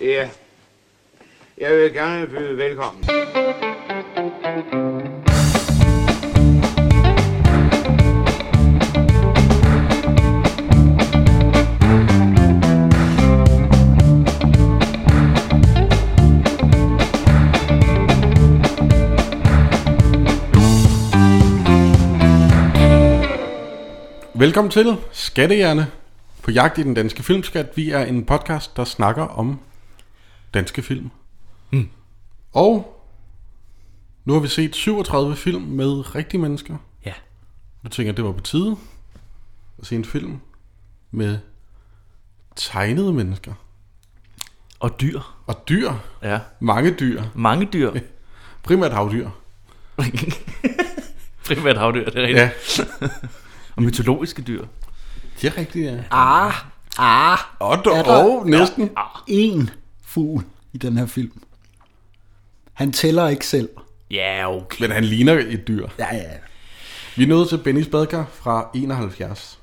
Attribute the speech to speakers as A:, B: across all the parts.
A: Ja. Jeg vil gerne byde velkommen.
B: Velkommen til Skattejerne på jagt i den danske filmskat. Vi er en podcast, der snakker om danske film. Mm. Og nu har vi set 37 film med rigtige mennesker.
C: Ja.
B: Nu tænker jeg, det var på tide at se en film med tegnede mennesker.
C: Og dyr.
B: Og dyr.
C: Ja.
B: Mange dyr.
C: Mange dyr.
B: Primært havdyr.
C: Primært havdyr, det er rigtigt.
B: Ja,
C: Ja. Og mytologiske dyr.
B: det er rigtigt, ja.
D: Ah, ah,
B: Og dog, og næsten.
D: en fugl i den her film. Han tæller ikke selv.
C: Ja, okay.
B: Men han ligner et dyr.
D: Ja, ja.
B: Vi er nået til Bennys badkar fra 71.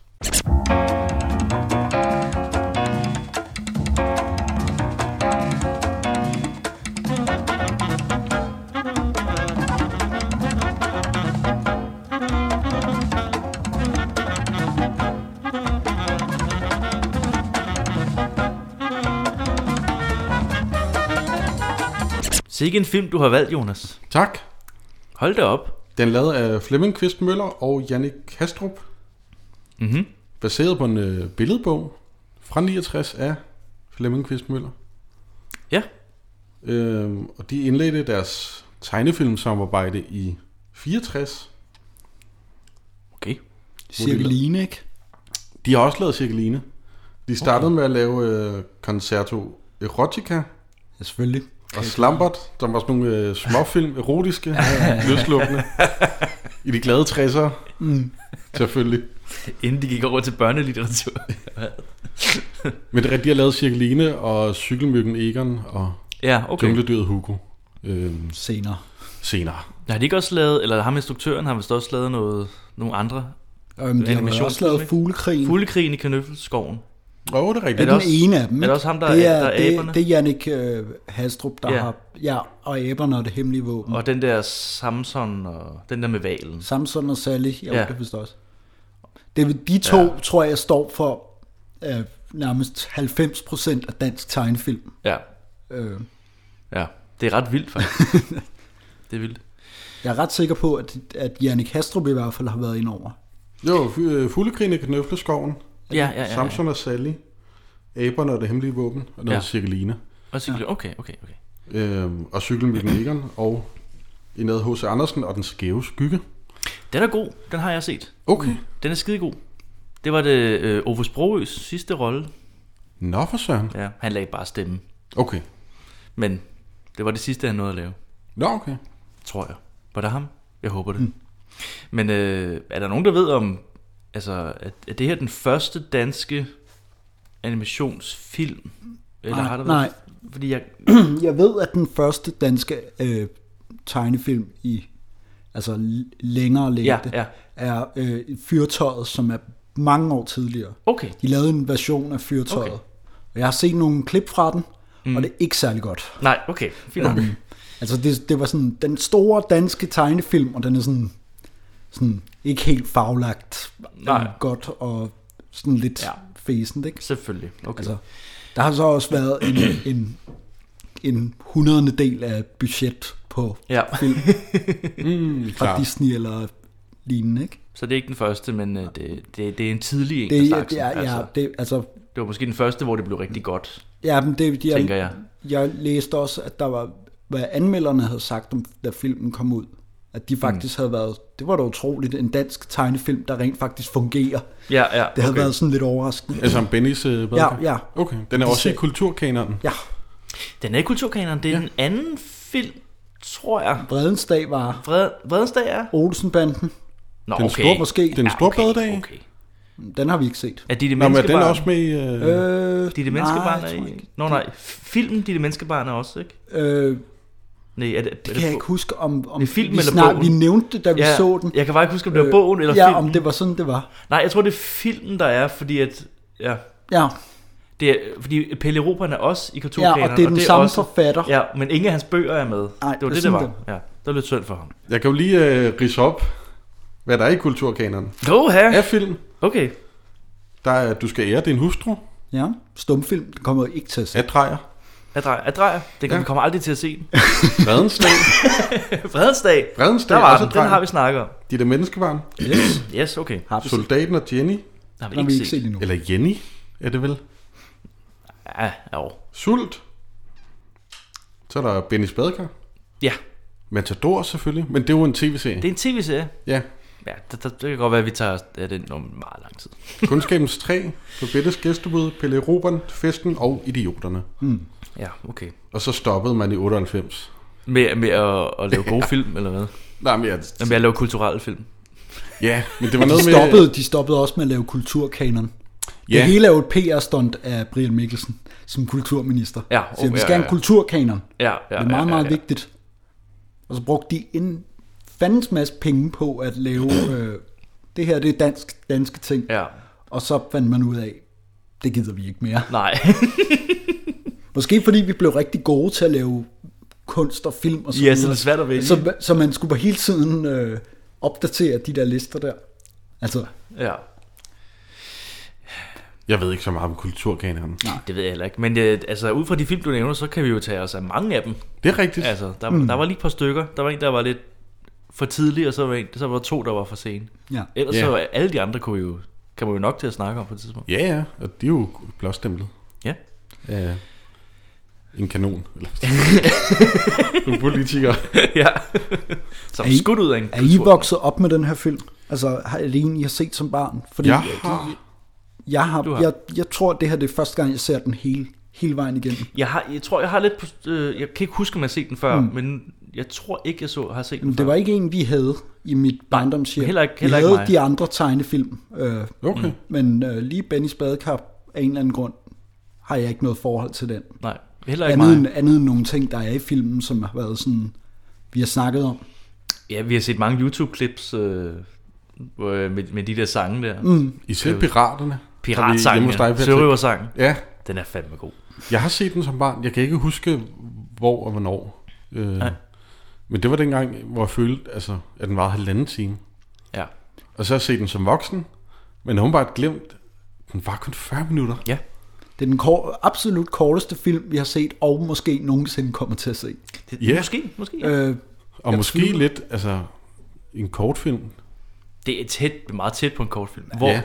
C: Så ikke en film, du har valgt, Jonas.
B: Tak.
C: Hold da op.
B: Den er lavet af Flemming Kvist Møller og Jannik Kastrup,
C: Mhm.
B: baseret på en øh, billedbog fra 69 af Flemming Kvist Møller.
C: Ja.
B: Øhm, og de indledte deres tegnefilmsamarbejde i 64.
C: Okay.
D: Cirkeline, ikke?
B: De har også lavet Cirkeline. De startede okay. med at lave øh, Concerto Erotica
D: Ja, selvfølgelig.
B: og Slambert, som var sådan nogle øh, småfilm, erotiske, løslukkende, i de glade 60'ere, mm. selvfølgelig.
C: Inden de gik over til børnelitteratur.
B: Men det er rigtigt, de har lavet Cirkeline og Cykelmyggen Egon og
C: ja,
B: okay.
C: okay.
B: Jungledyret Hugo øh,
D: Senere.
B: senere.
C: Har de ikke også lavet, eller ham instruktøren har vist også lavet noget, nogle andre?
D: Øhm, de har jo
C: Animation,
D: også lavet
C: ikke?
D: fuglekrigen.
C: Fuglekrigen i Kanøffelskoven.
B: Åh, det er
D: det
B: rigtigt.
D: er
C: det
D: den
C: også-
D: ene af dem.
C: er det
D: ikke?
C: også ham, der er-
D: det er,
C: der er aberne?
D: det, det er Jannik øh, Hastrup, der
C: Ja.
D: ja. har... Ja, og æberne og det hemmelige våben. Og
C: Og den der Samson, og den der med valen.
D: Samson og Sally, jo,
C: Ja.
D: ja. det forstår også. Det er, vel- de to, ja. tror jeg, står for øh, nærmest 90% af dansk tegnefilm.
C: Ja,
D: Øh,
C: ja. Det er ret vildt, faktisk. det er vildt.
D: jeg er ret sikker på, at, at Jannik Hastrup i hvert fald har været ind over.
B: Jo, fu- øh, Fuglekrigen i Knøfleskoven,
C: Ja, ja, ja.
B: ja,
C: ja.
B: Samson og Sally, Aberne og det hemmelige våben, og noget ja.
C: Ja.
B: Cirkeline,
C: Og cykel- Okay, okay, okay.
B: øh, og Cykelmyggen Egon, og i noget H.C. Andersen og Den skæve skygge.
C: Den er god. Den har jeg set.
B: Okay.
C: Den er skidegod. Det var det øh, Ove Sprogøs sidste rolle.
B: Nå for søren.
C: Ja, han lagde bare stemme.
B: Okay.
C: Men det var det sidste, han nåede at lave,
B: Nå, okay.
C: tror jeg. Var det ham? Jeg håber det. Mm. Men øh, er der nogen, der ved om... Altså, er, er det her den første danske animationsfilm? Eller
D: Nej,
C: har der
D: nej.
C: Fordi jeg...
D: Jeg ved, at den første danske øh, tegnefilm i altså l- længere længde
C: Ja, ja.
D: er øh, Fyrtøjet, som er mange år tidligere.
C: Okay,
D: De lavede en version af Fyrtøjet.
C: Okay.
D: Okay. Og jeg har set nogle klip fra den, mm. og det er ikke særlig godt.
C: nej, okay. Fint okay.
D: Altså det, det var sådan den store danske tegnefilm, og den er sådan, sådan ikke helt faglagt
C: Nej.
D: godt og sådan lidt
C: Ja.
D: ja. fæsent, ikke?
C: Selvfølgelig. Okay.
D: Altså, der har så også været en, en, en hundredende del af budget på
C: Ja.
D: film
B: Mm,
D: fra
B: klar.
D: Disney eller lignende, ikke?
C: Så det er ikke den første, men øh, det, det, det er en tidlig en af
D: Det, er-
C: slagsen.
D: det er, ja,
C: altså,
D: det, altså,
C: det var måske den første, hvor det blev rigtig godt,
D: ja, men det, jeg,
C: tænker jeg.
D: jeg læste også, at der var, hvad anmelderne havde sagt, om, da filmen kom ud, at de faktisk mm. havde været, det var da utroligt, en dansk tegnefilm, der rent faktisk fungerer.
C: Ja, ja.
D: Det havde
B: Okay.
D: okay. været sådan lidt overraskende.
B: Altså om Bennys øh, badkar?
D: Ja, ja.
B: Okay, den er
D: De
B: også i
D: ser-
B: kulturkanonen.
D: Ja,
C: Den er i Kulturkaneren. Det er ja. den anden film, tror jeg.
D: Vredens Dag var
C: Vred, Vredensdag er...
D: Olsenbanden.
C: Nå,
B: Den store,
D: måske.
B: Den store
C: okay,
B: badedag.
C: Okay.
D: Den har vi ikke set.
C: Er Ditte
B: Nå, men er den
C: Menneskebarn...
B: også med i... Øh... Øh,
D: Øh,
C: Ditte
D: nej,
C: Menneskebarn
D: jeg tror
C: er i...
D: ikke.
C: Nå, nej. Filmen Ditte Menneskebarn er også, ikke?
D: Øh,
C: Nej, er det, er
D: Det kan jeg ikke huske, om, om
C: Det er film
D: vi,
C: eller
D: snart,
C: bogen?
D: vi nævnte det, da vi
C: ja,
D: så den.
C: Jeg kan bare ikke huske, om det var
D: Øh,
C: bogen eller
D: ja,
C: filmen.
D: om det var sådan, det var.
C: Nej, jeg tror, det er filmen, der er, fordi at... Ja,
D: Ja,
C: Det er, fordi Pelle Robern er også i
D: Ja,
C: kartonplanerne.
D: og det er den
C: og
D: samme
C: også,
D: forfatter.
C: Ja, men ingen af hans bøger er med.
D: Nej,
C: det var det,
D: præcis
C: det var.
D: det.
C: Ja, det var lidt synd for ham.
B: Jeg kan jo lige øh, rise op, hvad der er i kulturkanonen.
C: Oha!
B: Af film,
C: Okay.
B: der er Du skal ære din hustru,
D: Ja, stumfilm det kommer jeg ikke til at se.
B: af drejer,
C: Adrejer. Adrejer. Det kan
B: Ja.
C: vi kommer aldrig til at se. den.
B: Redensdag,
C: Fredensdag.
B: Redensdag,
C: Der var
B: også
C: den. Den har vi snakket om.
B: Dit er menneskevarm,
D: Yes,
C: Yes, okay.
D: har vi set.
B: Soldaten og Jenny,
C: Den har vi
D: Den har vi
C: ikke
D: ikke
C: set.
D: set endnu.
B: eller Jenny, er det vel?
C: Ja, jo.
B: Sult. Så er der Benny Spadekar.
C: Ja,
B: Matador selvfølgelig, men det er jo en tv-serie.
C: det er en tv-serie.
B: Ja.
C: Ja, det, det, det kan godt være, at vi tager ja, den om meget lang tid.
B: Kundskabens træ, på Bettes gæstebud, Pelle Robert, Festen og Idioterne.
C: Ja, okay.
B: Og så stoppede man i 98.
C: Med, med at, at lave gode film, eller hvad?
B: Nej, men jeg,
C: Ja, Med at lave kulturelle film.
B: ja, men det var noget
D: De
B: med...
D: stoppede, de stoppede også med at lave kulturkanon. Ja.
B: Ja.
D: Det hele er jo et PR-stunt af Brian Mikkelsen som kulturminister.
C: Ja,
D: Så siger,
C: oh,
D: vi
C: ja,
D: skal have
C: ja.
D: en kulturkanon.
C: Ja, ja,
D: Det er meget,
C: ja,
D: meget
C: ja, ja.
D: vigtigt. Og så brugte de en fandens masse penge på at lave, øh, det her det er dansk, danske ting.
C: Ja,
D: Og så fandt man ud af, det gider vi ikke mere.
C: nej.
D: Måske fordi vi blev rigtig gode til at lave kunst og film og sådan
C: Ja, så det er svært at vælge.
D: Så, så man skulle bare hele tiden øh, opdatere de der lister der. Altså,
C: ja.
B: Jeg ved ikke så meget om kulturkanonen.
C: Det ved jeg heller ikke. Men øh, altså, ud fra de film, du nævner, så kan vi jo tage os af mange af dem.
B: Det er rigtigt.
C: Altså, der, mm. der var lige et par stykker. Der var en, der var lidt for tidlig, og så var, en, så var der to, der var for sent.
D: ja.
C: Ellers
B: Ja.
C: yeah. så var alle de andre kunne vi jo, kan man jo nok til at snakke om på et tidspunkt.
B: Ja, ja, og de er jo blåstemplet.
C: Ja.
B: Ja. En kanon. Eller Nogle politikere.
C: ja. Så
D: Er I-
C: skudt ud af en
D: Er I
C: kultur.
D: vokset op med den her film? Altså, har er det en, I har set som barn? Fordi
B: Jeg har...
D: jeg, har,
C: Du
D: har.
C: har.
D: Jeg, jeg tror, det her det er første gang, jeg ser den hele, hele vejen igennem.
C: Jeg, har, jeg tror, jeg har lidt... på- Øh, jeg kan ikke huske, om jeg har set den før, mm. men jeg tror ikke, jeg så, har set den
D: Men
C: før.
D: det var ikke en, vi havde i mit barndomshjem.
C: heller ikke- heller
D: vi
C: ikke
D: havde
C: mig.
D: de andre tegnefilm, øh,
B: Okay.
D: men øh, lige Bennys badekar af en eller anden grund har jeg ikke noget forhold til den.
C: Nej, heller ikke
D: Andet
C: mig.
D: end, andet end nogle ting, der er i filmen, som har været sådan, vi har snakket om.
C: Ja, vi har set mange YouTube-klips øh, hvor, øh, med, med de der sange der.
B: Mm. Især piraterne.
C: Piratsangen,
B: Har vi hjemme hos dig, Patrick?
C: sørøversangen.
B: Ja,
C: Den er fandme god.
B: Jeg har set den som barn. Jeg kan ikke huske, hvor og hvornår. Øh,
C: Nej.
B: men det var dengang, hvor jeg følte, altså, at den var halvanden time.
C: Ja.
B: Og så har jeg set den som voksen, men hun bare glemt, den var kun 40 minutter.
C: ja.
D: Det er den kor- absolut korteste film, vi har set, og måske nogensinde kommer til at se.
C: Det,
B: Ja.
C: Måske, måske. Ja.
D: Øh,
B: Og
D: Jeg
B: måske
D: tvivler.
B: lidt, altså, en kortfilm.
C: Det er tæt, meget tæt på en kortfilm. Hvor,
B: Ja.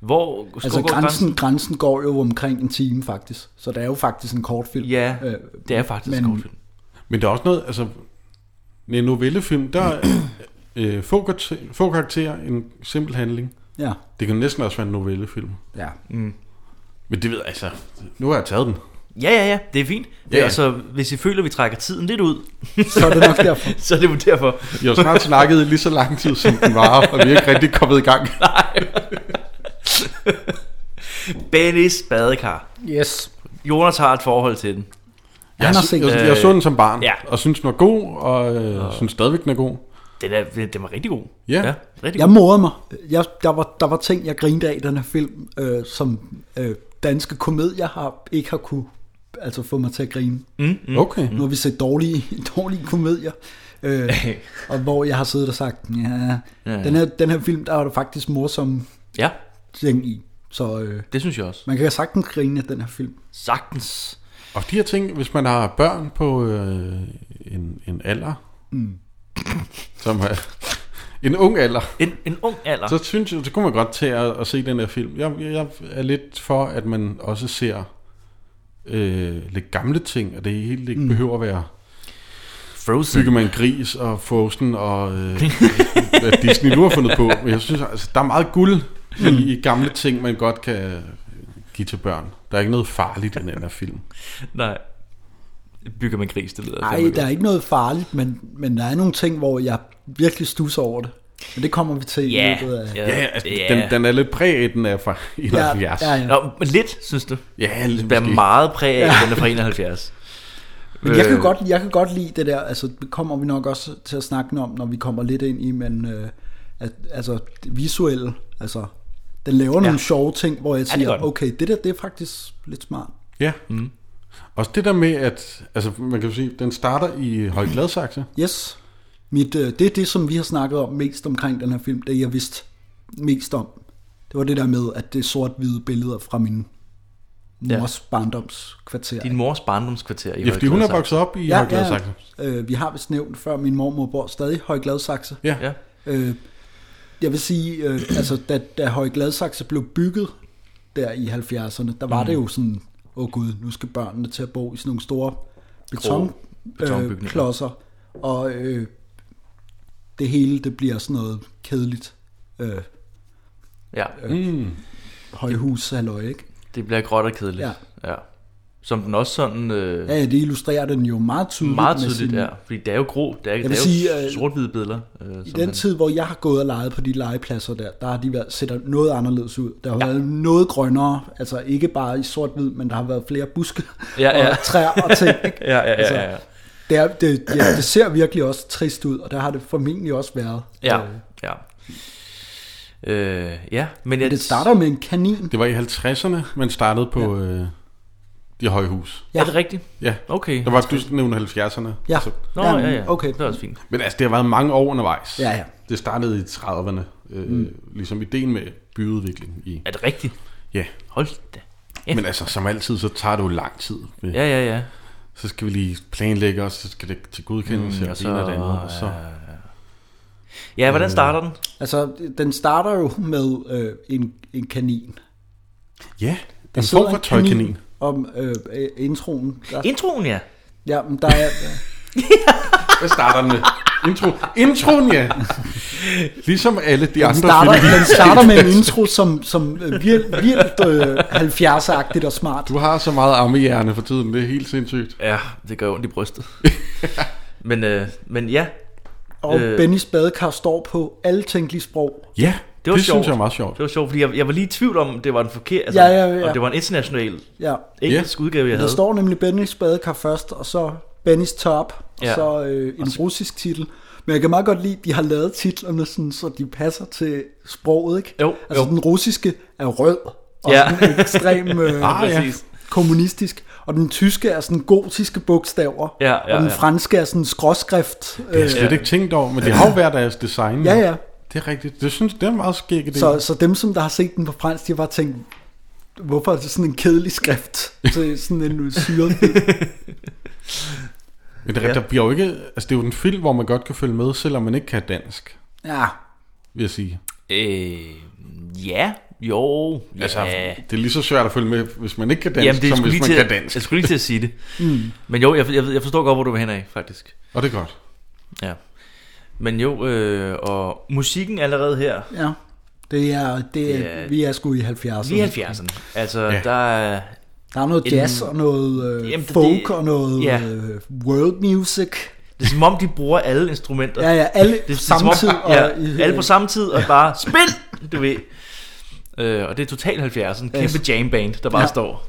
C: hvor
D: altså
C: hvor går
D: grænsen, grænsen går jo omkring en time faktisk, så det er jo faktisk en kortfilm.
C: Ja,
D: Øh,
C: det er faktisk men,
D: men-
C: en kortfilm.
B: Men der er også noget, altså, i en novellefilm, der er øh, få, karakter, få karakterer, en simpel handling.
D: ja,
B: Det kan næsten også være en novellefilm.
D: ja.
B: Men det ved jeg, altså, nu har jeg taget den.
C: Ja, ja, ja, det er fint.
B: Ja.
C: Ja. Altså, hvis I føler, at vi trækker tiden lidt ud,
D: Så er det nok derfor.
C: så er det jo derfor.
B: Jeg har snart snakket i lige så lang tid, som den var, og vi er ikke rigtig kommet i gang.
C: Bennys badekar.
D: Yes.
C: Jonas har et forhold til den.
B: Jeg,
D: Han har
B: sy-
D: set
B: jeg,
C: den.
B: jeg så den som barn, ja.
C: Ja.
B: og synes den var god, og øh, synes stadigvæk den er god.
C: Den, er, den, den var rigtig god.
B: Ja.
C: rigtig
D: Jeg
C: god.
D: morede mig. Jeg, der, var, der var ting, jeg grinede af i den her film, øh, som øh, danske komedier har, ikke har kunne altså, få mig til at grine.
C: Mhm.
B: Mm. Okay.
D: Nu har vi set dårlige, dårlige komedier, øh, og hvor jeg har siddet og sagt, ja,
C: Ja.
D: den her, den her film, der er der faktisk morsomme
C: Ja,
D: ting i. Så øh,
C: det synes jeg også.
D: man kan sagtens grine af den her film.
C: Sagtens.
B: Og de her ting, hvis man har børn på øh, en, en alder, mm. som er en ung alder,
C: En, en ung alder.
B: så synes jeg, så kunne man godt til at, at se den her film. Jeg, jeg jeg er lidt for, at man også ser øh, lidt gamle ting, og det hele ikke mm. behøver at være
C: Frozen.
B: Bygger man gris og Frozen og øh, hvad Disney nu har fundet på. Men jeg synes, altså, der er meget guld i, i gamle ting, man godt kan øh, give til børn. Der er ikke noget farligt i den her film.
C: Nej. Bygger man gris, det lyder
D: Nej,
C: fandme
D: der
C: godt.
D: er ikke noget farligt, men, men der er nogle ting, hvor jeg virkelig stusser over det. Men det kommer vi til
C: Ja.
D: i løbet af...
B: Ja, altså, Den, den er lidt præg af, den er fra 71.
D: ja, ja.
C: Nå, men lidt, synes du?
B: ja lidt
C: Det er
B: måske.
C: meget præg af, at den er fra 71.
D: Men jeg kan,
C: Øh,
D: godt, jeg kan godt lide det der, altså det kommer vi nok også til at snakke om, når vi kommer lidt ind i, men øh, at, altså det visuelle, altså Den laver ja.
C: Ja.
D: nogle sjove ting, hvor jeg
C: det
D: siger,
C: gør den.
D: okay, det der, det er faktisk lidt smart.
B: Ja. Mm. Også det der med, at altså, man kan jo sige, den starter i Højgladsaxe.
D: Yes. Mit, øh, det er det, som vi har snakket om mest omkring den her film, det jeg vidste mest om. Det var det der med, at det er sort-hvide billeder fra min
C: Ja.
D: mors barndomskvarter.
C: Din mors barndomskvarter i
B: Ja, fordi hun er
C: Høje Gladsaxe.
B: vokset op i ja, Højgladsaxe.
D: Øh, vi har vist nævnt før, min mormor bor stadig i Højgladsaxe.
B: Ja. ja.
C: Ja.
D: Øh, jeg vil sige, øh, altså, da, da Høje Gladsaxe blev bygget der i 70'erne, der var mm. det jo sådan, åh oh gud, nu skal børnene til at bo i sådan nogle store beton,
C: betonbygninger.
D: øh, klodser, og øh, det hele, det bliver sådan noget kedeligt øh,
C: ja.
B: Mm.
D: højhus, halløj, ikke?
C: Det bliver gråt og kedeligt. Ja. ja. Som den også sådan... Øh,
D: Ja, ja, det illustrerer den jo meget tydeligt.
C: meget
D: med
C: tydeligt,
D: sin-
C: ja. Fordi det er jo grå. Det er, det er
D: vil
C: jo
D: sige,
C: sige,
D: øh,
C: sort-hvide billeder. Øh,
D: I den tid, hvor jeg har gået og leget på de legepladser der, der har de været, set noget anderledes ud. Der har ja. været noget grønnere, altså ikke bare i sort-hvid, men der har været flere buske
C: Ja, ja.
D: og træer og ting. Ikke?
C: Ja, ja, ja, ja, ja.
D: Det, er, det, ja, det ser virkelig også trist ud, og der har det formentlig også været.
C: Ja,
D: Øh,
C: ja. Øh, ja, men jeg,
D: Det starter med en kanin.
B: Det var i 50'erne, man startede på ja. øh, de høje hus.
C: Ja. Er det rigtigt?
B: Ja.
C: Okay.
B: Der var du nævnte 70'erne.
D: Ja.
B: Så-
C: Nå,
D: Jamen,
C: ja, ja.
D: Okay.
C: Det er også fint.
B: Altså, Men altså, det har været mange år undervejs.
D: Ja, ja.
B: Det startede i 30'erne, øh, mm. ligesom ideen med byudvikling. I.
C: Er det rigtigt?
B: Ja,
C: Hold da. Ja.
B: men altså, som altid, så tager det jo lang tid.
C: Ja, ja, ja.
B: Så skal vi lige planlægge os, så skal det til godkendelse mm, og det ene og det andet. Og så,
C: Ja, hvordan starter den?
D: Altså, den starter jo med øh, en, en kanin.
B: ja,
D: Der
B: en
D: sidder
B: form for tøjkanin.
D: Om øh, øh, introen. Der,
C: Introen, ja.
D: ja, men der er...
B: Hvad starter den med? Intro. Introen, ja. Ligesom alle de
D: Den
B: andre
D: starter,
B: film.
D: den starter med en intro, som, som øh, vildt, vildt øh, 70'er-agtigt og smart.
B: Du har så meget armehjerne for tiden, det er helt sindssygt.
C: Ja, det gør ondt i brystet. men, øh, men ja,
D: Og
C: Øh.
D: øh. Bennys badekar står på alle tænkelige sprog.
B: Ja,
C: det var
B: det
C: sjovt.
B: synes jeg er meget sjovt.
C: Det var sjovt, fordi jeg, jeg var lige i tvivl om, det var den forkerte, altså,
D: Ja, ja, ja.
C: om det var en international
D: Ja.
C: engelsk udgave, jeg
D: Der
C: havde.
D: står nemlig Bennys badekar først, og så Bennys top, og
C: Ja.
D: ja. så øh, en russisk titel. Men jeg kan meget godt lide, at de har lavet titlerne, sådan, så de passer til sproget. Ikke?
C: Jo,
D: altså
C: jo.
D: den russiske er rød, og
C: Ja.
D: ja. sådan ekstrem øh,
B: Ah, ja.
C: Præcis.
D: kommunistisk. Og den tyske er sådan gotiske bogstaver,
C: Ja, ja,
D: og den
C: ja.
D: franske er sådan skråskrift. øh,
B: Det har jeg slet ikke tænkt over, men det har jo været deres design.
D: Ja, ja.
B: Det er rigtigt. Det synes det er en meget skæg det.
D: Så, så dem, som der har set den på fransk, de har bare tænkt, hvorfor er det sådan en kedelig skrift til sådan en øh, syret film?
B: Men der, ja. der bliver jo ikke, altså det er jo en film, hvor man godt kan følge med, selvom man ikke kan dansk,
D: Ja,
B: vil jeg sige.
C: Øh, ja, jo, ja.
B: Altså, det er lige så svært at følge med, hvis man ikke kan dansk,
C: Jamen, det er
B: som
C: lige
B: hvis man
C: til, altså,
B: kan dansk.
C: Jeg skulle lige til at sige det. mm. Men jo, jeg, jeg, jeg forstår godt, hvor du vil hen af, faktisk.
B: Og det er godt.
C: Ja. Men jo, øh, og musikken allerede her,
D: ja. Det er, det er,
C: Det er-
D: vi er sgu i 70'erne.
C: lige 70'erne. Altså, ja.
B: Ja.
C: der er...
D: Der er noget jazz og noget øh,
C: Jamen,
D: Jamen,
C: det-
D: folk det, og noget
C: ja.
D: ja. øh, world music.
C: Det er som om, de bruger alle instrumenter.
D: Ja, ja, alle
C: Det, er- det er som om,
D: samtidig. og,
C: ja,
D: i-
C: alle på samme tid, og bare spil, du ved. Øh, og det er totalt 70'erne. Kæmpe yes. jam band, der bare ja.
D: Ja.
C: står.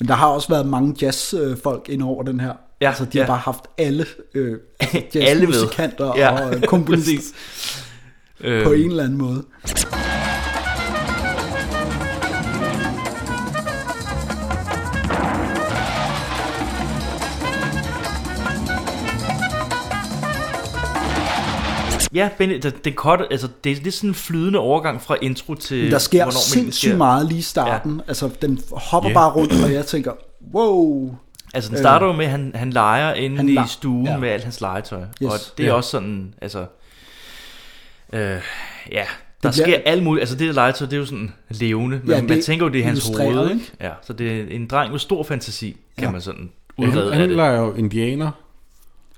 D: Men der har også været mange jazzfolk øh, folk ind over den her.
C: Ja,
D: altså, de har
C: ja.
D: bare haft alle øh, altså,
C: med.
D: jazzmusikanter
C: Ja,
D: og øh, komponister
C: præcis. Øh,
D: på en eller anden måde.
C: Ja, Benny, det, det, korte, altså, det er lidt sådan en flydende overgang fra intro til...
D: Der sker
C: Øh, hvornår meningen
D: sindssygt meget lige i starten. Ja. Altså, den hopper
B: Ja.
D: yeah. bare rundt, og jeg tænker, wow.
C: Altså, den starter jo med, at han, han leger inde han
D: Øh, han
C: i
D: leg-
C: stuen ja.
D: ja.
C: med alt hans legetøj. Yes.
D: Yes.
C: Og det er ja.
B: Ja.
C: også sådan, altså... Øh, ja, der
D: bliver-
C: sker alt muligt. Altså, det der legetøj, det er jo sådan levende. Men ja,
D: Ja,
C: man
D: det
C: tænker jo, det er hans
D: illustrerer,
C: hoved,
D: ikke?
C: ikke? Ja, så det er en dreng med stor fantasi, kan ja.
D: Ja.
C: man sådan
B: Ja, han,
C: udrede af
B: han
C: det.
B: leger jo indianer.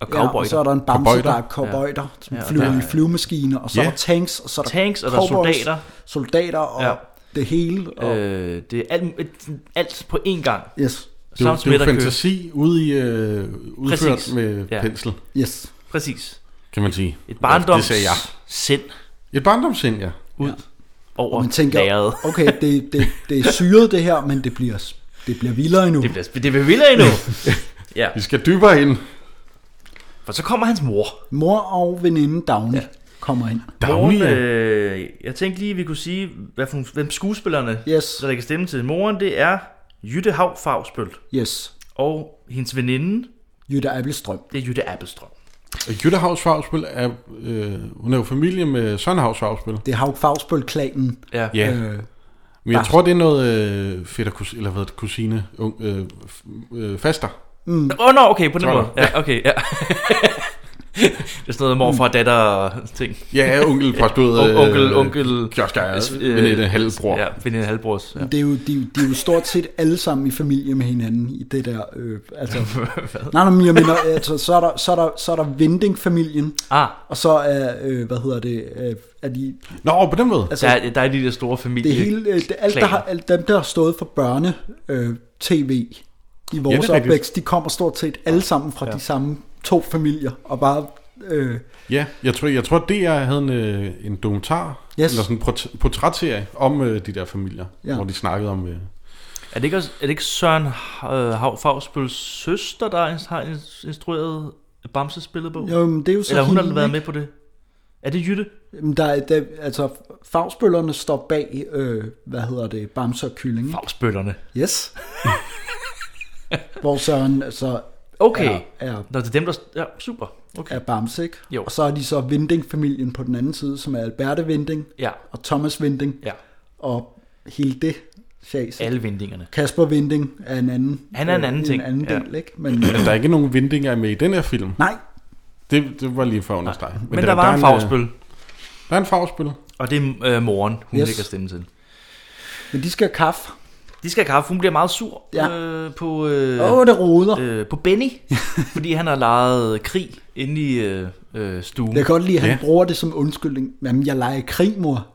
C: Og
D: Ja, og
C: cowboy.
D: så er der en bamse,
B: Cowboyter.
D: der er cowboyter, som
C: Ja, og
D: flyver
C: der-
D: i flyvemaskiner, og så
B: Ja.
D: er der tanks, og så er der
C: Tanks, og der er
D: cowboys,
C: soldater.
D: soldater og
C: Ja.
D: det hele. Og,
C: Øh, det er alt, alt på én gang.
D: Yes,
B: Det er jo,
C: Sam
B: det er jo
C: Smith og Kø.
B: fantasi ude i, øh, udført
C: Præcis.
B: Præcis. med
C: Ja.
B: ja. pensel,
D: yes.
C: Præcis.
B: kan man sige.
C: Et barndoms
B: Det sagde jeg.
C: sind
B: Et barndomssind, ja.
C: ud ja. over
D: Og man tænker,
C: lageret.
D: okay, det, det, det er syret det her, men det bliver, det bliver vildere endnu.
C: Det bliver, det bliver vildere endnu. ja,
B: Vi skal dybere ind.
C: for så kommer hans mor.
D: Mor og veninde Dagny. Ja. kommer ind.
B: Dagny
C: Moren,
B: er...
C: øh, jeg tænkte lige, vi kunne sige, hvad for, nogle- hvem skuespillerne,
D: Yes,
C: så der kan stemme til. Moren, det er Jytte Hav Favsbøl,
D: yes.
C: og hendes veninde,
D: Jytte Appelstrøm.
C: det er Jytte Appelstrøm.
B: Jytte Havs Fagsbøl er... Øh, hun er jo familie med Søren Havs Fagsbøl.
D: Det er Haug Fagsbøl-klanen.
C: Ja.
B: Ja,
D: Øh,
B: men jeg
D: Faus.
B: tror, det er noget øh, fætter, kus, eller hvad, kusine, ung, øh, f- øh, faster.
C: Åh, oh, nå, okay, på den
B: Tror
C: måde. Ja, okay, ja. det er sådan noget morfar, datter og ting.
B: Ja, onkel postbud.
C: On- onkel, onkel...
B: øh, Kiosker,
C: øh,
B: veninde, halvbror.
C: Ja, veninde halvbrors. Ja.
D: det er jo, de, de er jo stort set alle sammen i familie med hinanden i det der... Øh, altså, nej, nej, men jeg mener, altså, så, er der, så, er der, så er der Vending-familien,
C: Ah,
D: og så er, øh, hvad hedder det, øh, er de,
B: Nå, på den måde.
D: altså,
C: der, er- der er de der store familie.
D: det hele, øh, det, alt, der har, alt dem, der har stået for børne-tv i vores
B: rigtigt.
D: ja, opvækst, de kommer stort set alle sammen fra ja. de samme to familier, og bare... Øh,
B: Ja, jeg tror, jeg tror DR havde en, øh, en dokumentar, yes.
D: Yes.
B: eller sådan en port- portrætserie om øh, de der familier, ja.
D: Ja.
B: hvor de snakkede om... Øh,
C: Er det ikke, også, er det ikke Søren øh, Hav Fagsbøls søster, der ins- har ins- instrueret Bamses billedbog?
D: jo, men det er jo så
C: Eller hun har
D: hende,
C: været
D: ikke?
C: med på det? Er det Jytte?
D: Jamen, Der, er- der, altså, fagsbøllerne står bag, øh, hvad hedder det, Bamse og Kylling. ikke?
C: Fagsbøllerne.
D: Yes. Hvor Søren så
C: Okay. Ja.
D: er, er,
C: Nå, det er dem, der... Ja, super. Okay.
D: er Bamse, ikke?
C: Jo.
D: Og så er de så Vinding-familien på den anden side, som er Alberte Vinding
C: Ja,
D: og Thomas Vinding
C: ja.
D: og hele det sjas. ikke?
C: Alle vindingerne.
D: Kasper Vinding er en anden,
C: Han er en
D: øh,
C: anden
D: en
C: ting,
D: anden
C: ja.
D: del, ikke? Men,
B: altså, der er ikke nogen vindinger med i den her film.
D: nej,
B: Det, det var lige for at understrege.
C: Men, Men der, var en
B: øh,
C: Fagsbøl,
B: Der er en fagspil.
C: og det er øh, moren, hun yes.
D: Yes.
C: lægger stemme til.
D: men de skal have kaffe.
C: De skal have kaffe. Hun bliver meget sur
D: Ja.
C: øh, på, øh,
D: Åh, det roder.
C: øh, på Benny, fordi han har lejet øh, krig inde i øh, øh, stuen.
D: Jeg kan godt lide, at han
B: Ja.
D: bruger det som undskyldning. Jamen, jeg leger i krig, mor.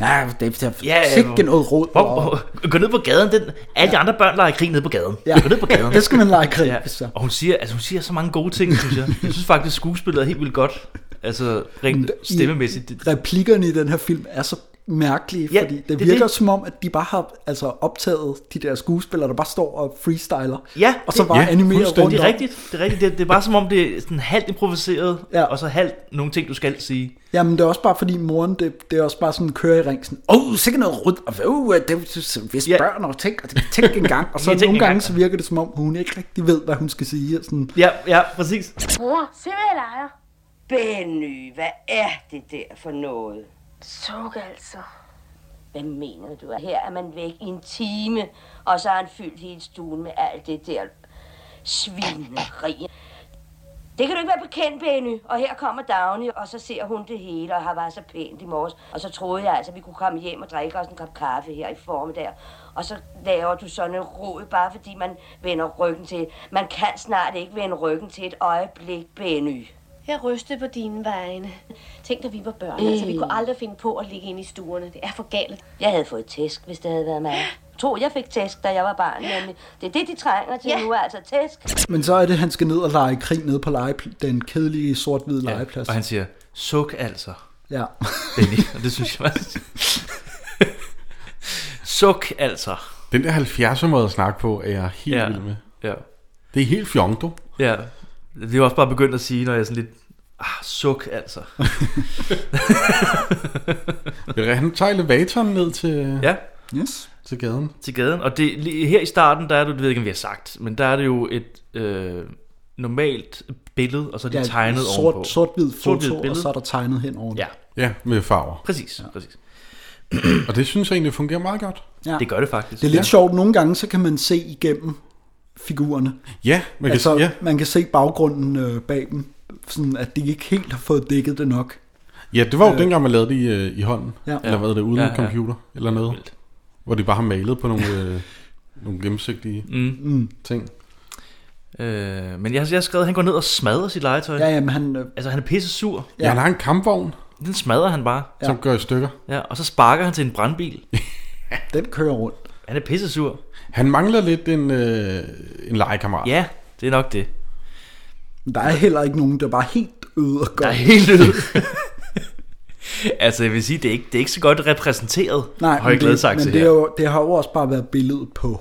D: Nej, det er- det
C: Ja,
D: er
C: ja,
D: sikke noget råd.
C: Hvor,
D: og-
C: hvor, gå ned på gaden. Den, alle de andre børn leger krig nede på gaden.
D: Ja.
C: Gå ned på gaden.
D: Det skal man lege i krig,
C: Ja.
D: så.
C: Og hun siger, altså, hun siger så mange gode ting, synes jeg. Jeg synes faktisk, skuespillet er helt vildt godt. Altså, rent
D: I-
C: stemmemæssigt. Det,
D: replikkerne i den her film er så mærkelige,
C: Ja,
D: ja, fordi det,
C: det er
D: det virker
C: det.
D: det. som om, at de bare har altså, optaget de der skuespillere, der bare står og freestyler,
C: ja,
D: og så
C: det,
D: bare
B: ja,
D: ja, animerer rundt
B: fuldstændig.
D: om.
C: det er rigtigt. Det er rigtigt. Det, det er bare som om, det er sådan halvt improviseret, ja.
D: Ja.
C: og så halvt nogle ting, du skal sige.
D: Jamen, det er også bare fordi moren, det, det er også bare sådan, kører i ring, sådan, åh, oh, sikkert noget rødt, og oh, det er hvis
C: Ja.
D: ja. børn, og tænk, og tænk en gang, og så
C: Ja, tænk
D: nogle
C: engang.
D: gange, så virker det som om, hun ikke rigtig ved, hvad hun skal sige, og sådan,
C: Ja, ja, præcis.
E: Mor, se hvad jeg leger.
F: Benny, hvad er det der for noget?
E: Suk altså.
F: Hvad mener du? Her er man væk i en time, og så har han fyldt hele stuen med alt det der svineri. Det kan du ikke være bekendt, Benny. Og her kommer Dagny, og så ser hun det hele, og har været så pænt i morges. Og så troede jeg altså, at vi kunne komme hjem og drikke os en kop kaffe her i formiddag. Og så laver du sådan en rod, bare fordi man vender ryggen til. Man kan snart ikke vende ryggen til et øjeblik, Benny.
E: Jeg rystede på dine vegne. Tænk, da vi var børn,
G: Øh.
E: mm. altså vi kunne aldrig finde på at ligge inde i stuerne. Det er for galt.
F: Jeg havde fået tæsk, hvis det havde været mig. Tro, jeg fik tæsk, da jeg var barn, nemlig. Det er det, de trænger til
E: Ja.
F: nu, altså tæsk.
D: men så er det, han skal ned og lege i krig nede på legepl- den kedelige sort-hvide ja, legeplads.
C: Og han siger, suk altså,
D: Ja.
C: Benny. Og det synes jeg faktisk. suk altså.
B: Den der 70'er måde at snakke på, er jeg helt
C: Ja.
B: ja. vild med.
C: Ja.
B: Det er helt fjongdo.
C: Ja, det er også bare begyndt at sige, når jeg er sådan lidt, ah, suk altså.
B: Han tager elevatoren ned til, ja.
C: Ja,
D: Yes.
B: til gaden.
C: til gaden. Og det, lige her i starten, der er det, det ved jeg ikke, om vi har sagt, men der er det jo et øh, normalt billede, og så er det ja, tegnet ovenpå.
D: sort, sort-hvid foto,
C: Sort-hvid
D: sort og
C: billede.
D: så er der tegnet hen over.
C: Ja,
B: Ja, med farver.
C: præcis, ja. præcis.
B: Og det synes jeg egentlig fungerer meget godt.
D: Ja.
C: Det gør det faktisk.
D: Det er lidt ja. sjovt, nogle gange så kan man se igennem figurerne.
B: Ja, man kan,
D: Altså,
B: altså, ja.
D: man kan se baggrunden øh, bag dem, sådan at de ikke helt har fået dækket det nok.
B: ja, det var jo øh, dengang, man lavede det i, øh, i hånden. Ja.
D: Ja.
B: Eller hvad er det, uden
C: Ja,
B: ja,
C: ja.
B: computer eller noget.
C: Vildt.
B: Hvor de bare har malet på nogle, øh, nogle gennemsigtige
C: Mm.
B: ting.
C: Øh, men jeg, har- jeg har skrevet, at han går ned og smadrer sit legetøj.
D: Ja, jamen han... Øh,
C: Altså, han er pisse sur.
B: Ja. Han har en kampvogn,
C: Den smadrer han bare.
B: ja. som gør i stykker.
C: Ja, og så sparker han til en brandbil.
D: den kører rundt.
C: Han er pisse sur.
B: Han mangler lidt en, øh, en legekammerat.
C: Ja, det er nok det.
D: Men der er heller ikke nogen, der bare helt øde og
C: Der er
D: godt.
C: helt øde. altså, jeg vil sige, det er ikke, det er ikke så godt repræsenteret.
D: Nej,
C: har
D: men,
C: jeg
D: det,
C: sagt
D: men det, er jo, det har jo også bare været billedet på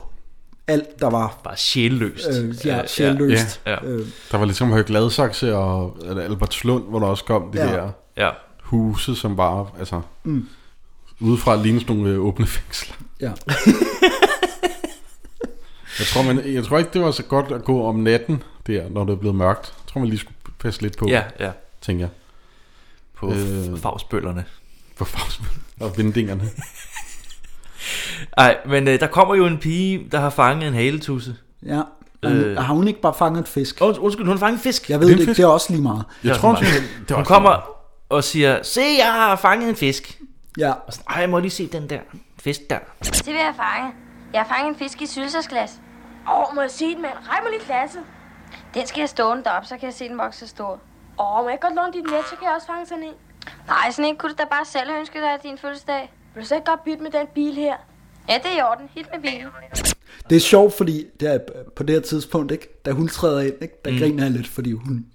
D: alt, der var
C: Bare sjælløst.
D: øh, ja, sjældøst.
C: ja, ja.
D: Øh,
B: Der var ligesom Høje Gladsaxe og Albertslund, øh, hvor der også kom det
D: Ja.
B: ja. der
C: Ja,
B: huse, som var altså, mm. udefra lignede sådan nogle øh, åbne fængsler.
D: Ja.
B: Jeg tror, man, jeg tror ikke, det var så godt at gå om natten der, når det er blevet mørkt. Jeg tror, man lige skulle passe lidt på,
C: Ja, ja.
B: tænker jeg.
C: På
B: Øh.
C: øh. fagsbøllerne.
B: På fagsmænd og vindingerne.
C: Nej, men øh, der kommer jo en pige, der har fanget en haletusse.
D: ja. Øh. Har hun ikke bare fanget et fisk?
C: Und, undskyld, hun har fanget Oh, en fisk.
D: Jeg
B: er
D: ved
B: en
D: det ikke,
B: fisk.
D: det er også lige meget.
B: Jeg
C: Det
B: tror,
C: er
B: hun,
C: også
B: synes, det var
C: Hun
B: også
C: kommer og siger, se, jeg har fanget en fisk.
D: Ja,
C: Og sådan, Ej, jeg må lige se den der fisk der.
G: Det vil jeg fange. Jeg har fanget en fisk i sylsersglas.
E: Åh, oh, må jeg sige det, mand? Rej mig lige glasset.
G: Den skal jeg stående deroppe, så kan jeg se den vokse sig stor.
E: Åh, oh, må jeg godt låne dit net, så kan jeg også fange sådan en.
G: Nej, sådan en kunne du da bare selv ønske dig i din fødselsdag.
E: Vil du så ikke godt bytte med den bil her?
G: Ja, det er i orden. Hit med bilen.
D: det er sjovt, fordi der, på det her tidspunkt, ikke, da hun træder ind, ikke, der mm. griner jeg lidt, fordi hun,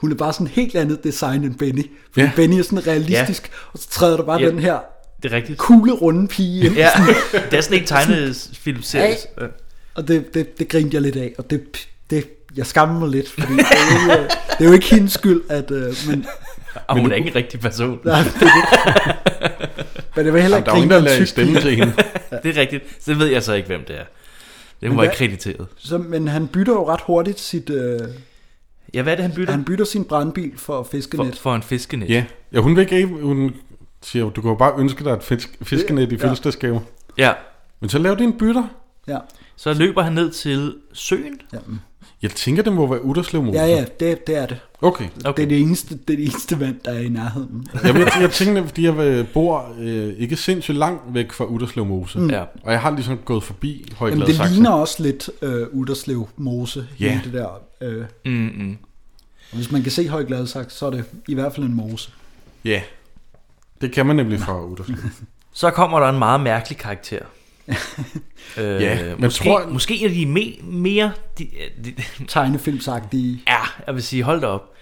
D: hun er bare sådan helt andet design end Benny. Fordi
B: Ja.
D: Benny er sådan realistisk, ja. og så træder der bare
C: Ja.
D: den her
C: Det er rigtigt.
D: kugle runde pige ind,
C: Ja, det er sådan en tegnefilm serie.
D: og det, det, det grinte jeg lidt af, og det, det jeg skammer mig lidt, fordi det er, jo, ikke, øh, det er jo ikke hendes skyld, at, øh, men,
C: Og hun er ikke en rigtig person.
D: nej, det er det. men jeg vil heller
B: Jamen,
D: ikke
B: der er jo ingen, der
D: grine af en
B: lagde
D: tyk
B: stemme til hende.
C: Det er rigtigt. Så det ved jeg så ikke, hvem det er. Det hun var
D: hvad-
C: ikke krediteret.
D: Så, men han bytter jo ret hurtigt sit, øh,
C: Ja, hvad er det, han bytter?
D: han bytter sin brandbil for
C: for,
D: fiskenet.
C: for en fiskenet.
B: Ja. ja, hun vil ikke, ikke- hun siger, jo, du kan jo bare ønske dig et fisk, fiskenet i
D: Ja.
B: fødselsdagsgave.
C: ja.
B: Men så lav din bytter.
D: Ja,
C: Så løber han ned til søen.
B: Jeg tænker, det må være Uderslev Mose.
D: ja, ja det, det er det.
B: Okay.
D: Okay. Det, er det, eneste, det er det eneste vand, der er i nærheden.
B: Jamen, jeg, jeg tænkte, fordi jeg øh, bor øh, ikke sindssygt langt væk fra Uderslev Mose. Mm.
C: Ja.
B: Og jeg har ligesom gået forbi
D: Jamen,
B: Højglad
D: det ligner også lidt øh, Uderslev Mose,
B: Ja.
D: hele det der. Øh,
C: Mm-mm.
D: og hvis man kan se Højgladsaxe, så er det i hvert fald en mose.
B: Ja. Det kan man nemlig fra Uderslev.
C: Så kommer der en meget mærkelig karakter. øh,
B: Ja, men
C: måske,
B: tror-
C: måske er de me, mere... De, de,
D: Tegnefilmsagtige.
C: ja, jeg vil sige, hold da op.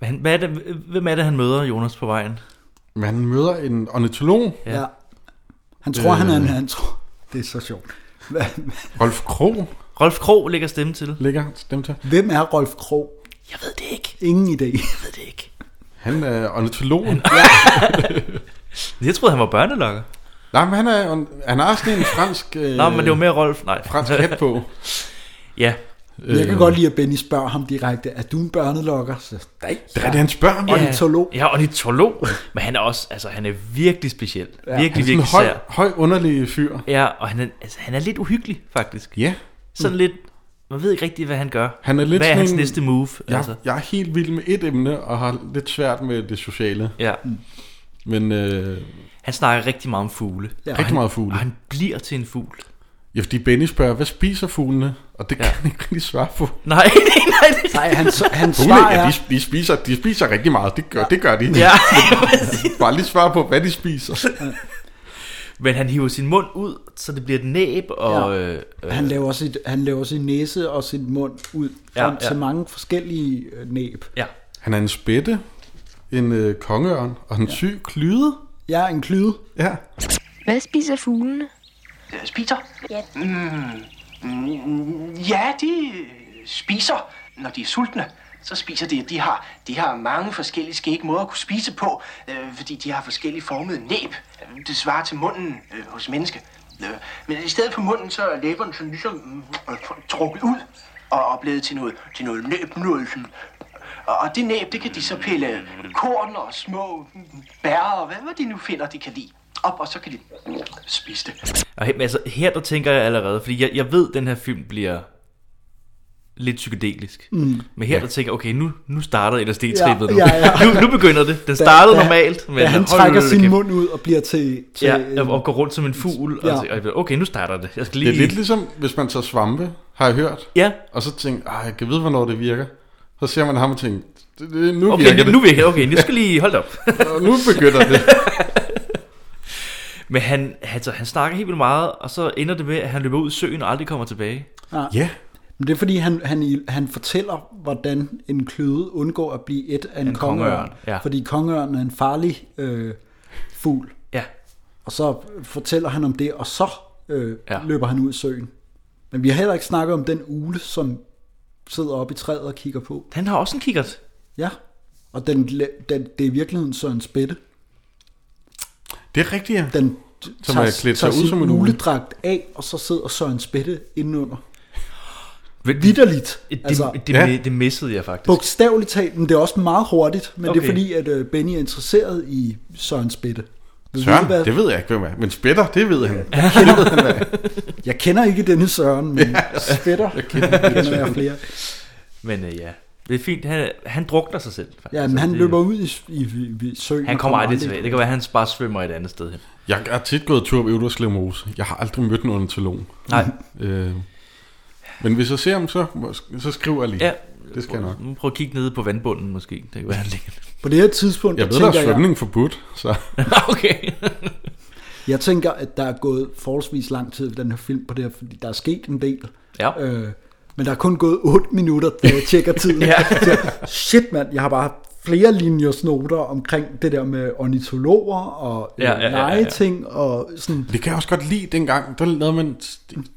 C: Men han- hvad er det, hvem er det, han møder, Jonas, på vejen?
B: Men han møder en ornitolog,
C: Ja.
D: Ja. ja. Han tror,
B: Øh.
D: han er en... Han tror, det er så sjovt. Hva-
B: Rolf Krog,
C: Rolf Krog lægger stemme til.
B: ligger stemme til.
D: Hvem er Rolf Krog?
C: Jeg ved det ikke.
D: Ingen idé.
C: Jeg ved det ikke.
B: Han er ornitolog.
C: Jeg troede, han var børnelokker.
B: Nej, men han er, orn- han har sådan en fransk, øh,
C: Nå, men det var mere Rolf. Nej.
B: fransk hat på.
C: ja,
D: Jeg
C: Øh.
D: kan godt lide, at Benny spørger ham direkte, er du en børnelokker? Så, nej.
B: Det er det, han spørger mig.
D: Ja. Ornitolog.
C: Ja, ornitolog. Men han er også, altså han er virkelig speciel. Ja.
B: Han er
C: Virkelig,
B: sådan en
C: virkelig
B: høj,
C: sær.
B: høj underlig fyr.
C: Ja, og han er, altså, han er lidt uhyggelig, faktisk.
B: Ja.
C: Sådan lidt, man ved ikke rigtigt, hvad han gør.
B: Mm. Han er lidt
C: hvad er
B: sådan
C: hans
B: en-
C: næste move? Ja. Altså?
B: Jeg, jeg er helt vild med et emne, og har lidt svært med det sociale.
C: Ja.
D: Mm.
B: Men øh,
C: Han snakker rigtig meget om fugle.
D: Ja.
C: Og
B: rigtig
C: han,
B: meget fugle.
C: Og han bliver til en fugl.
B: Ja, fordi Benny spørger, hvad spiser fuglene? Og det kan
C: Ja.
B: han ikke rigtig svare på.
C: Nej, nej, nej. det-
D: Nej, han,
B: Fugle,
D: han svar
B: ja,
D: er...
B: de, de, spiser, de spiser rigtig meget. Det gør, ja. det gør de.
C: Ja.
B: Bare lige svare på, hvad de spiser.
C: Men han hiver sin mund ud, så det bliver et næb, og... Ja. Øh, øh,
D: Han laver, sit, han laver sin næse og sin mund ud
C: Ja,
D: ja, ja. til
C: ja.
D: mange forskellige øh, næb.
C: ja.
B: Han er en spætte, en øh, kongeørn og en ja. syg klyde.
D: Jeg er en klyde.
B: Ja.
G: Hvad spiser fuglene?
H: Øh, spiser? Ja. Mm, ja, de øh, spiser, når de er sultne. Så spiser de. De har, de har mange forskellige skæg måder at kunne spise på, øh, fordi de har forskellige formede næb. Øh, Det svarer til munden øh, hos menneske. Øh, men i stedet for munden, så er læberne sådan ligesom øh, trukket ud og, og blevet til noget, til noget næb, noget sådan. Og, og det næb, det kan de så pille korn og små mm, bær og hvad, hvad de nu finder, de kan lide op, og så kan de mm, spise det.
C: Og he- men altså, her der tænker jeg allerede, fordi jeg, jeg ved, at den her film bliver lidt psykedelisk. Mm. Men her der tænker jeg, okay, nu, nu starter LSD-trippet nu.
D: Ja, ja, ja.
C: nu. Nu begynder det. Den startede normalt, men
D: da han
C: hold nu
D: trækker
C: lidt
D: sin
C: kæft.
D: mund ud og bliver til... til
C: Ja,
D: en-
C: og- og går rundt som en fugl. Ja.
D: Ja.
C: Og, tænker, og jeg ved, okay, nu starter det. Jeg skal
B: Det
C: lige...
B: er lidt ligesom, hvis man tager svampe, har jeg hørt.
C: Ja,
B: Og så tænker "Ah, jeg, kan vide, hvornår det virker. Så ser man ham og tænker, "Det- det- nu
C: okay,
B: virker
C: nu,
B: det,
C: nu virker det. Okay, nu skal lige holde op.
B: og nu begynder det.
C: Men han, altså, han snakker helt vildt meget, og så ender det med, at han løber ud i søen og aldrig kommer tilbage.
B: Ja,
D: Men det er fordi, han, han, han fortæller, hvordan en klyde undgår at blive et af en,
C: En
D: en
C: kongeørn,
D: kongeørn.
C: ja.
D: Fordi kongeørn er en farlig øh, fugl.
C: Ja,
D: Og så fortæller han om det, og så øh,
C: Ja.
D: ja. løber han ud i søen. Men vi har heller ikke snakket om den ule, som sidder oppe i træet og kigger på.
C: han har også en kikkert.
D: Ja, og den, den, det er i virkeligheden så en spætte.
B: Det er rigtigt, ja.
D: Den
B: Som er klædt sig ud
D: sin
B: som en
D: uledragt af, og så sidder Søren Spætte indenunder.
C: Men det,
D: Vitterligt.
C: det,
D: altså,
C: det, det,
B: Ja.
C: ja. det missede jeg faktisk.
D: bogstaveligt talt, men det er også meget hurtigt. Men okay.
C: Okay.
D: det er fordi, at øh, Benny er interesseret i Søren Spætte. Vil du vide,
B: Søren,
D: hvad-
B: det ved jeg ikke, hvem er. Men Spætter, det ved han.
D: Jeg kender, jeg kender ikke denne Søren, men ja, Spætter jeg kender, kender jeg flere.
C: Men øh, ja, det er fint. Han, han drukner sig selv. Faktisk.
D: Ja, men han
C: Altså, det,
D: løber ud i, i, i, i søen.
C: Han
D: og
C: kommer aldrig tilbage. Det kan være, at han bare svømmer et andet sted hen.
B: Jeg er tit gået tur på Øvderslev Mose. Jeg har aldrig mødt en ornitolog.
C: Nej,
B: Øh, men hvis jeg ser ham, så, så skriver jeg lige.
C: ja.
B: Det skal jeg nok.
C: Nu prøv at kigge nede på vandbunden måske. Det kan være, han ligger.
D: På det her tidspunkt,
B: Jeg
D: jeg
B: ved, der
D: tænker
B: er
D: jeg,
B: svømning forbudt, så
C: okay.
D: jeg tænker, at der er gået forholdsvis lang tid ved den her film på det her, fordi der er sket en del.
C: Ja.
D: Øh, men der er kun gået 8 minutter, da jeg tjekker tiden. ja. Shit, mand, jeg har bare haft flere linjers noter omkring det der med ornitologer og
C: Ja, ja, ja, ja, ja.
D: legeting ja, ja, ja. og sådan.
B: det kan jeg også godt lide dengang. Der lavede man,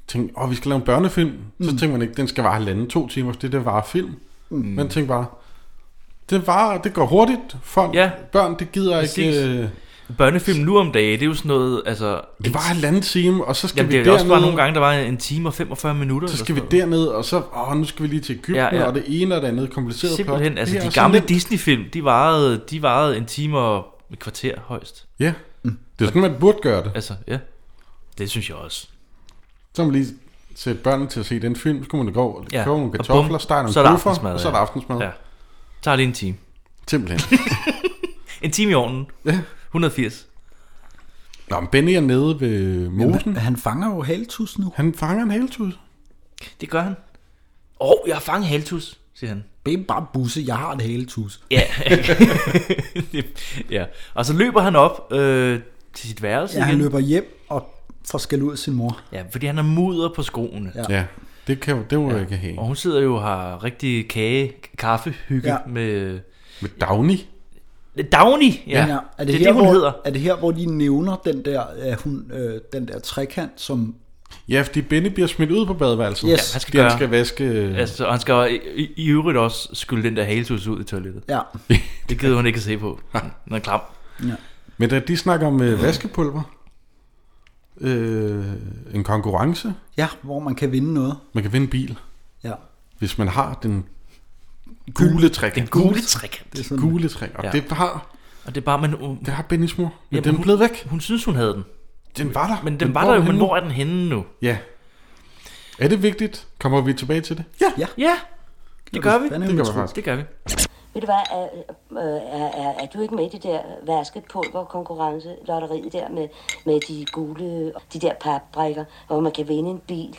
B: tænkte, åh, vi skal lave en børnefilm. Så
C: Mm.
B: tænkte man ikke, den skal vare halvanden, to timer, for det der var film. Man tænkte bare, det, var, det går hurtigt. Folk,
C: Ja.
B: børn, det gider
C: Præcis.
B: ikke... Øh,
C: Børnefilm nu om dagen, det er jo sådan noget, altså...
B: det var halvanden time, og så skal
C: Jamen,
B: vi
C: det er også bare
B: derned.
C: nogle gange, der var en time og 45 minutter.
B: Så
C: eller
B: skal vi
C: sådan noget.
B: derned, og så, åh, nu skal vi lige til Ægypten, ja,
C: Ja,
B: ja.
C: ja.
B: og det ene og det andet kompliceret
C: Simpelthen,
B: plot.
C: altså
B: Det er
C: de
B: så
C: gamle
B: nemt.
C: Disney-film, de varede, de varede en time og et kvarter højst.
B: Ja,
C: Mm.
B: det er sådan, man burde gøre det.
C: Altså, ja. Det synes jeg også.
B: Så man lige sætte børnene til at se den film, så kunne man da gå og ja.
C: Ja.
B: købe nogle
C: Og bum,
B: kartofler, stege nogle
C: så er der
B: bøffer,
C: aftensmad,
B: og så er der
C: ja.
B: aftensmad. Ja.
C: Ja. Tager lige en time.
B: Simpelthen.
C: En time i ovnen.
B: Ja.
C: 180.
B: Nå, men Benny er nede ved mosen.
D: Han fanger jo haltus nu.
B: Han fanger en haletud.
C: Det gør han. Åh, oh, jeg har fanget haltus, siger han.
D: Det er bare busse, jeg har et haltus.
C: Ja. ja. Og så løber han op øh, til sit værelse
D: Ja, han
C: igen.
D: løber hjem og får skæld ud af sin mor.
C: Ja, fordi han har mudder på skoene.
D: Ja.
C: Ja.
B: Ja, det, kan, det må ja. jeg ikke have.
C: Og hun sidder jo og har rigtig kage, kaffehygge
D: Ja.
C: ja. med...
B: Med Downy.
C: Downy! Ja,
D: Men
C: ja.
D: er
C: det er det,
D: her,
C: hun
D: hvor,
C: hedder.
D: Er det her, hvor de nævner den der, øh, hun, øh, den der trekant, som...
B: Ja, fordi Benny bliver smidt ud på badeværelset.
D: Yes.
C: Ja, han skal
B: Fordi han
C: gøre...
B: skal vaske...
C: Altså, og han skal i, i- i øvrigt også skylle den der haletus ud i toilettet.
D: Ja,
C: Det gider hun ikke at se på. Den er klam.
B: Men da de snakker om øh, vaskepulver, øh, en konkurrence,
D: ja hvor man kan vinde noget.
B: man kan vinde en bil,
D: Ja.
B: hvis man har den gule
C: Den
B: trekant.
C: gule trekant.
D: Det er sådan,
B: Gule trekant. Og
C: Ja.
B: det har,
C: Og det er bare, men hun,
B: det har Bennys mor. Men
C: Jamen,
B: den er
C: hun-
B: blevet væk.
C: hun synes, hun havde den.
B: Den var der.
C: Men den var der jo, men hvor er den henne nu?
B: Ja. Er det vigtigt? Kommer vi tilbage til det? Ja.
C: Ja, det gør vi.
D: Fandme
B: Det gør
D: utroligt.
B: vi faktisk.
C: Det gør vi.
F: Ved du hvad, er, øh, er, er, er du ikke med i det der vaskepulverkonkurrence, lotteriet der med, med de gule, de der papbrikker, hvor man kan vinde en bil?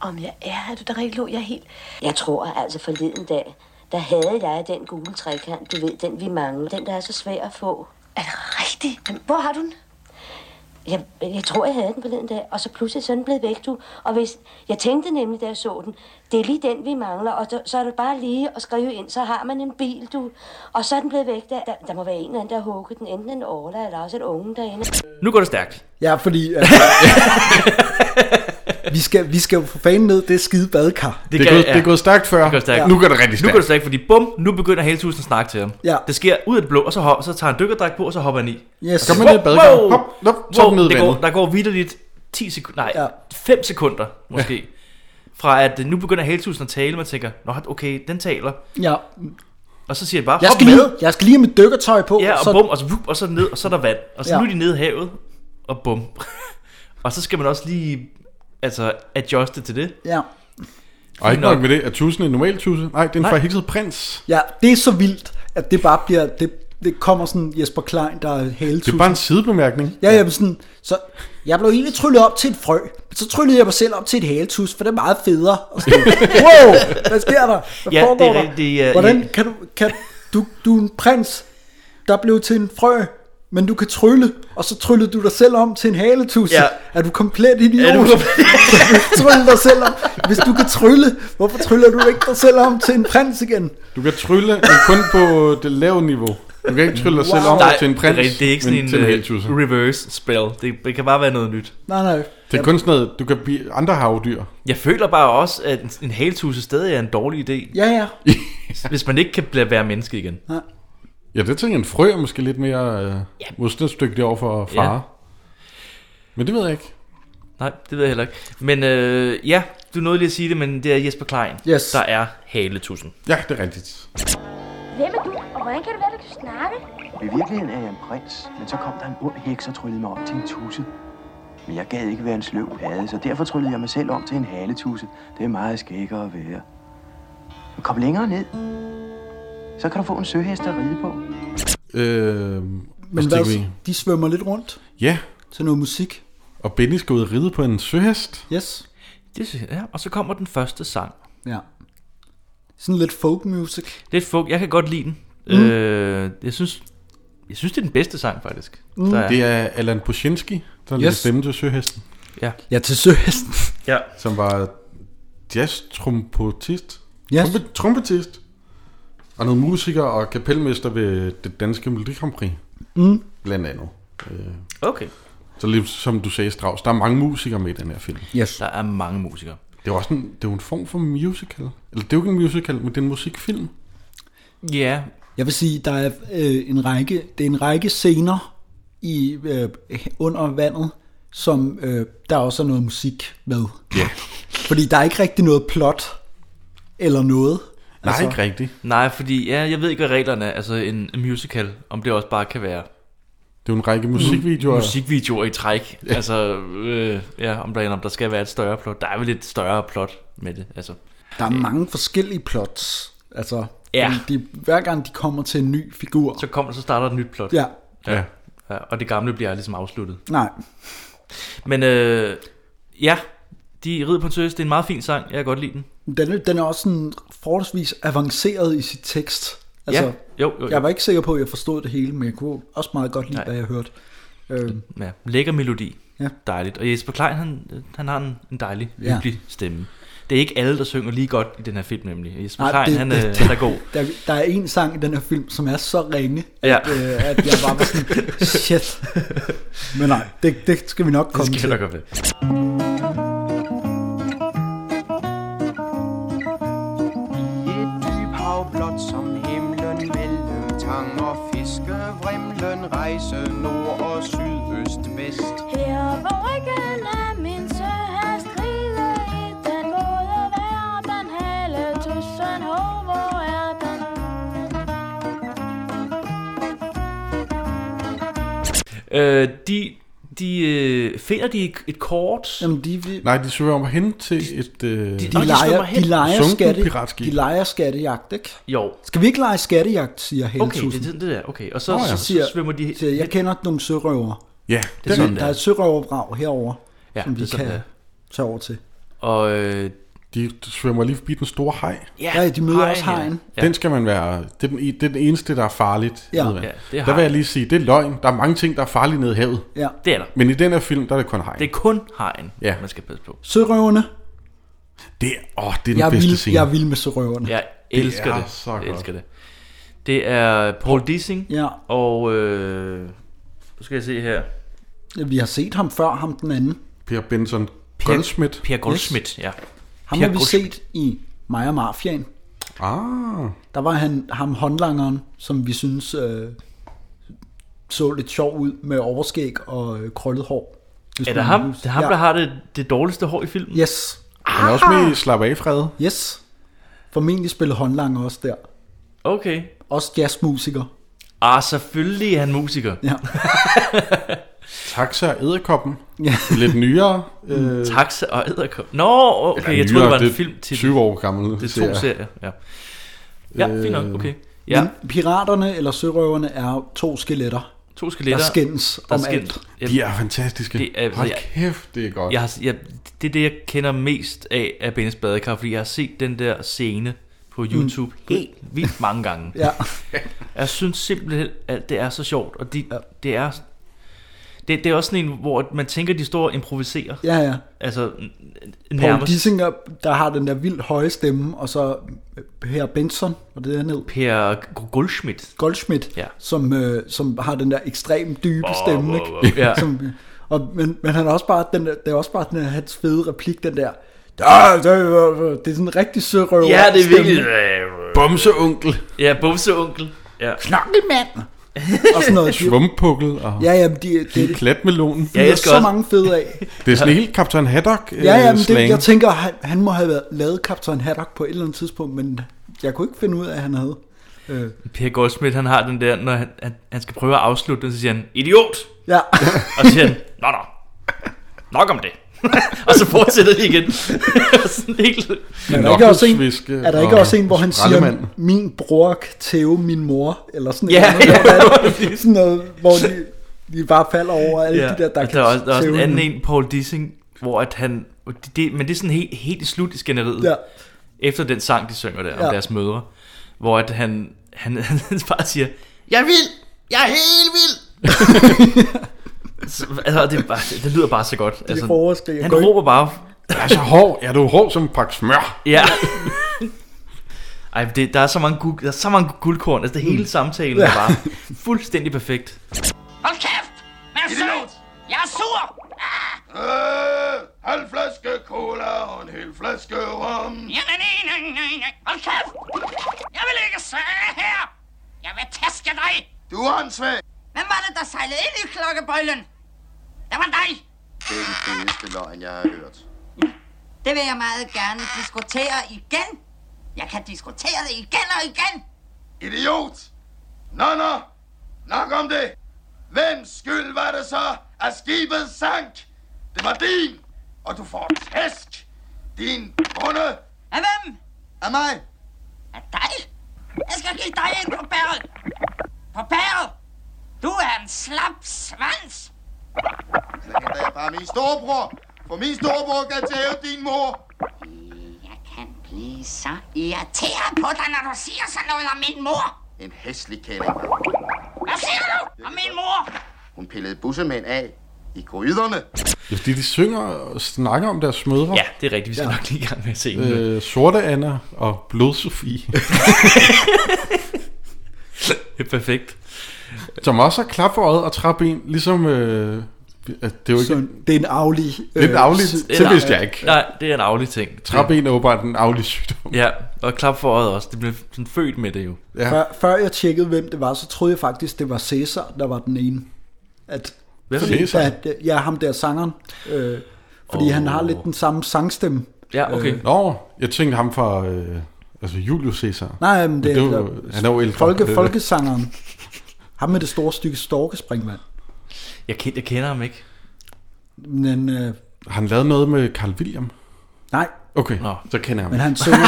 E: Om jeg er, er du der rigtig lå jeg helt...
F: Jeg tror altså forleden dag, der havde jeg den gule trekant, du ved, den vi mangler, den der er så svær at få.
E: Er det rigtigt? Jamen, hvor har du den?
F: Jeg, jeg tror, jeg havde den forleden dag, og så pludselig sådan blev væk, du. Og hvis, jeg tænkte nemlig, da jeg så den, det er lige den, vi mangler, og så, så er det bare lige at skrive ind, så har man en bil, du. Og så er den blevet væk, der, der, der må være en eller anden, der har hugget den, enten en Orla eller også et unge derinde.
C: Nu går det stærkt.
D: Ja, fordi... Øh, vi, skal, vi skal jo for fanden ned det skide badekar.
B: Det, er, gået, det er gået stærkt før.
C: Det går stærkt.
B: Nu går det rigtig
C: Nu
B: stærkt.
C: går det stærkt, fordi bum, nu begynder hele tusind at snakke til ham.
D: Ja.
C: Det sker ud af det blå, og så, hop, så tager han dykkerdragt på, og så hopper han i.
D: Yes.
B: Kom med ned i badekar. Hop, hop, så wow, ned i
C: det går,
B: vandet.
C: der går vidderligt 10 sekunder, nej,
D: Ja.
C: ja. 5 sekunder måske. Ja. Fra at øh, nu begynder hele tusind at tale, man tænker, nå okay, den taler.
D: Ja.
C: Og så siger jeg bare,
D: Jeg
C: hop
D: skal,
C: med.
D: lige, jeg skal lige have mit dykkertøj på.
C: Ja, og
D: så,
C: så... bum, og så, vup, og så ned, og så er der vand. Og så
D: Ja.
C: ja. nu er de nede i havet, og bum. og så skal man også lige altså, adjuste til det.
D: Ja.
B: Og ikke
C: Fint nok.
B: nok med det, at tusen en normal tusen. Nej, den
C: Nej.
B: forhekset prins.
D: ja, det er så vildt, at det bare bliver... Det, det kommer sådan Jesper Klein, der er haletus.
B: Det er bare en sidebemærkning.
D: Ja, ja, men sådan, så jeg blev egentlig tryllet op til et frø, men så tryllede jeg mig selv op til et haletus, for det er meget federe. Og sådan, wow, hvad sker der? Hvad
C: Ja,
D: foregår
C: det er
D: der?
C: rigtigt, ja,
D: Hvordan
C: ja.
D: kan du, kan du, du er en prins, der blev til en frø, men du kan trylle, og så tryllede du dig selv om til en haletus.
C: Ja.
D: Er du komplet idiot?
C: Er du
D: du trylle dig selv om. Hvis du kan trylle, hvorfor tryller du ikke dig selv om til en prins igen?
B: Du kan trylle, men kun på det lave niveau. Du kan ikke trylle dig selv om til en prins,
C: det, er, rigtigt, det er ikke sådan
B: men
C: en,
B: til en øh, hel tusse.
C: uh, reverse spell. Det, det kan bare være noget nyt.
D: Nej, nej.
B: Det er kun sådan noget, du kan blive andre havdyr.
C: Jeg føler bare også, at en- en haltuse stadig er en dårlig idé,
D: Ja, ja.
C: hvis man ikke kan bl- være menneske igen.
B: Ja, det tænker jeg, en frø er måske lidt mere øh, modstandsdygtig over for fare. Men det ved jeg ikke.
C: Nej, det ved jeg heller ikke. Men øh, ja, du nåede lige at sige det, men det er Jesper Klein,
D: Yes.
C: der er haletussen.
B: Ja, det er rigtigt.
G: Hvem er du, og hvordan kan det være, at du kan snakke?
H: I virkeligheden er jeg en prins, men så kom der en ond heks og tryllede mig om til en tusse. Men jeg gad ikke være en sløv pade, så derfor tryllede jeg mig selv om til en haletusse. Det er meget skækkere at være. Men Kom længere ned. Så kan du få en søhest at ride på.
B: Øh,
D: Men hvad, de svømmer lidt rundt
B: Ja,
D: til noget musik.
B: og Benny skal ud og ride på en søhest.
D: Yes.
C: Det synes jeg, ja. Og så kommer den første sang.
D: Ja. Sådan lidt folk music.
C: Det er fugt. Jeg kan godt lide den. Mm. Øh, jeg synes, jeg synes, det er den bedste sang, faktisk. Mm. Der er.
B: Det er Alan Pushinski, der yes.
D: Yes.
B: stemme til søhesten,
C: Ja.
D: Ja, til søhesten.
C: ja.
B: som var jazz-trompetist.
D: Yes.
B: Trompe- trompetist. Og noget musiker og kapelmester ved det danske Melodi Grand Prix.
D: Mm.
B: Blandt andet. Øh,
C: Okay.
B: Så lidt som du sagde, Strauss, der er mange musikere med i den her film.
D: Yes.
C: Der er mange musikere.
B: Det er jo også en, det er jo en form for musical. Eller det er jo ikke en musical, men det er en musikfilm.
C: Ja,
D: Jeg vil sige, der er øh, en række, det er en række scener i øh, under vandet, som øh, der også er noget musik med.
B: Ja.
D: Fordi der er ikke rigtig noget plot eller noget. Altså,
B: Nej,
C: Altså-
B: ikke rigtigt.
C: nej, fordi ja, jeg ved ikke, hvad reglerne er. Altså en en musical, om det også bare kan være
B: Det er jo en række musikvideoer.
C: Mm. musikvideoer i træk. Ja. Altså, øh, ja, om der, om der skal være et større plot. Der er vel et større plot med det. Altså,
D: Der er mange forskellige plots. Altså,
C: Ja.
D: fordi de, hver gang de kommer til en ny figur.
C: så kommer så starter et nyt plot.
D: Ja,
B: Ja.
C: ja. Og det gamle bliver ligesom afsluttet.
D: nej.
C: Men øh, ja, de rider på en søs. Det er en meget fin sang. Jeg kan godt lide den.
D: Den, er- den er også sådan forholdsvis avanceret i sit tekst. Altså,
C: ja, jo, jo, jo.
D: Jeg var ikke sikker på, at jeg forstod det hele, men jeg kunne også meget godt lide,
C: Nej. Hm.
D: Nej. hvad jeg hørte. Øh,
C: Ja, lækker melodi.
D: Ja.
C: Dejligt. Og Jesper Klein, han, øh, han har en, en dejlig,
D: Ja.
C: hyggelig stemme. Det er ikke alle, der synger lige godt i den her film, nemlig. Jesper
D: Nej,
C: Nej, Klein,
D: det-
C: han,
D: det-
C: øh, han er god.
D: der, der er en sang i den her film, som er så ringe,
C: Ja.
D: at, øh, at jeg bare var sådan, shit. Men nej, det, det skal vi nok komme
C: Det skal
D: til.
C: jeg nok være.
I: I et dyb hav blot som himlen mellem tang og fiskevrimlen rejse nord og syd, øst, vest.
G: Her på ryggen af min søhest rider i den gode verden. Hale tusen hår, hvor er den?
C: Øh, de de øh, finder de et, et kort.
D: Jamen, de, de,
B: Nej, de søger om hen til et... Øh,
C: de-
D: de,
C: Nå, svømmer
D: leger,
C: hen.
D: de, leger
B: Sunken
D: skatte,
B: piratskib.
D: de leger skattejagt, ikke?
C: Jo.
D: Skal vi ikke lege skattejagt, siger Helle
C: Okay, det er sådan det der. Okay, og så, oh,
B: Nå
C: ja.
B: ja.
C: så,
D: Siger,
C: så svømmer de...
D: siger, jeg kender nogle sørøver.
B: ja,
C: Det er
B: det er
C: sådan
D: Der er
C: der.
D: et sørøverbrag herover,
C: Ja,
D: ja, som
C: det er
D: vi
C: sådan
D: kan
C: der.
D: tage over til.
C: Og øh,
B: De svømmer lige forbi den store haj.
D: Ja, de møder også
C: hegn,
D: hegn.
C: Ja.
B: Ja. Den skal man være... Det er den, det er den eneste, der er farligt.
D: Ja.
B: ved man.
C: Ja, det
B: der
C: er
B: vil
C: hej.
B: jeg lige sige, det er løgn. Der er mange ting, der er farlige nede i havet.
D: Ja.
C: Det er der.
B: Men i den her film, der er det kun hej.
C: Det er kun hegn,
B: Ja.
C: man skal passe på.
D: Sørøverne.
B: Det, er- åh, det er den
D: Jeg er,
B: bedste
D: vild,
B: scene.
D: jeg er vild med sørøverne.
C: Jeg elsker
B: er
C: det.
B: så
C: jeg
B: godt.
C: elsker det. Det er Paul Dissing.
D: Ja.
C: Og øh, nu skal jeg se her.
D: Vi har set ham før, ham den anden.
B: Per Benson Goldschmidt.
C: Per Goldschmidt, yes. ja.
D: Ham
C: Per
D: har vi
C: Goldschmidt.
D: set i Maja Mafiaen.
B: Ah,
D: Der var han, ham håndlangeren, som vi synes øh, så lidt sjov ud med overskæg og øh, krøllet hår. Hvis
C: Er det
D: man
C: ham,
D: husker.
C: det er ham
D: ja.
C: der har det, det dårligste hår i filmen?
D: Yes,
B: han er også med i Slap af Frede.
D: yes. Formentlig spillede håndlanger også der.
C: Okay.
D: Også jazzmusiker.
C: Ah, selvfølgelig er han musiker.
D: Ja.
B: Taxa og Æderkoppen.
D: ja.
B: Lidt nyere. øh,
C: Taxa og æderkop. Nå, okay, jeg troede, det var en film til
B: 20 år gammel.
C: det er
B: serie.
C: to serier. Ja, ja fint nok,
B: Øh,
C: okay. Ja,
D: ja. Men piraterne eller sørøverne er jo to skeletter,
C: to skeletter.
D: der skændes
C: der
D: om
C: skændes.
D: alt.
C: Jeg,
B: De er fantastiske.
C: Det er-
B: Hold
C: jeg-
B: kæft, det er godt.
C: jeg har, jeg, det er det, jeg kender mest af af Bennes Badekar, fordi jeg har set den der scene på YouTube mm. helt vildt mange gange.
D: Ja.
C: Jeg synes simpelthen, at det er så sjovt, og det, ja. det er... Det, det er også sådan en, hvor man tænker, de står og improviserer.
D: ja, ja.
C: Altså, n- n-
D: Paul
C: nærmest
D: Dissinger, der har den der vildt høje stemme, og så øh, her Benson, og det er ned.
C: Per G- Goldschmidt.
D: Goldschmidt,
C: Ja.
D: ja. som, øh, som har den der ekstremt dybe stemme. Ikke?
C: Ja.
D: Som, og, men, men han er også bare den der, det er også bare den der, hans fede replik, den der. "Ah, Det er det er sådan en rigtig sørøver.
C: Ja, det er
D: stemme.
C: virkelig...
B: Bumseonkel.
C: Ja, bumseonkel. Ja.
D: Knokkelmand. og sådan noget. De,
B: Svumpukkel og ja,
D: ja, jamen, de, det, det,
B: klatmelonen. Ja.
C: Ja,
D: det
C: jeg
D: er
C: skal
D: så
C: også-
D: mange fede af.
B: Det er sådan helt Captain Haddock øh,
D: Ja, ja, men det,
B: slang.
D: jeg tænker, han, han må have været, lavet Captain Haddock på et eller andet tidspunkt, men jeg kunne ikke finde ud af, at han havde. Øh,
C: Per Goldsmith, han har den der, når han, han, han skal prøve at afslutte den, så siger han, idiot!
D: ja,
C: Og så siger han, nå nå, nok om det. og så fortsætter de igen. Sådan helt...
D: er der ikke også en,
B: Knokkelsviske
D: er der ikke
B: og
D: også en hvor han siger,
B: skraldemand.
D: min bror tæve min mor, eller sådan
C: Ja,
D: noget, ja, sådan noget, hvor de, de bare falder over alle de der, der,
C: og
D: kan
C: der er også, der er også en
D: tæve
C: anden
D: hinanden.
C: en, Paul Dissing, hvor at han... Det, det, men det er sådan helt, helt i slut i skænderiet.
D: Ja,
C: efter den sang, de synger der, ja.
D: Ja.
C: om deres mødre, hvor at han, han, han bare siger, jeg er vild, jeg er helt vild. så, altså, det, er bare, det lyder bare så godt.
D: det
C: Altså,
D: overskriger.
C: han
D: Gå ind.
C: råber bare,
B: Er så Altså, hård. Er du hård som en pakke smør?
C: ja. Ej, men det, der, er så mange guld, der er så mange guldkorn. Altså, det hele samtalen ja. er bare fuldstændig perfekt.
I: Hold kæft! Vær sød! Jeg er sur!
A: halv flaske cola og en hel flaske rom.
I: Jamen, nej, nej, nej, nej. Hold kæft! Jeg vil ikke sidde her! Jeg vil tæske dig!
A: Du er åndssvag.
I: Hvem var det, der sejlede ind i klokkebøjlen? Det var dig!
A: Det er den fedeste løgn, jeg har hørt.
I: Det vil jeg meget gerne diskutere igen. Jeg kan diskutere det igen og igen.
A: Idiot! Nå, nå. Nok om det. Hvem skyld var det så, at skibet sank? Det var din, og du får tæsk. Din bunde
I: Af hvem?
A: af mig.
I: Af dig? Jeg skal give dig ind på bæret. På bæret? Du er en slap svans.
A: Så henter jeg bare min storebror. For min storebror kan tæve din mor.
I: Jeg kan blive så irriteret på dig, når du siger sådan noget om min mor.
A: En hæslig kælling.
I: Hvad siger du om min mor?
A: Hun pillede bussemænd af i gryderne.
B: Ja, fordi de synger og snakker om deres mødre.
C: Ja, det er rigtigt. Vi skal ja. nok lige i gang med at se den. Øh.
B: Øh, Sorte Anna og Blod Sofie,
C: Det er perfekt.
B: som også har klap for øjet og træben, ligesom... Øh, at det er jo ikke...
D: Så det er en aflig. øh,
B: Det er en aflig, det
C: nej.
B: vidste jeg ikke.
C: Nej, det er en aflig ting.
B: Træben er åbenbart en aflig sygdom.
C: Ja, og klap for øjet også. Det blev sådan født med det jo.
B: Ja.
D: Før, før jeg tjekkede, hvem det var, så troede jeg faktisk, det var Cæsar, der var den ene. At,
C: Hvem er
D: fordi,
B: Cæsar?
D: At, ja, ham der sangeren. Øh, fordi oh. han har lidt den samme sangstemme.
C: Ja, okay.
B: Nå, jeg tænkte ham fra... Øh, altså Julius Caesar.
D: Nej, men det,
B: Det
D: det
B: er
D: er,
B: jo-
D: der-
B: han er jo ældre.
D: Folke,
B: Øh.
D: folkesangeren. Ham med det store stykke storkespringvand.
C: Jeg, kender, jeg kender ham ikke.
D: Men øh,
B: Har han lavet noget med Carl William?
D: nej,
B: Okay,
C: Nå.
B: så kender jeg
D: men
B: ham.
D: han synger,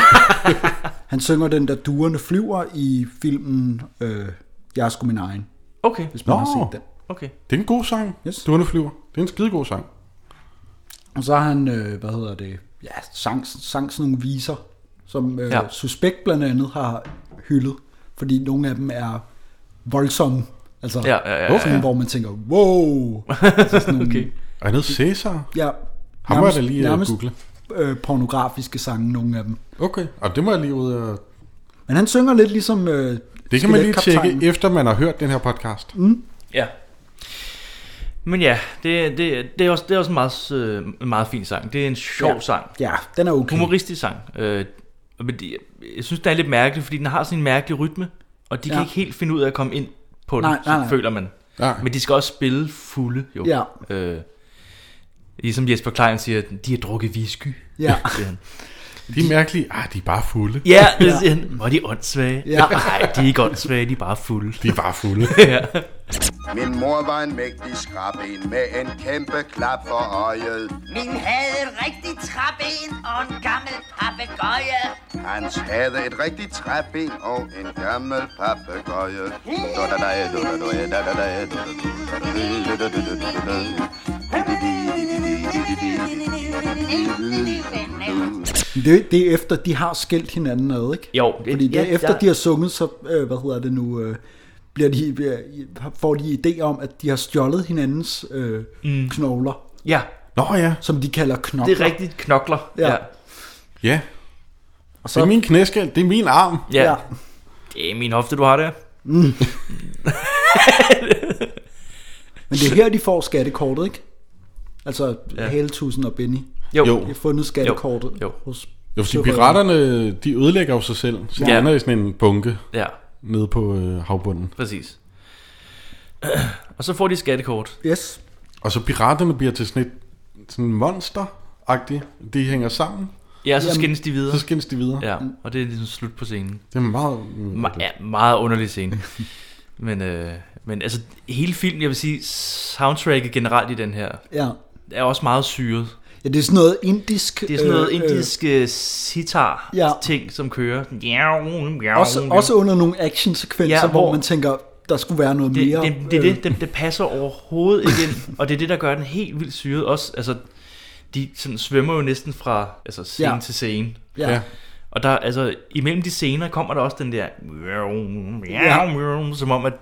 D: han synger den der duerne flyver i filmen øh, Jeg er sgu min egen,
C: Okay,
D: hvis man
B: Nå.
D: Nå. har set den.
C: okay.
B: Det er en god sang,
D: Yes.
B: yes. Duerne flyver. Det er en skidegod sang.
D: Og så har han, øh, hvad hedder det, ja, sang, sang sådan nogle viser, som øh,
C: Ja.
D: ja. Suspekt blandt andet har hyldet, fordi nogle af dem er voldsomme. Altså,
C: Ja, ja, ja, ja,
D: sådan,
C: ja.
D: hvor man tænker, wow! Altså sådan nogle, okay.
B: Og han hed Caesar.
D: Ja,
B: Ham må jeg da lige nærmest.
D: nærmest
B: google.
D: øh, pornografiske sange, nogle af dem.
B: Okay, og det må jeg lige ud og...
D: Men han synger lidt ligesom øh,
B: Det kan man lige
D: skeletkaptajnen.
B: tjekke, efter man har hørt den her podcast. Mm.
C: Ja. Men ja, det, det, det, er, også, det er også en meget, øh, en meget fin sang. Det er en sjov ja. sang.
D: Ja, den er okay.
C: Humoristisk sang. Øh, men det, jeg synes, den er lidt mærkelig, fordi den har sådan en mærkelig rytme, og de ja. kan
D: Ja.
C: ikke helt finde ud af at komme ind på den,
D: Nej, nej, nej.
C: føler man.
B: Ja.
C: Men de skal også spille fulde, jo.
D: Ja.
C: Øh, ligesom Jesper Klein siger, de har drukket visky.
D: Ja.
C: siger han.
B: De er mærkelige. Ah, de er bare fulde.
C: Ja, det siger han. Hvor er de åndssvage?
D: Ja.
C: Nej, de er ikke åndssvage, de er bare fulde.
B: De er bare fulde.
A: Min mor var en mægtig skrabben med en kæmpe klap for øjet.
I: Min havde et rigtigt træben og en gammel papegøje.
A: Hans havde et rigtigt træben og en gammel papegøje. Dudadaj, dudadaj, dadadaj, dudadaj, dudadaj, dudadaj.
D: Det, det er efter, de har skældt hinanden ad, ikke?
C: Jo,
D: Fordi det,
C: ja,
D: ja, efter
C: der-
D: de har sunget, så, øh, hvad hedder det nu, øh, bliver de, bliver, får de idé om, at de har stjålet hinandens øh, mm. knogler,
C: Ja,
B: Nå ja,
D: som de kalder knokler.
C: det er rigtigt. Knokler.
D: Ja.
C: ja.
B: ja.
D: Og
B: Det
D: så,
B: er min knæskal, det er min arm.
C: Ja.
D: Ja.
C: ja. Det er min hofte, du har der.
D: Men det er her, de får skattekortet, ikke? Altså ja. Haletusen og Benny.
C: Jo.
B: Jo.
D: De har fundet skattekortet
C: Jo.
D: hos
B: Jo, fordi
D: Sørøverne.
B: piraterne, de ødelægger jo sig selv. Så de
C: Ja.
B: ender i sådan en bunke
C: Ja,
B: nede på øh, havbunden.
C: præcis. Og så får de et skattekort.
D: Yes.
B: Og så piraterne bliver til sådan et sådan monster-agtigt. De hænger sammen,
C: Ja, så
D: Jamen,
C: skændes de videre.
B: så skændes de videre. Ja.
C: Ja, og det er ligesom slut på scenen.
B: Det er meget...
C: Me- ja, meget underlig scene. men, øh, men altså, hele filmen, jeg vil sige, soundtracket generelt i den her,
D: Ja.
C: er også meget syret.
D: ja, det er sådan noget indisk.
C: Det er sådan noget
D: øh, øh,
C: indisk øh, sitar-ting, som kører.
D: øh, Også, også under nogle actionsekvenser,
C: Ja,
D: ja, hvor,
C: hvor-
D: hvor man tænker, der skulle være noget
C: det,
D: mere.
C: det, det,
D: øh,
C: det, det, det passer overhovedet ikke ind, og det er det, der gør den helt vildt syret. Også, altså, de sådan, svømmer jo næsten fra altså, scene ja.
D: Ja.
C: til scene.
D: Ja.
B: Ja.
D: ja.
C: Og der, altså, imellem de scener kommer der også den der, ja. som om, at,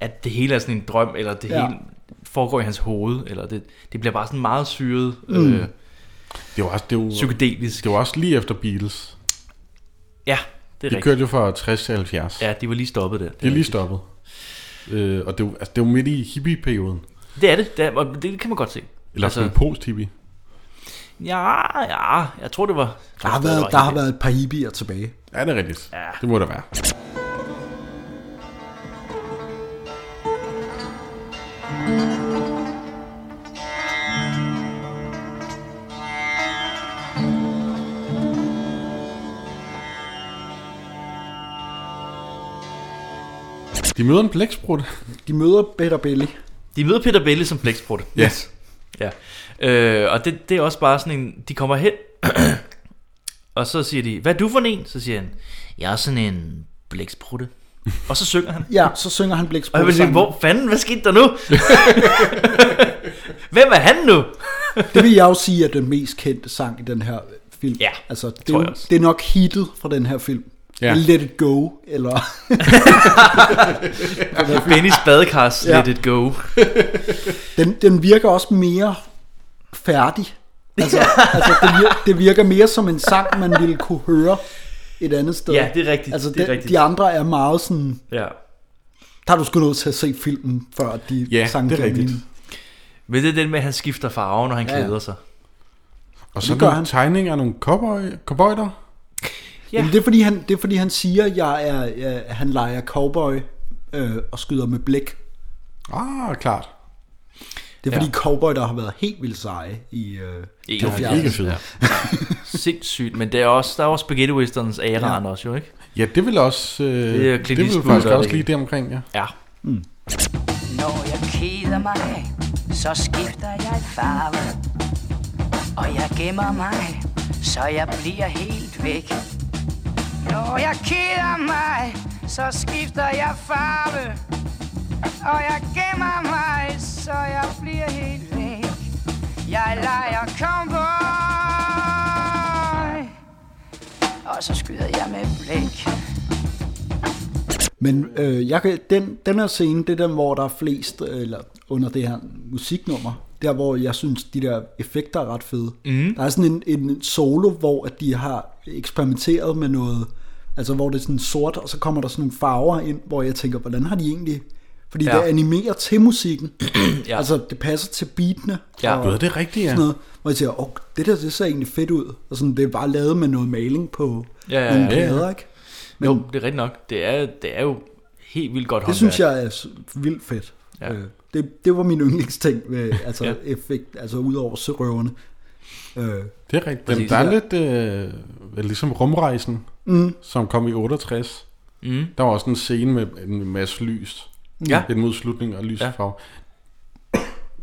C: at det hele er sådan en drøm, eller det ja.
D: Ja.
C: hele foregår i hans hoved, eller det, det bliver bare sådan meget syret, mm. øh,
B: Det var også, det var,
C: psykedelisk.
B: det var også lige efter Beatles.
C: Ja, det er
B: De
C: rigtigt.
B: kørte jo fra 60 til 70.
C: Ja, de var lige stoppet der.
B: Det er lige
C: rigtigt.
B: stoppet. Øh, og det er, jo- altså, det er jo midt i hippie-perioden.
C: Det er det, det, er, og det kan man godt se.
B: Eller altså, sådan post-hippie.
C: ja, ja, jeg tror det var...
D: Der, har været, der har været et par hippier tilbage.
B: Ja, det er rigtigt.
C: Ja.
B: Det må der være. De møder en blæksprut.
D: De møder Better Belly.
C: De møder Peter Belli som blæksprutte.
B: Yes.
C: Ja. Øh, og det, det er også bare sådan en, de kommer hen, og så siger de, hvad er du for en? Så siger han, jeg er sådan en blæksprutte. Og så synger han.
D: Ja, så synger han
C: Og jeg vil sige,
D: Blæksprutte
C: hvor fanden, hvad skete der nu? Hvem er han nu?
D: Det vil jeg jo sige er den mest kendte sang i den her film.
C: Ja,
D: altså, det,
C: tror
D: er
C: jeg
D: jo-
C: også.
D: det er nok hittet fra den her film.
B: Ja.
D: Ja. Let it go, eller...
C: Benny's badekars,
D: Ja.
C: let it go.
D: Den, den virker også mere færdig. Altså, altså det, virker, det virker mere som en sang, man ville kunne høre et andet sted.
C: Ja, det er rigtigt,
D: Altså,
C: det er
D: den,
C: rigtigt.
D: De andre er meget sådan...
C: Ja.
D: Der er du sgu nødt til at se filmen, før de
B: Ja,
D: sang
B: det er
D: den
B: rigtigt.
D: ind.
C: Men det er den med, at han skifter farve, når han ja.
D: Ja, ja.
C: klæder sig.
B: Og så er
D: gør
B: der
D: han.
B: en tegning af nogle cowboy, cowboyder.
C: Ja.
D: Jamen, det, er, fordi han, det er fordi, han siger, at jeg er, øh, han leger cowboy øh, og skyder med blæk.
B: Ah, klart.
D: Det
C: Ja.
D: er fordi cowboy, der har været helt vildt seje i... Øh,
C: I
D: de
B: Det er ikke
D: 70'erne.
B: fedt.
C: Sindssygt, men det er også, der er også spaghetti westerns æraen ja. også jo, ikke?
B: Ja, det vil også... Øh,
C: Det er
B: det,
C: Clint
B: det vil
C: Eastwood,
B: faktisk
C: der er
B: også
C: det
B: lige det omkring, ja.
C: Ja.
J: Når jeg keder mig, så skifter jeg farve. Og jeg gemmer mig, så jeg bliver helt væk. Når jeg keder mig, så skifter jeg farve. Og jeg gemmer mig, så jeg bliver helt væk. Jeg leger cowboy. Og så skyder jeg med blæk.
D: Men øh, jeg kan, den, den her scene, det er den, hvor der er flest, øh, eller under det her musiknummer, der hvor jeg synes, de der effekter er ret fede.
C: Mhm.
D: Mm. Der er sådan en, en solo, hvor at de har eksperimenteret med noget, altså hvor det er sådan sort, og så kommer der sådan nogle farver ind, hvor jeg tænker, hvordan har de egentlig... Fordi
C: Ja.
D: ja. det animerer til musikken.
C: Ja.
D: ja. Altså, det passer til beatene.
C: Ja.
B: Gud, det er rigtigt, ja.
D: Sådan noget, hvor jeg siger, åh, det der, det ser egentlig fedt ud. Og sådan, det er bare lavet med noget maling på
C: Ja, ja,
D: nogle
C: ja, ja.
D: plader, ikke? Men,
C: Jo, det er rigtigt nok. Det er, det er jo helt vildt godt
D: Det synes jeg er s- vildt fedt.
C: Ja.
D: Ja. Øh, det, det var min yndlingsting, med, altså
C: Ja.
D: ja. effekt, altså ud over sørøverne. Øh,
B: Det er rigtigt. Dem,
C: Præcis.
B: der er lidt øh, vel, ligesom rumrejsen, mm. som kom i 68.
C: Mm.
B: Der var også en scene med en masse lys.
C: Ja.
B: En modslutning og lys
C: Ja.
B: ja. farve.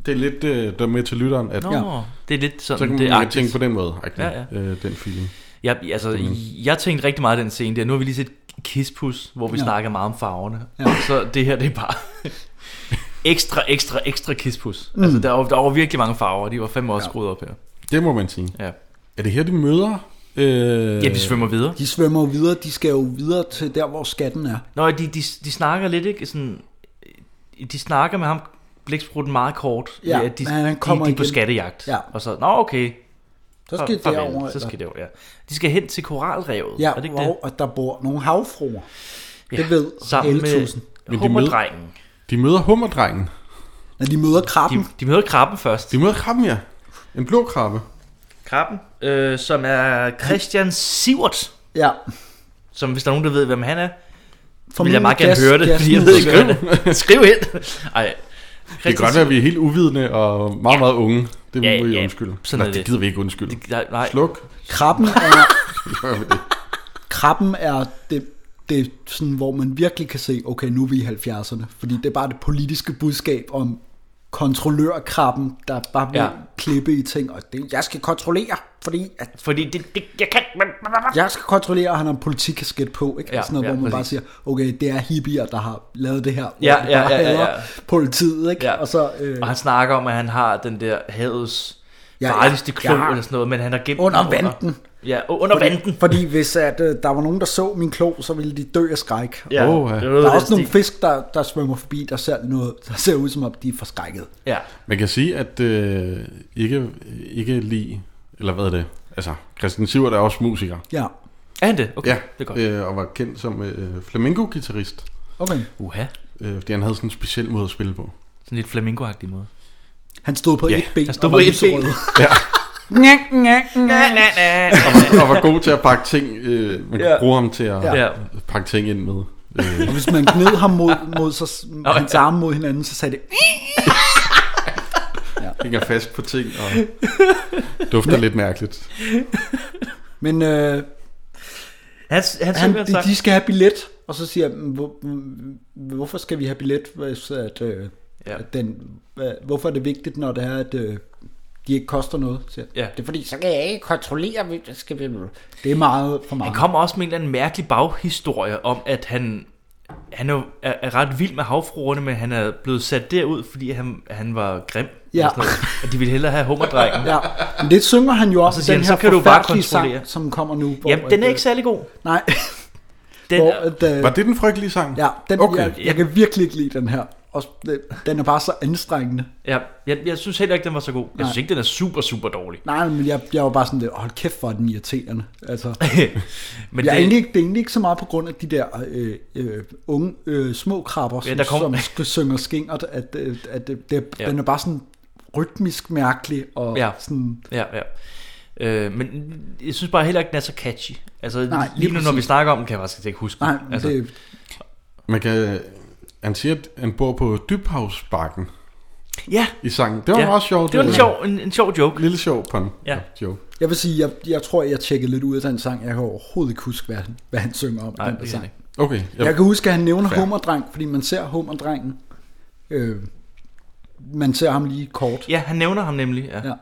B: Det er lidt øh, der med til lytteren, at
C: Nå,
B: ja.
C: ja. det er lidt
B: så
C: sådan,
B: kan man
C: det er
B: det
C: arktisk.
B: tænke på den måde, agtigt,
C: Ja,
B: ja, ja. Øh, den feeling.
C: Jeg, altså, jeg tænkte rigtig meget af den scene der. Nu har vi lige set Kispus, hvor vi ja.
D: Mm. Ja.
C: snakker meget om farverne. Ja.
D: Ja.
C: Så det her, det er bare ekstra, ekstra, ekstra Kispus. Mm. Altså, der var, der var virkelig mange farver, og de var fandme også ja. skruet op her.
B: Det må man sige.
C: Ja.
B: Er det her, de møder? Øh,
C: ja, de svømmer videre.
D: de svømmer jo videre, de skal jo videre til der, hvor skatten er.
C: Nå, de, de, de snakker lidt, ikke? Sådan, de snakker med ham, blæksprutten, meget kort.
D: Ja,
C: ved at de,
D: men han kommer
C: de, de er på
D: igen.
C: skattejagt.
D: Ja.
C: Og så, nå okay,
D: Så skal de
C: Farvel.
D: derover.
C: Så skal det ja. De skal hen til koralrevet.
D: Ja,
C: er det ikke
D: hvor at der bor nogle havfruer.
C: det?
D: det ved
C: Sammen
D: Elletusen.
C: med
B: de
C: hummerdrengen.
B: De møder hummerdrengen.
D: Når de møder krabben,
C: De, de møder krabben først.
B: De møder krabben, ja. En blå krabbe.
C: Krabben, øh, som er Christian Sivert,
D: ja,
C: som hvis der er nogen, der ved, hvem han er, For vil jeg meget gerne høre det, fordi jeg ved ikke, hvad det er. Skriv ind. Ej.
B: Det kan godt være, at vi er helt uvidende og meget, meget unge. Det
C: Ja,
B: må vi
C: ja,
B: undskylde.
C: sådan
B: Nej,
C: er
B: det
C: det.
B: gider vi ikke undskylde.
C: Nej, nej.
B: Sluk.
D: Krabben er,
B: Gør vi det.
D: krabben er det, det sådan, hvor man virkelig kan se, okay, nu er vi i 70'erne. Fordi det er bare det politiske budskab om kontrollørkrabben, der bare vil
C: Ja.
D: ja. klippe i ting, og det, jeg skal kontrollere, fordi at
C: Fordi det, det, jeg kan...
D: jeg skal kontrollere, og han har en politikkasket på, ikke?
C: Ja,
D: Ja, sådan noget,
C: ja,
D: ja, hvor man
C: præcis.
D: bare siger, okay, det er hippier, der har lavet det her, hvor
C: Ja,
D: de
C: ja,
D: bare
C: ja, ja, ja.
D: hader politiet, ikke?
C: Ja.
D: Og så øh,
C: Og han snakker om, at han har den der havets
D: Ja,
C: ja,
D: ja.
C: farligste klo
D: Ja.
C: eller sådan noget, men han har gemt
D: under
C: den
D: vanten.
C: Ja, u- under vanten.
D: Fordi hvis at, øh, der var nogen, der så min klo, så ville de dø af skræk.
C: Ja,
B: Åh, ja.
C: det noget
D: Der er
C: af den
D: også nogle
C: stil.
D: fisk, der, der svømmer forbi, der ser, noget, der ser ud som om, de er forskrækket.
C: Ja,
B: Man kan sige, at øh, ikke, ikke lige, eller hvad er det? Altså, Christian Sivert er også musiker.
D: Ja,
C: er han det? Okay,
B: Ja,
C: det er godt.
B: øh, og var kendt som øh, flamenco-gitarrist,
D: okay.
C: Uha,
B: øh, fordi han havde sådan en speciel måde at spille på.
C: sådan lidt flamingo-agtig måde.
D: Han stod på
B: Ja,
D: ja, et ben.
C: han stod
D: og
C: på
D: var
C: ét
D: lyserød.
C: ben.
B: Og var, og var god til at pakke ting, øh, man kunne
C: Ja.
B: bruge ham til at
C: Ja.
B: ja. pakke ting ind med. Øh,
D: Og hvis man gned ham mod, mod sig, hans
C: ja.
D: arme mod hinanden, så sagde det,
B: Hænger fast på ting og dufter lidt mærkeligt.
D: men øh,
C: Han, han,
D: han,
C: han,
D: de, de skal have billet. Og så siger jeg, "Men hvor, mm, hvorfor skal vi have billet? Hvis at, øh,
C: Ja.
D: ja. at den, hvad- hvorfor er det vigtigt, når det er, at øh, de ikke koster noget? Så siger, jeg,
C: Ja.
D: Det er fordi, så kan jeg ikke kontrollere, hvem der skal vi... Det er meget for meget.
C: Han kommer også med en eller anden mærkelig baghistorie om, at han, han er, jo- er, er ret vild med havfruerne, men han er blevet sat derud, fordi han, han var grim.
D: Ja.
C: Og, sådan noget. og de ville hellere have hummerdrengen.
D: Ja, men det synger han jo også,
C: så
D: og
C: siger
D: den
C: han,
D: her
C: "Så kan du bare
D: forfærdelige
C: kontrollere."
D: sang, som kommer nu. Hvor,
C: Jamen, den er
D: at,
C: ikke særlig god.
D: øh, Nej,
C: Den,
D: hvor,
C: er-
D: at, øh,
B: Var det den frygtelige sang?
D: ja, den,
B: Okay.
D: okay. jeg, jeg kan virkelig ikke lide den her. Og den er bare så anstrengende.
C: ja, jeg, jeg synes heller ikke, den var så god. Jeg synes
D: Nej.
C: ikke, den er super, super dårlig.
D: Nej, men jeg, jeg var bare sådan, lidt, hold kæft, hvor er den irriterende. Altså,
C: men
D: jeg er
C: det,
D: egentlig, ikke- det er egentlig ikke så meget på grund af de der øh, øh, unge, øh, små krabber,
C: Ja,
D: som,
C: der
D: ja,
C: kom-
D: som sk- synger skingert, at, øh, at det, det,
C: Ja.
D: ja. den er bare sådan rytmisk mærkelig. Og
C: Ja.
D: ja. sådan,
C: Ja, ja. Øh, men jeg synes bare heller ikke, den er så catchy. Altså,
D: Nej,
C: Nej,
D: lige
C: lige nu, når vi
D: præcis.
C: snakker om den, kan jeg faktisk ikke huske. den.
D: nej, altså,
C: altså,
D: det,
B: Man kan, han siger, at han bor på Dybhavsbakken
C: ja,
B: i sangen. Det var
C: Ja,
B: ja, også sjovt. øh,
C: det var en sjov, en, en sjov joke.
B: Lille sjov på en
C: Ja.
B: ja. joke.
D: jeg vil sige, jeg, jeg tror, jeg tjekkede lidt ud af den sang. Jeg kan overhovedet ikke huske, hvad han, hvad han synger om i
C: Nej,
D: den der
C: det er
D: sang.
C: ikke.
B: Okay, jeg,
D: Jeg kan huske, at han nævner
B: Fair.
D: hummerdreng, fordi man ser hummerdrengen. Øh, man ser ham lige kort.
C: Ja, han nævner ham nemlig. Ja.
D: Ja.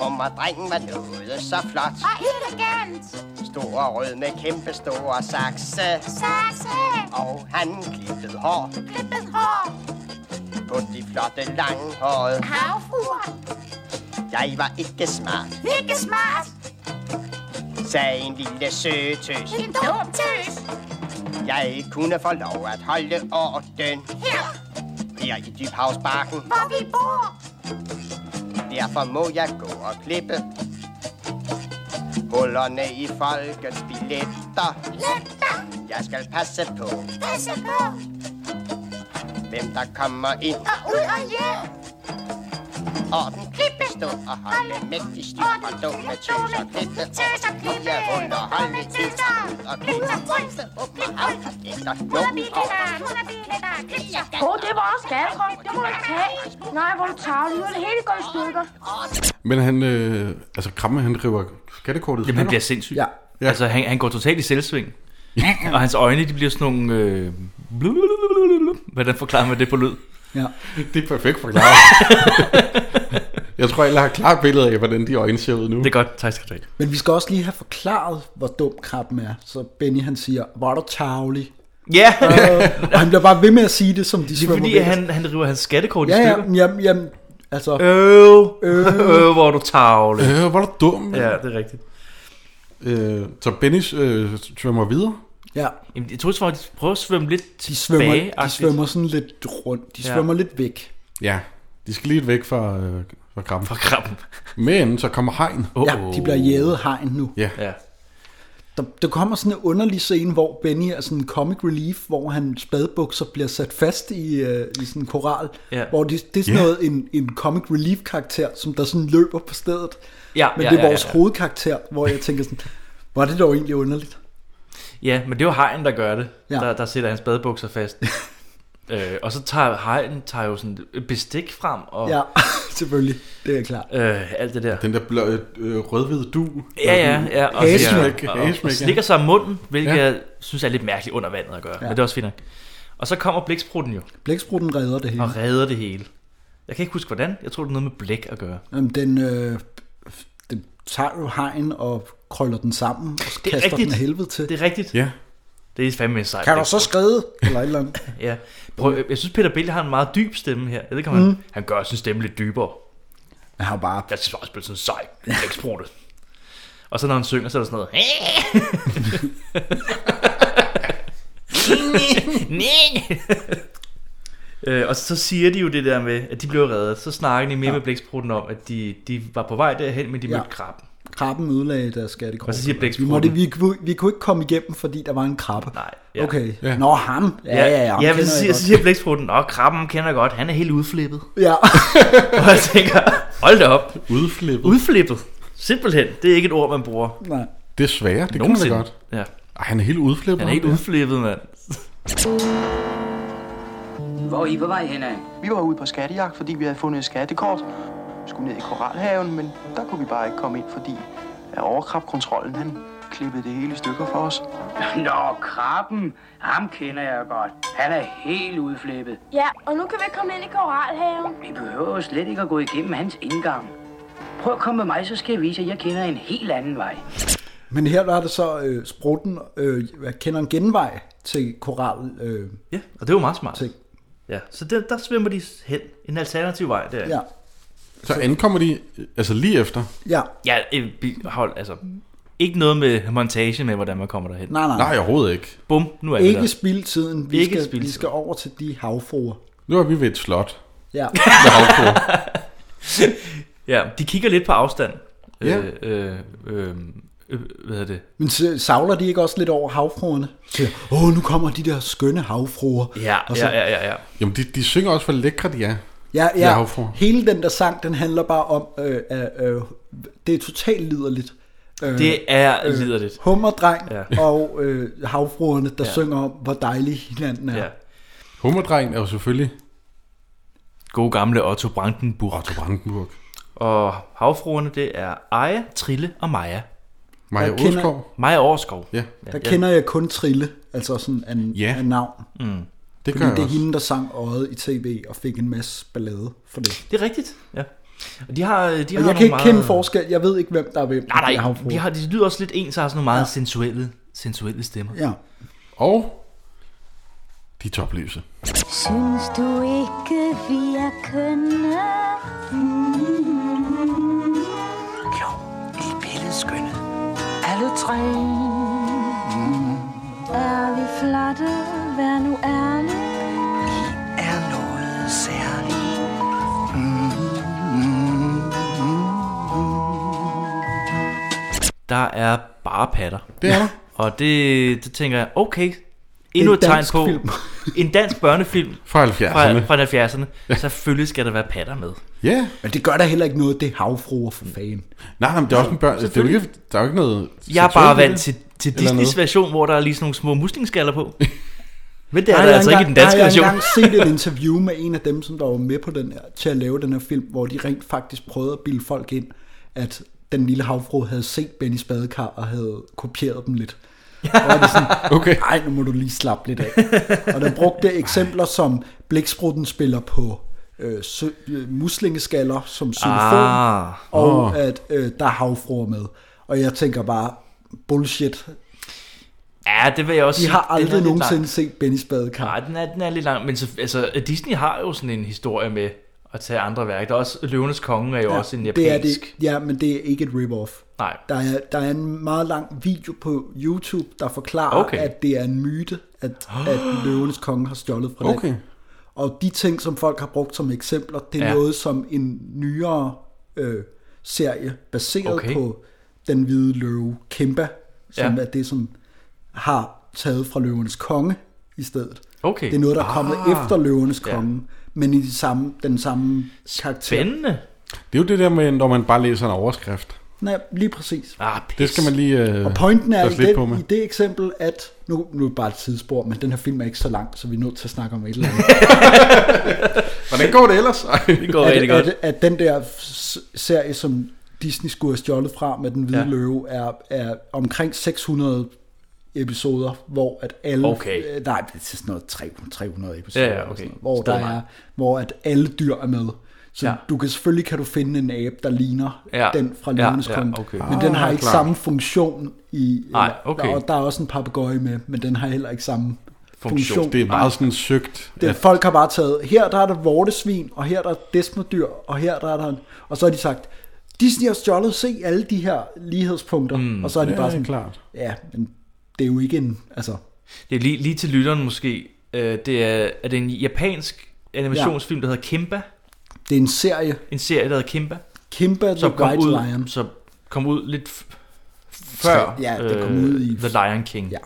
I: Hummerdrengen var noget så flot.
G: Og elegant,
I: Stor og rød med kæmpe store sakse.
G: saxe,
I: Og han klippede hår
G: klippet hår,
I: på de flotte lange hår.
G: havfruer,
I: Jeg var ikke smart,
G: ikke smart,
I: sagde en lille søtøs.
G: en dum tøs,
I: Jeg kunne få lov at holde orden
G: her,
I: her i Dybhavsbakken.
G: hvor vi bor,
I: Derfor må jeg gå og klippe hullerne i folkets billetter.
G: lægter,
I: Jeg skal passe på,
G: passe på,
I: hvem der kommer ind.
G: og ud og hjem,
I: Og den klippe stå og holde mægtig styr på dumme tøs og klippe.
G: tøs og
I: Og
G: klippe,
I: jeg huller holde
G: dumme
I: tøs
G: tøser,
I: ud og
G: ud
I: klippe.
G: og tøse,
I: Åbne havkasketter, nogen over.
G: Hundredbiletter, hundredbiletter, klipser.
F: Åh, det var også gatterkrop. Det må du ikke tage. Nej, hvor er du tavlig. Nu er det hele gået i stykker.
B: Men han, øh, altså Kramme, han river skattekortet.
C: Jamen, han
B: fra
C: bliver sindssyg.
D: Ja.
B: Ja.
C: Altså, han, han går totalt i selvsving. og hans øjne, de bliver sådan nogle... Øh... blulululululul. Hvordan forklarer man det på lyd?
D: Ja.
B: dig. Det er perfekt forklaret. jeg tror, jeg har et klart billede af, hvordan de øjne ser ud nu.
C: Det er godt, tak skal du have.
D: Men vi skal også lige have forklaret, hvor dum krabben er. Så Benny han siger, hvor er du tavlig.
C: Ja,
D: og han bliver bare ved med at sige det, som de
C: det er
D: svømmer
C: fordi,
D: væk.
C: at han, han river hans skattekort i
D: Ja, ja,
C: stykker.
D: jamen, jamen, altså, øh.
C: Øh, øh, hvor er du tavle.
B: Øh, hvor er du dum.
C: Ja,
B: Ja.
C: det er rigtigt.
B: Øh, så Benny øh, svømmer videre.
D: ja,
C: Jamen, jeg tror, at de prøver at svømme lidt
D: de svømmer, de
C: tilbage-agtigt.
D: svømmer sådan lidt rundt. De
C: Ja.
D: svømmer lidt væk.
B: Ja, de skal lige væk fra, øh, fra Kramme.
C: Fra krabben.
B: Men så kommer Hein.
C: Oh,
D: Ja, de bliver jæget hegn nu.
B: Ja.
C: Ja.
D: Der, der kommer sådan en underlig scene, hvor Benny er sådan en comic relief, hvor han spadbukser bliver sat fast i, øh, i sådan en koral.
C: Ja.
D: Hvor det, det er sådan
B: Ja.
D: yeah. noget, en, en comic relief karakter, som der sådan løber på stedet.
C: Ja,
D: Men
C: ja,
D: det er
C: ja,
D: vores
C: ja, ja.
D: hovedkarakter, hvor jeg tænker sådan, var det dog egentlig underligt?
C: Ja, men det er jo hajen, der gør det.
D: Ja.
C: Ja. Der, der sætter hans badebukser fast. øh, og så tager hajen tager jo sådan et bestik frem, og
D: Ja, selvfølgelig. Det er klart.
C: øh, alt det der.
B: Den der blå, øh, rødhvide du.
C: Ja, ja, ja. Og,
B: Hagesmæk.
C: og, og, og
B: Hagesmæk,
C: slikker
B: ja.
C: sig om munden, hvilket
B: Ja.
C: ja. jeg synes er lidt mærkeligt under vandet at gøre. Ja. Men det er også fint nok. Og så kommer blæksprutten jo,
D: Blæksprutten redder det
B: Mm.
D: hele.
C: og redder det hele. Jeg kan ikke huske, hvordan. Jeg tror, det er noget med blæk at gøre.
D: Jamen, den, øh, den tager jo hegn og krøller den sammen og
C: Det er
D: kaster rigtigt. den
C: rigtigt.
D: af helvede til.
C: Det er rigtigt.
B: Ja.
C: Det er fandme en sej
D: Kan du
C: blæk.
D: så skride? Eller et eller andet.
C: Ja. Prøv, jeg synes, Peter Bille har en meget dyb stemme her. Jeg ved ikke, om han, mm. han gør sin stemme lidt dybere.
D: Jeg har bare...
C: Jeg synes også, det er sådan en sej blæksprutte. Og så når han synger, så er der sådan noget. Øh, og så siger de jo det der med, at de blev reddet. Så snakker de mere ja. med blæksprutten om, at de, de var på vej derhen, men de
D: Ja.
C: ja. mødte krabben.
D: Krabben ødelagde deres skattekort.
C: Og så siger
D: vi,
C: blæksprutten-
D: måtte, vi, kunne- vi kunne ikke komme igennem, fordi der var en krabbe.
C: Nej.
D: Ja. Okay.
B: Ja.
D: Ja. Nå, ham. Ja, ja, ja. ham
C: ja men så
D: kender jeg
C: siger,
D: godt.
C: så siger blæksprutten, at krabben kender jeg godt, han er helt udflippet.
D: Ja.
C: Og jeg tænker, hold da op.
B: Udflippet. Ud...
C: Udflippet. Simpelthen. Det er ikke et ord, man bruger.
D: Nej.
B: Desværre, det kunne
C: Nogensinde.
B: man da godt.
C: Ja.
B: Ej, han er helt udflippet.
C: Han er helt
B: ham der.
C: udflippet, mand.
J: Hvor er I på vej henad?
I: Vi var ude på skattejagt, fordi vi havde fundet et skattekort. Vi skulle ned i Koralhaven, men der kunne vi bare ikke komme ind, fordi at overkrabkontrollen, han klippede det hele i stykker for os.
J: Nå, krabben. Ham kender jeg godt. Han er helt udflippet.
G: Ja, og nu kan vi komme ind i koralhaven.
J: Vi behøver jo slet ikke at gå igennem hans indgang. Prøv at komme med mig, så skal jeg vise, at jeg kender en helt anden vej.
D: Men her der er det så øh, sprutten, øh, jeg kender en genvej til koral. Øh,
C: Ja, og det er jo meget smart.
D: Ting.
C: Ja, så der, der svømmer de hen. En alternativ vej der.
D: ja.
B: Så ankommer de, øh, altså lige efter.
D: ja.
C: Ja, øh, bi- hold, altså. Ikke noget med montage med, hvordan man kommer derhen.
D: Nej, nej.
B: Nej, overhovedet ikke.
C: Bum, nu er vi
D: Ikke
C: der.
D: spild tiden. Vi,
C: Ikke
D: skal,
C: spild
D: vi
C: tiden.
D: skal over til de havfruer.
B: Nu er vi ved et slot.
D: Ja.
B: Med havfruer.
C: Ja, de kigger lidt på afstand.
B: Ja.
C: Øh, øh, øh, øh, hvad hedder det?
D: Men så savler de ikke også lidt over havfruerne? Så, Åh, nu kommer de der skønne havfruer.
C: Ja,
D: Og så-
C: ja, ja, ja, ja.
B: Jamen, de, de synger også, hvor lækre de er.
D: Ja,
B: De er
D: ja.
B: havfruer.
D: Hele den der sang, den handler bare om, øh, øh, øh, det er totalt liderligt. Øh,
C: Det er øh, liderligt.
D: Hummerdreng ja.
C: Ja.
D: og øh, havfruerne, der ja.
C: Ja.
D: synger om, hvor dejlig hinanden er.
C: Ja.
D: Ja.
B: Hummerdrengen er jo selvfølgelig
C: God gamle Otto Brandenburg.
B: Otto Brandenburg.
C: Og havfruerne, det er Aja, Trille og Maja.
B: Maja
D: Jeg kender-
B: Åskov.
C: Maja Årskov.
B: Ja,
D: Der kender jeg kun Trille, altså sådan en,
B: Ja.
D: ja. en navn.
B: det gør
D: Fordi
B: jeg
D: det er
B: også.
D: hende, der sang øjet i tv og fik en masse ballade for det.
C: Det er rigtigt, ja. Og de har, øh, de har
D: Og
C: nogle
D: jeg kan ikke
C: meget...
D: kende forskel. Jeg ved ikke, hvem der er hvem.
C: Ah, Nej,
D: i de
C: nej,
D: havfruer.
C: de, har, de lyder også lidt ens, og har sådan nogle meget ja. sensuelle, sensuelle stemmer.
D: Ja.
B: Og de er topløse.
G: Synes du ikke, vi er kønne?
I: Jo, I billedet skønne. Alle tre.
G: Er vi flotte? Vær nu ærlig.
I: er noget særligt.
C: Der er bare patter.
B: Det er der.
C: Og det, det tænker jeg, okay, endnu
D: en
C: et tegn
D: dansk
C: på
D: film.
C: en dansk børnefilm
B: Fra
C: fra,
B: 70'erne.
C: fra 70'erne. Selvfølgelig skal der være patter med.
B: Ja.
D: Men det gør da heller ikke noget, det er
C: Mm.
D: havfruer for fanden.
B: Nej, nej, men det er også en børn. Det er jo ikke, der er jo ikke noget...
C: Jeg er
B: seksuelt
C: bare
B: i det.
C: vant til, til
B: Eller noget.
C: Disneys version, hvor der er lige sådan nogle små muslingeskaller på. Men det er
D: Har
C: der
D: jeg
C: altså ikke i den
D: engang-
C: danske version.
D: Har jeg engang set et interview med en af dem, som der var med på den her, til at lave den her film, hvor de rent faktisk prøvede at bilde folk ind, at den lille havfru havde set Benny Spadekar og havde kopieret dem lidt. Og det sådan,
B: Okay.
D: ej, nu må du lige slappe lidt af. Og den brugte eksempler som blæksprutten spiller på øh, sø, øh, muslingeskaller som xylofon,
C: Ah.
D: og
B: Åh.
D: at øh, der er havfruer med. Og jeg tænker bare, bullshit.
C: Ja, det vil jeg også
D: De
C: sige.
D: har
C: Den er
D: aldrig
C: lidt
D: nogensinde
C: lang.
D: set Benny Spadekar.
C: Nej, den er, den er lidt lang. Men så, altså, Disney har jo sådan en historie med at tage andre værker. Der er også Løvenes Konge er jo ja, også en japansk.
D: Det er det, ja, men det er ikke et rip-off.
C: Nej.
D: Der er, der er en meget lang video på YouTube, der forklarer, okay.
C: Okay.
D: at det er en myte, at, at løvenes konge har stjålet fra
B: Okay.
D: den. Og de ting, som folk har brugt som eksempler, det er ja.
C: Ja.
D: noget, som en nyere øh, serie, baseret okay.
C: Okay.
D: på den hvide løve, Kæmpa, som ja.
C: Ja.
D: er det, som har taget fra løvenes konge i stedet.
C: Okay.
D: Det er noget, der er kommet ah. efter løvenes konge, ja. men i de samme, den samme karakter.
C: Spændende.
B: Det er jo det der med, når man bare læser en overskrift.
D: Nej, lige præcis.
C: Ah,
B: Det skal man lige øh,
D: Og pointen er i,
B: passe lidt på
D: den,
B: med.
D: i det eksempel, at nu, nu er det bare et tidsspor, men den her film er ikke så lang, så vi er nødt til at snakke om et eller andet.
B: Hvordan går det ellers? Ej.
C: Det går rigtig
D: at,
C: godt.
D: at, at den der s- serie, som Disney skulle have stjålet fra med den hvide
C: Ja.
D: ja. løve, er, er omkring 600 episoder, hvor at alle...
C: Okay.
D: Øh, nej, det er sådan noget 300, 300 episoder.
C: Ja, ja,
D: eller
C: okay.
D: Sådan noget, hvor,
C: Så der
D: der
C: er meget.
D: er, hvor at alle dyr er med. Så
C: Ja.
D: ja. du kan selvfølgelig kan du finde en abe, der ligner
C: Ja.
D: ja. den fra
C: Ja,
D: Løvenes
C: ja,
D: ja,
C: okay.
D: Men den har
B: Ah,
D: ikke
B: klart.
D: samme funktion i...
C: Nej,
D: eller-
C: okay.
D: Der, og der er også en papegøje med, men den har heller ikke samme
C: Funktion.
D: funktion.
B: Det er meget sådan søgt.
D: Det,
B: at-
D: Folk har bare taget, her der er der vortesvin, og her der er desmodyr, og her der er der... Og så har de sagt, Disney har stjålet, se alle de her lighedspunkter. Mm, og så er de
B: ja,
D: bare sådan,
B: klart.
D: ja, men det er jo ikke en... Altså,
C: Det er lige, lige til lytteren måske. Øh, det er, er det en japansk animationsfilm, der hedder Kimba.
D: det er en serie,
C: En serie, der hedder Kimba.
D: Kimba the
C: Som kom
D: White
C: ud,
D: Lion.
C: som kom ud lidt f- før øh,
D: Ja, det kom ud i-
C: The Lion King.
D: Ja.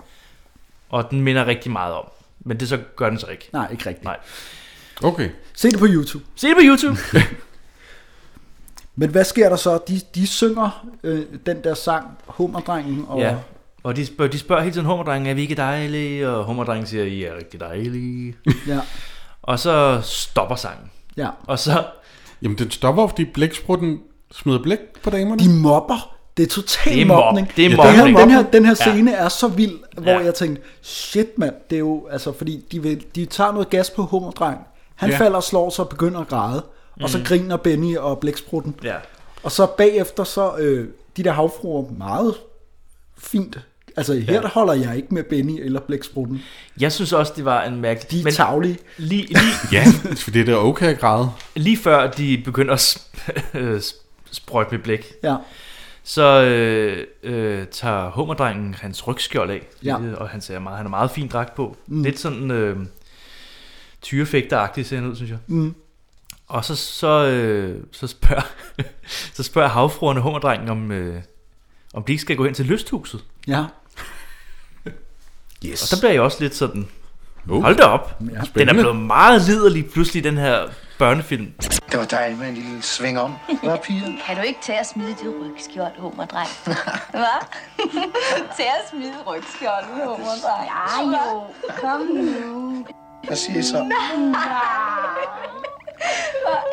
C: Og den minder rigtig meget om. Men det så gør den så ikke.
D: Nej, ikke rigtigt.
C: Nej.
D: Nej.
B: Okay.
D: Se det på YouTube.
C: Se det på YouTube.
D: Men hvad sker der så? De, de synger øh, den der sang, Hummerdrengen, og...
C: ja. Og de spørger, de spørger hele tiden hummerdrengen, er vi ikke dejlige? Og hummerdrengen siger, I er rigtig dejlige.
D: ja,
C: og så stopper sangen.
D: ja.
C: Og så
B: Jamen, den stopper, fordi blæksprutten smider blæk på damerne.
D: De mobber. Det er total
C: Det er mob-
D: mobning.
C: det er
D: Den
C: mobning.
D: her, den her, den her
C: Ja.
D: scene ja. er så vild, hvor
C: Ja.
D: ja. jeg tænkte, shit mand, det er jo, altså fordi de, vil, de tager noget gas på hummerdreng. Han
B: Ja.
D: ja. falder og slår sig og begynder at græde. Mm. Og så griner Benny og blæksprutten.
C: Ja.
D: Og så bagefter så, øh, de der havfruer, meget fint. Altså her ja. der holder jeg ikke med Benny eller blæksprutten.
C: Jeg synes også, det var en mærkelig...
D: De er tavlige.
C: lige, lige,
B: Ja, for det er da okay at græde.
C: lige før de begynder at sp- øh, sprøjte med blæk,
D: Ja.
C: så øh, øh, tager hummerdrengen hans rygskjold af,
D: Ja.
C: øh, og han, ser meget, han har meget fin dragt på. Mm. Lidt sådan øh, tyrefægteragtig ser han ud, synes jeg.
D: Mm.
C: Og så, så, øh, så, spørger, så spørger havfruerne hummerdrengen, om, øh, om de ikke skal gå hen til lysthuset.
D: Ja.
C: Og der bliver jeg også lidt sådan,
B: Uh.
C: hold da op, den er
B: spændende.
C: blevet meget liderlig pludselig, den her børnefilm.
H: Det var dejligt med en lille sving om. Hvad piger?
G: Kan du ikke tage at smide det rygskjold, hummerdreng? Hvad? Tag at smide rygskjoldet, hummerdreng. Ja, jo.
H: Hvad siger I så?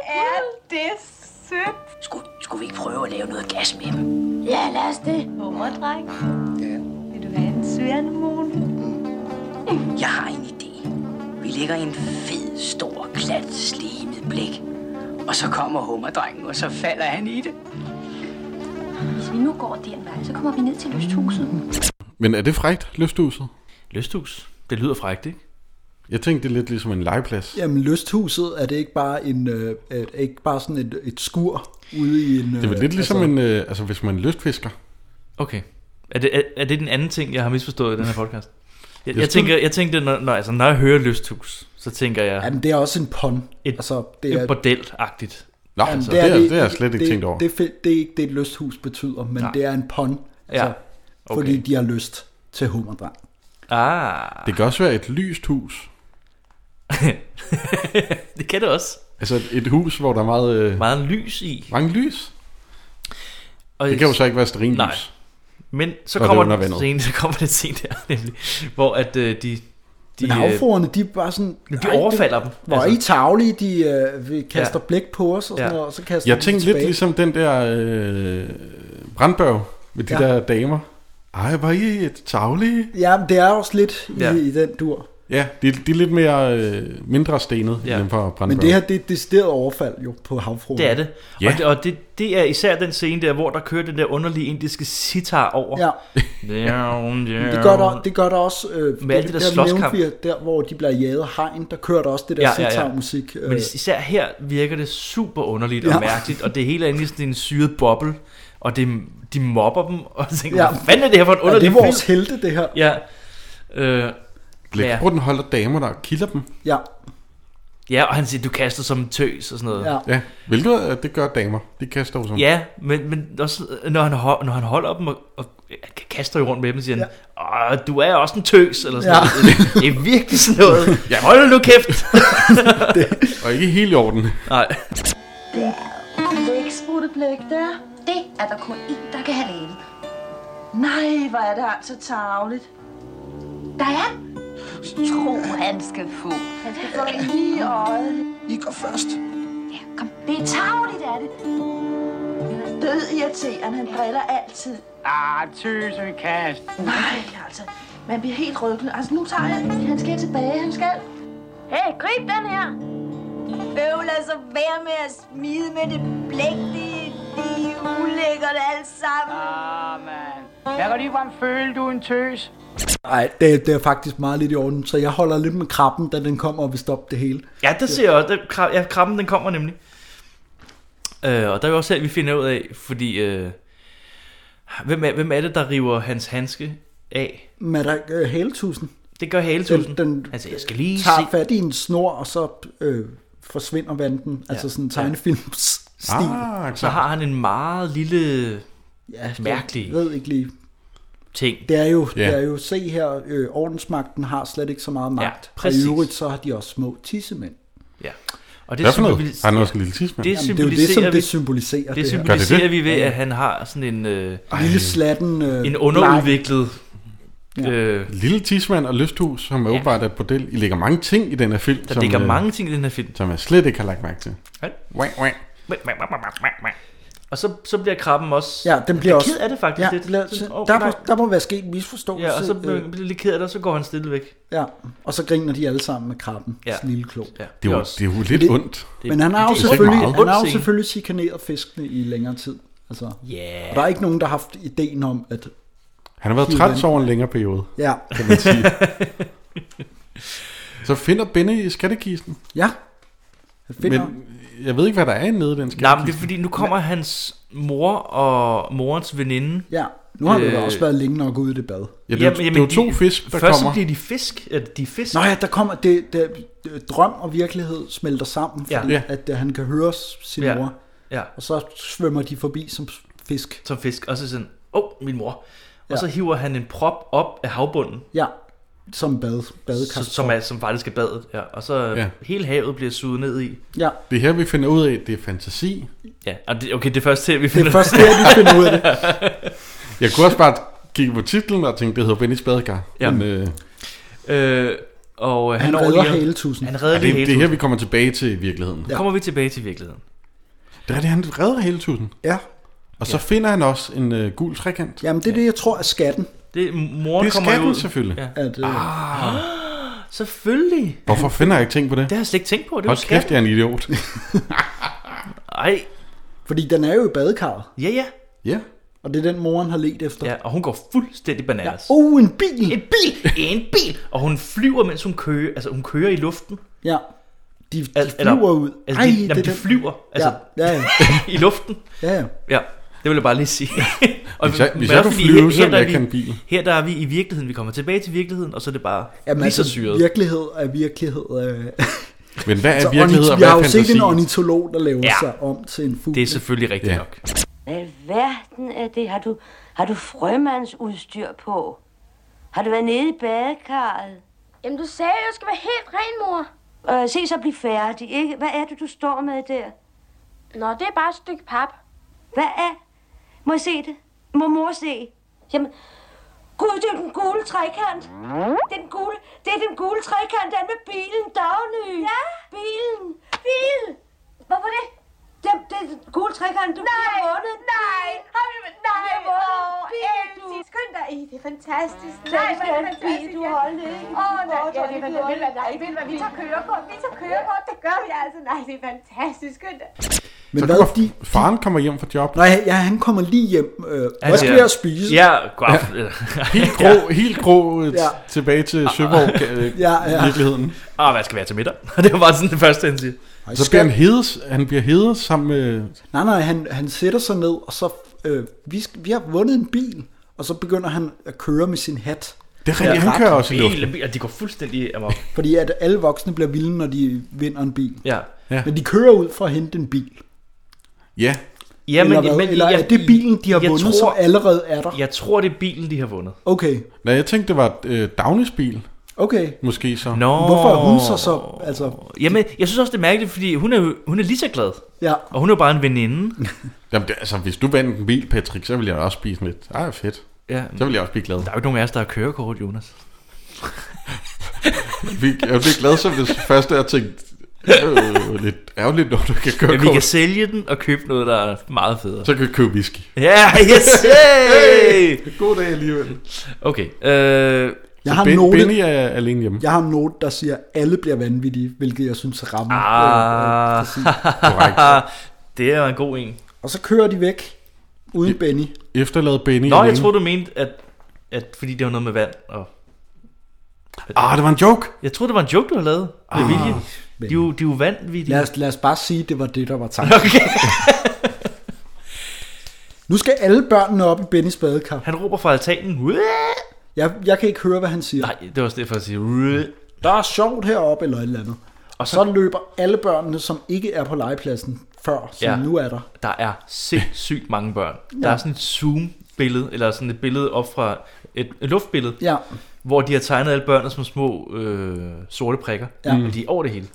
G: Er det sødt?
J: Skulle, skulle vi ikke prøve at lave noget gas med dem?
G: Ja, lad os det. Hummerdreng.
H: Ja.
G: Vil du have en sværnemon?
J: Jeg har en idé. Vi lægger en fed, stor, klat, slimet blik. Og så kommer hummerdrengen, og så falder han i det.
G: Hvis vi nu går den vej, så kommer vi ned til lysthuset.
B: Men er det frægt, lysthuset?
C: Lysthus. Det lyder frækt, ikke?
B: Jeg tænkte, det er lidt ligesom en legeplads.
D: Jamen lysthuset, er det ikke bare, en, øh, er det ikke bare sådan et, et skur ude i en...
B: Det er vel lidt ligesom en, øh, altså hvis man er lystfisker.
C: Okay. Er det, er, er det den anden ting, jeg har misforstået i den her podcast? Jeg, jeg,
B: Lysthus?
C: tænker, jeg tænkte, når, når, altså, når jeg hører lysthus, så tænker jeg
D: Jamen, det er også en pon.
C: Et-
D: altså, det
C: ja.
D: er,
C: et bordel-agtigt.
B: Nå,
D: jamen,
B: altså, det, er, det, det har jeg slet ikke
D: det,
B: tænkt over.
D: Det, det, det er ikke det, et lysthus betyder, men
C: Nej.
D: Nej. det er en pon. Altså,
C: Ja.
D: ja. okay. Fordi de har lyst til hummerdreng.
C: Ah,
B: Det kan også være et lyst hus.
C: det kan det også.
B: Altså et- et hus, hvor der er meget, øh,
C: Meget lys i.
B: mange lys.
C: Og
B: Det kan jo så ikke være sterinlys.
C: Men så
B: Når det
C: kommer,
B: er under
C: den
B: vandet.
C: scene, så kommer den scene der, nemlig, hvor at, øh, de, de,
D: Men
C: øh,
D: havfruerne, de er bare sådan...
C: de overfalder dem.
D: Hvor altså. I tavlige, de øh, vi kaster
C: Ja.
D: ja. blik på os og sådan
C: Ja.
D: ja. noget, og så kaster
B: Jeg
D: de
B: tænkte
D: tilbage.
B: lidt ligesom den der øh, brandbørg med de
D: Ja.
B: der damer. Ej, var I et tavlige?
D: Ja, men det er også lidt i,
C: Ja.
D: ja. i den dur.
B: Ja, de, de er lidt mere øh, mindre stenet
C: Ja.
B: ja. end dem fra Brandberg.
D: Men det her, det er et decideret overfald jo på havfruerne.
C: øh, Det er det.
B: Ja.
C: Og, det, og det, det er især den scene der, hvor der kører den der underlige indiske sitar over.
D: Ja, det gør der, det gør der også... Øh,
C: Med alt det der
D: nævnte
C: slåskamp.
D: vi, at der, hvor de bliver jaget af hegn, der kører der også det der
C: Ja,
D: ja,
C: ja, ja.
D: sitar-musik.
C: Men
D: øh,
C: især her virker det super underligt og
D: Ja.
C: mærkeligt, og det hele er inde i sådan en syret boble, og det, de mobber dem, og jeg tænker,
D: Ja.
C: hvad fanden er det her for en
D: er
C: underlig
D: det vores
C: film?
D: helte, det her?
C: Ja. Øh,
B: Blæksprutten holder damer, der kilder dem.
D: Ja,
C: ja, og han siger, du kaster som en tøs og sådan noget.
D: ja.
B: Ja, hvilket øh, det gør damer. De kaster jo som...
C: Ja, men, men også, når, han, ho- når han holder dem og, og han kaster jo rundt med dem, siger han, ja. Åh, du er også en tøs, eller sådan
D: Ja.
C: noget. Det er virkelig sådan noget. Ja, hold nu kæft!
D: Ah,
B: Og ikke helt i orden.
C: Nej.
E: Blæk, sprutte blæk der.
K: Det er der kun én, der kan have lavet. Nej, hvor er det altså tavligt. Der er Tro, han skal få. Han skal få en lige i øjet. I går først. Ja, kom. Det er tavligt, er det. Han er død irriterende. Han driller altid.
L: Ah, tøsekast.
K: Nej, altså. Man bliver helt rykket. Altså, nu tager jeg. Han skal tilbage. Han skal. Hey, grib den her.
M: Øv, lad så være altså. med at smide med det blæk. Det, det er ulækkert alt sammen. Ah, mand.
L: Jeg kan ligefrem føle, du er en tøs.
D: Nej, det, det er faktisk meget lidt i orden, så jeg holder lidt med krabben, da den kommer og vil stoppe det hele.
C: Ja, det ser jeg også. Den, krab, ja, krabben den kommer nemlig. Øh, og der er jo også her, vi finder ud af, fordi... Øh, hvem, er, hvem er det, der river hans handske af?
D: Men der øh, haletusen.
C: Det gør haletusen.
D: Den,
C: altså, jeg skal lige
D: tager
C: se.
D: fat i en snor, og så øh, forsvinder vanden. Ja. Altså sådan en tegnefilms stil.
C: Ah,
B: altså.
C: så har han en meget lille,
D: ja,
C: mærkelig
D: Jeg ved ikke lige.
C: ting.
D: Det er jo,
C: Ja.
D: yeah. det er jo se her, øh, ordensmagten har slet ikke så meget magt.
C: præcis.
D: Og i øvrigt så har de også små tissemænd.
C: Ja. Og
B: Hvad for noget?
C: symbolis-
B: Har han også en lille tidsmand?
C: Det
D: Jamen, det er
C: symboliserer
D: jo det, som
C: vi-
D: det symboliserer, det her.
C: Det
D: Gør det
C: symboliserer
D: det?
C: vi ved, at han har sådan en... Øh,
D: Lille slatten, øh,
C: en underudviklet... Øh,
B: Lille Tismand og Lysthus, som er ja. åbenbart er et bordel. I lægger mange ting i den her film. øh,
C: Der
D: øh,
C: ligger mange ting i den her film.
B: Som jeg slet ikke har lagt mærke til.
C: Og så, så bliver krabben også...
D: Ja, den bliver
C: er
D: også...
C: Ked af det faktisk.
D: Ja,
C: lidt.
D: det bliver,
C: Sådan,
D: der,
C: åh,
D: der,
C: nej.
D: må, der må være sket en misforståelse.
C: Ja, og så bliver
D: øh,
C: han lidt ked af det, og så går han stille væk.
D: ja, og så griner de alle sammen med krabben. Ja.
C: Ja.
D: Lille klog.
C: Ja,
B: Det er jo- det er jo lidt ondt.
D: Men han har
B: Det
D: jo
B: er ikke
D: selvfølgelig,
B: meget.
D: han
B: Ondt
D: har jo
B: scene.
D: selvfølgelig chikaneret fiskene i længere tid. Altså,
C: yeah.
D: Og der er ikke nogen, der har haft ideen om, at...
B: Han har været
D: hive
B: træt
D: den-
B: over en længere periode,
D: Ja.
B: kan man sige. så finder Benny i skattekisten.
D: Ja. finder-
B: Men jeg ved ikke, hvad der er inde i den skattekiste.
C: Nej, men det er fordi, nu kommer hans mor og morens veninde.
D: Ja, nu har
C: Øh.
D: det da også været længe nok ude i det bad.
B: Ja, det er jo- det er jo to fisk, der
C: først
B: kommer.
C: Først bliver de fisk. Er det de er fisk?
D: Nå ja, der kommer det, det, det drøm og virkelighed smelter sammen,
C: Ja.
D: fordi
C: Ja.
D: ja. at øh, han kan høre s- sin
C: Ja.
D: mor.
C: Ja.
D: Og så svømmer de forbi som s- fisk.
C: Som fisk. Og så sådan, åh, oh, min mor. Og
D: Ja.
C: så hiver han en prop op af havbunden.
D: Ja, som bad, badekar.
C: Så, som, er, som faktisk er badet. Ja. Og så
B: Ja.
C: ja. hele havet bliver suget ned i.
D: Ja.
B: Det er her, vi finder ud af, at det er fantasi.
C: Ja, og det, okay, det er først her, vi
D: Det
C: finder
D: er først her, vi finder ud af det.
B: Jeg kunne også bare kigge på titlen og tænke, det hedder Bennys badekar.
C: Ja.
B: Men, øh,
C: Øh, og øh,
D: Han
C: han,
D: redder
C: overlever-
D: haletusen.
C: Han
B: ja,
C: redder
B: det,
C: lige
B: er- det er her,
C: haletusen.
B: vi kommer tilbage til virkeligheden.
C: Nu kommer vi tilbage til virkeligheden.
B: Det er det, han redder hele tusen.
D: Ja.
B: Og så finder han også en øh, gul trekant.
D: Jamen, det er det, jeg tror er skatten.
C: Det, moren
B: Det er
C: kommer jo
B: skatten,
C: ud.
B: selvfølgelig.
C: Ja.
D: At, øh,
C: Ah. Selvfølgelig.
B: Hvorfor finder jeg ikke ting på det?
C: Det har jeg slet ikke tænkt på. Det var
B: Hold kæft,
C: skatten.
B: jeg er en idiot.
C: Ej,
D: Fordi den er jo i badekarret,
C: ja, ja.
B: ja.
D: og det er den, moren har let efter.
C: Ja, og hun går fuldstændig bananas.
B: Uh.
C: Ja.
D: Oh, en bil!
C: En bil! En bil! Og hun flyver, mens hun kører. Altså, hun kører i luften.
D: Ja, de, de
C: Al-
D: flyver ud.
C: Altså, Ej, de, jamen, de flyver. Altså,
D: Altså. Ja, ja, ja.
C: i luften.
D: ja, ja.
C: Ja, det vil jeg bare lige sige. og,
B: Hvis jeg-
C: men
B: hvis
C: også
B: jeg kunne
C: fordi
B: flyve,
C: her-
B: så
C: her
B: ville
C: der
B: jeg
C: er
B: ikke
C: vi-
B: have en bil.
C: Her der er vi i virkeligheden. Vi kommer tilbage til virkeligheden, og så er det bare
D: Jamen,
C: lige så
D: altså,
C: syret.
D: virkelighed er virkelighed. Øh,
B: Men hvad er
D: så
B: virkelighed
D: ornit-
B: og
D: vi
B: hvad
D: har
B: er
D: jo set
B: fantasi?
D: en ornitolog, der laver
C: Ja.
D: ja. sig om til en fugl.
C: Det er selvfølgelig rigtigt
B: Ja.
C: ja. nok.
F: Hvad i verden er det? Har du, har du frømandsudstyr på? Har du været nede i badekarret?
G: Jamen, du sagde, at jeg skal være helt ren, mor.
F: Øh, se så blive færdig, ikke? Hvad er det, du står med der?
G: Nå, det er bare et stykke pap.
F: Hvad er? Må jeg se det? Må mor se? Jamen, gud, det er jo den gule trekant. Den gule, det er den gule trekant, den med bilen, Dagny. Ja? Bilen. Bil. Hvorfor det? Den, det er den gule trekant, du nej, bliver vundet.
G: Nej, har vi med nej,
F: Vi har
G: hvor
F: vundet en bil, du.
G: elsigt. Skynd dig. Ej, det er fantastisk.
F: Nej,
G: Nej,
F: hvor
G: hvor
F: er
G: er
F: det
G: det
F: fantastisk.
G: du holdt ikke? Åh, oh, nej, ja, det er
F: Ved du hvad,
G: fantastisk. Nej, ved du hvad, vi tager kørekort, vi tager kørekort, det gør vi altså. Nej, det er fantastisk, skynd dig.
D: Men
B: Så
D: hvad,
B: kommer,
D: de,
B: faren kommer hjem fra job.
D: nej, ja, han kommer lige hjem. Øh,
C: Han
D: hvad skal
C: siger,
D: jeg spise?
C: Altså, Ja, god aften.
B: Helt grå, helt grå øh,
D: Ja.
B: tilbage til Søborg øh,
D: Ja, ja.
B: virkeligheden.
C: Ah, hvad skal være til middag? det var bare sådan det første, han siger.
D: Ej,
B: Så bliver han hedes, han bliver hedes sammen med...
D: Nej, nej, han, han sætter sig ned, og så, øh, vi, skal- vi har vundet en bil, og så begynder han at køre med sin hat.
B: Det er rigtigt, han kører også i luften.
C: Bil, bil, og de går fuldstændig amok.
D: Fordi at alle voksne bliver vilde, når de vinder en bil.
C: Ja.
B: Ja.
D: Men de kører ud for at hente en bil.
B: Ja,
C: ja
D: eller hvad? eller er det bilen, de har
C: jeg
D: vundet,
C: tror,
D: som allerede er der?
C: Jeg tror, det er bilen, de har vundet.
D: Okay,
B: Nå, jeg tænkte, det var øh, Dagnes bil.
D: Okay.
B: Måske så.
C: Nå.
D: Hvorfor er hun så så... Altså,
C: Jamen, jeg synes også, det er mærkeligt, fordi hun er, jo- hun er lige så glad.
D: Ja.
C: Og hun er jo bare en veninde.
B: Jamen, det, altså, hvis du vandt en bil, Patrick, så ville jeg også blive sådan lidt, ah, fedt.
C: Ja.
B: Så ville jeg også blive glad. Der
C: er jo ikke nogen af os, der har kørekort, Jonas.
B: jeg blev glad, så hvis første jeg tænkte, det er jo "Øh, lidt ærgerligt, når du kan køre
C: Men vi kan sælge den og købe noget, der er meget federe.
B: Så kan vi købe whisky.
C: Ja, yes! Hey!
B: God dag alligevel.
C: Okay. Øh,
D: Jeg har en note.
B: er alene hjemme.
D: Jeg har en note, der siger, at alle bliver vanvittige, hvilket jeg synes rammer. øh, øh,
C: Ah,
D: præcis.
C: det er en god en.
D: Og så kører de væk, uden Benny.
B: Efterlad Benny
C: Nå, jeg
B: alene.
C: troede, du mente, at, at fordi det var noget med vand. Og...
B: Ah, det var en joke.
C: Jeg troede, det var en joke, du havde lavet. Med
D: Ah,
C: vilje. De
D: men-
C: er jo, de er jo vanvittige.
D: Lad os, lad os bare sige, at det var det, der var tanken. Okay. nu skal alle børnene op i Bennys badekar.
C: Han råber fra altanen.
D: Jeg, jeg kan ikke høre, hvad han siger.
C: Nej, det var også det for at sige.
D: Der er sjovt heroppe eller et eller andet. Og så, så løber alle børnene, som ikke er på legepladsen før, som
C: Ja.
D: ja. nu er der.
C: Der er sindssygt mange børn.
D: Ja.
C: Der er sådan et zoom-billede, eller sådan et billede op fra et, et luftbillede,
D: Ja.
C: hvor de har tegnet alle børnene som små øh, sorte prikker.
D: Ja.
C: Ja. Men de er over det hele.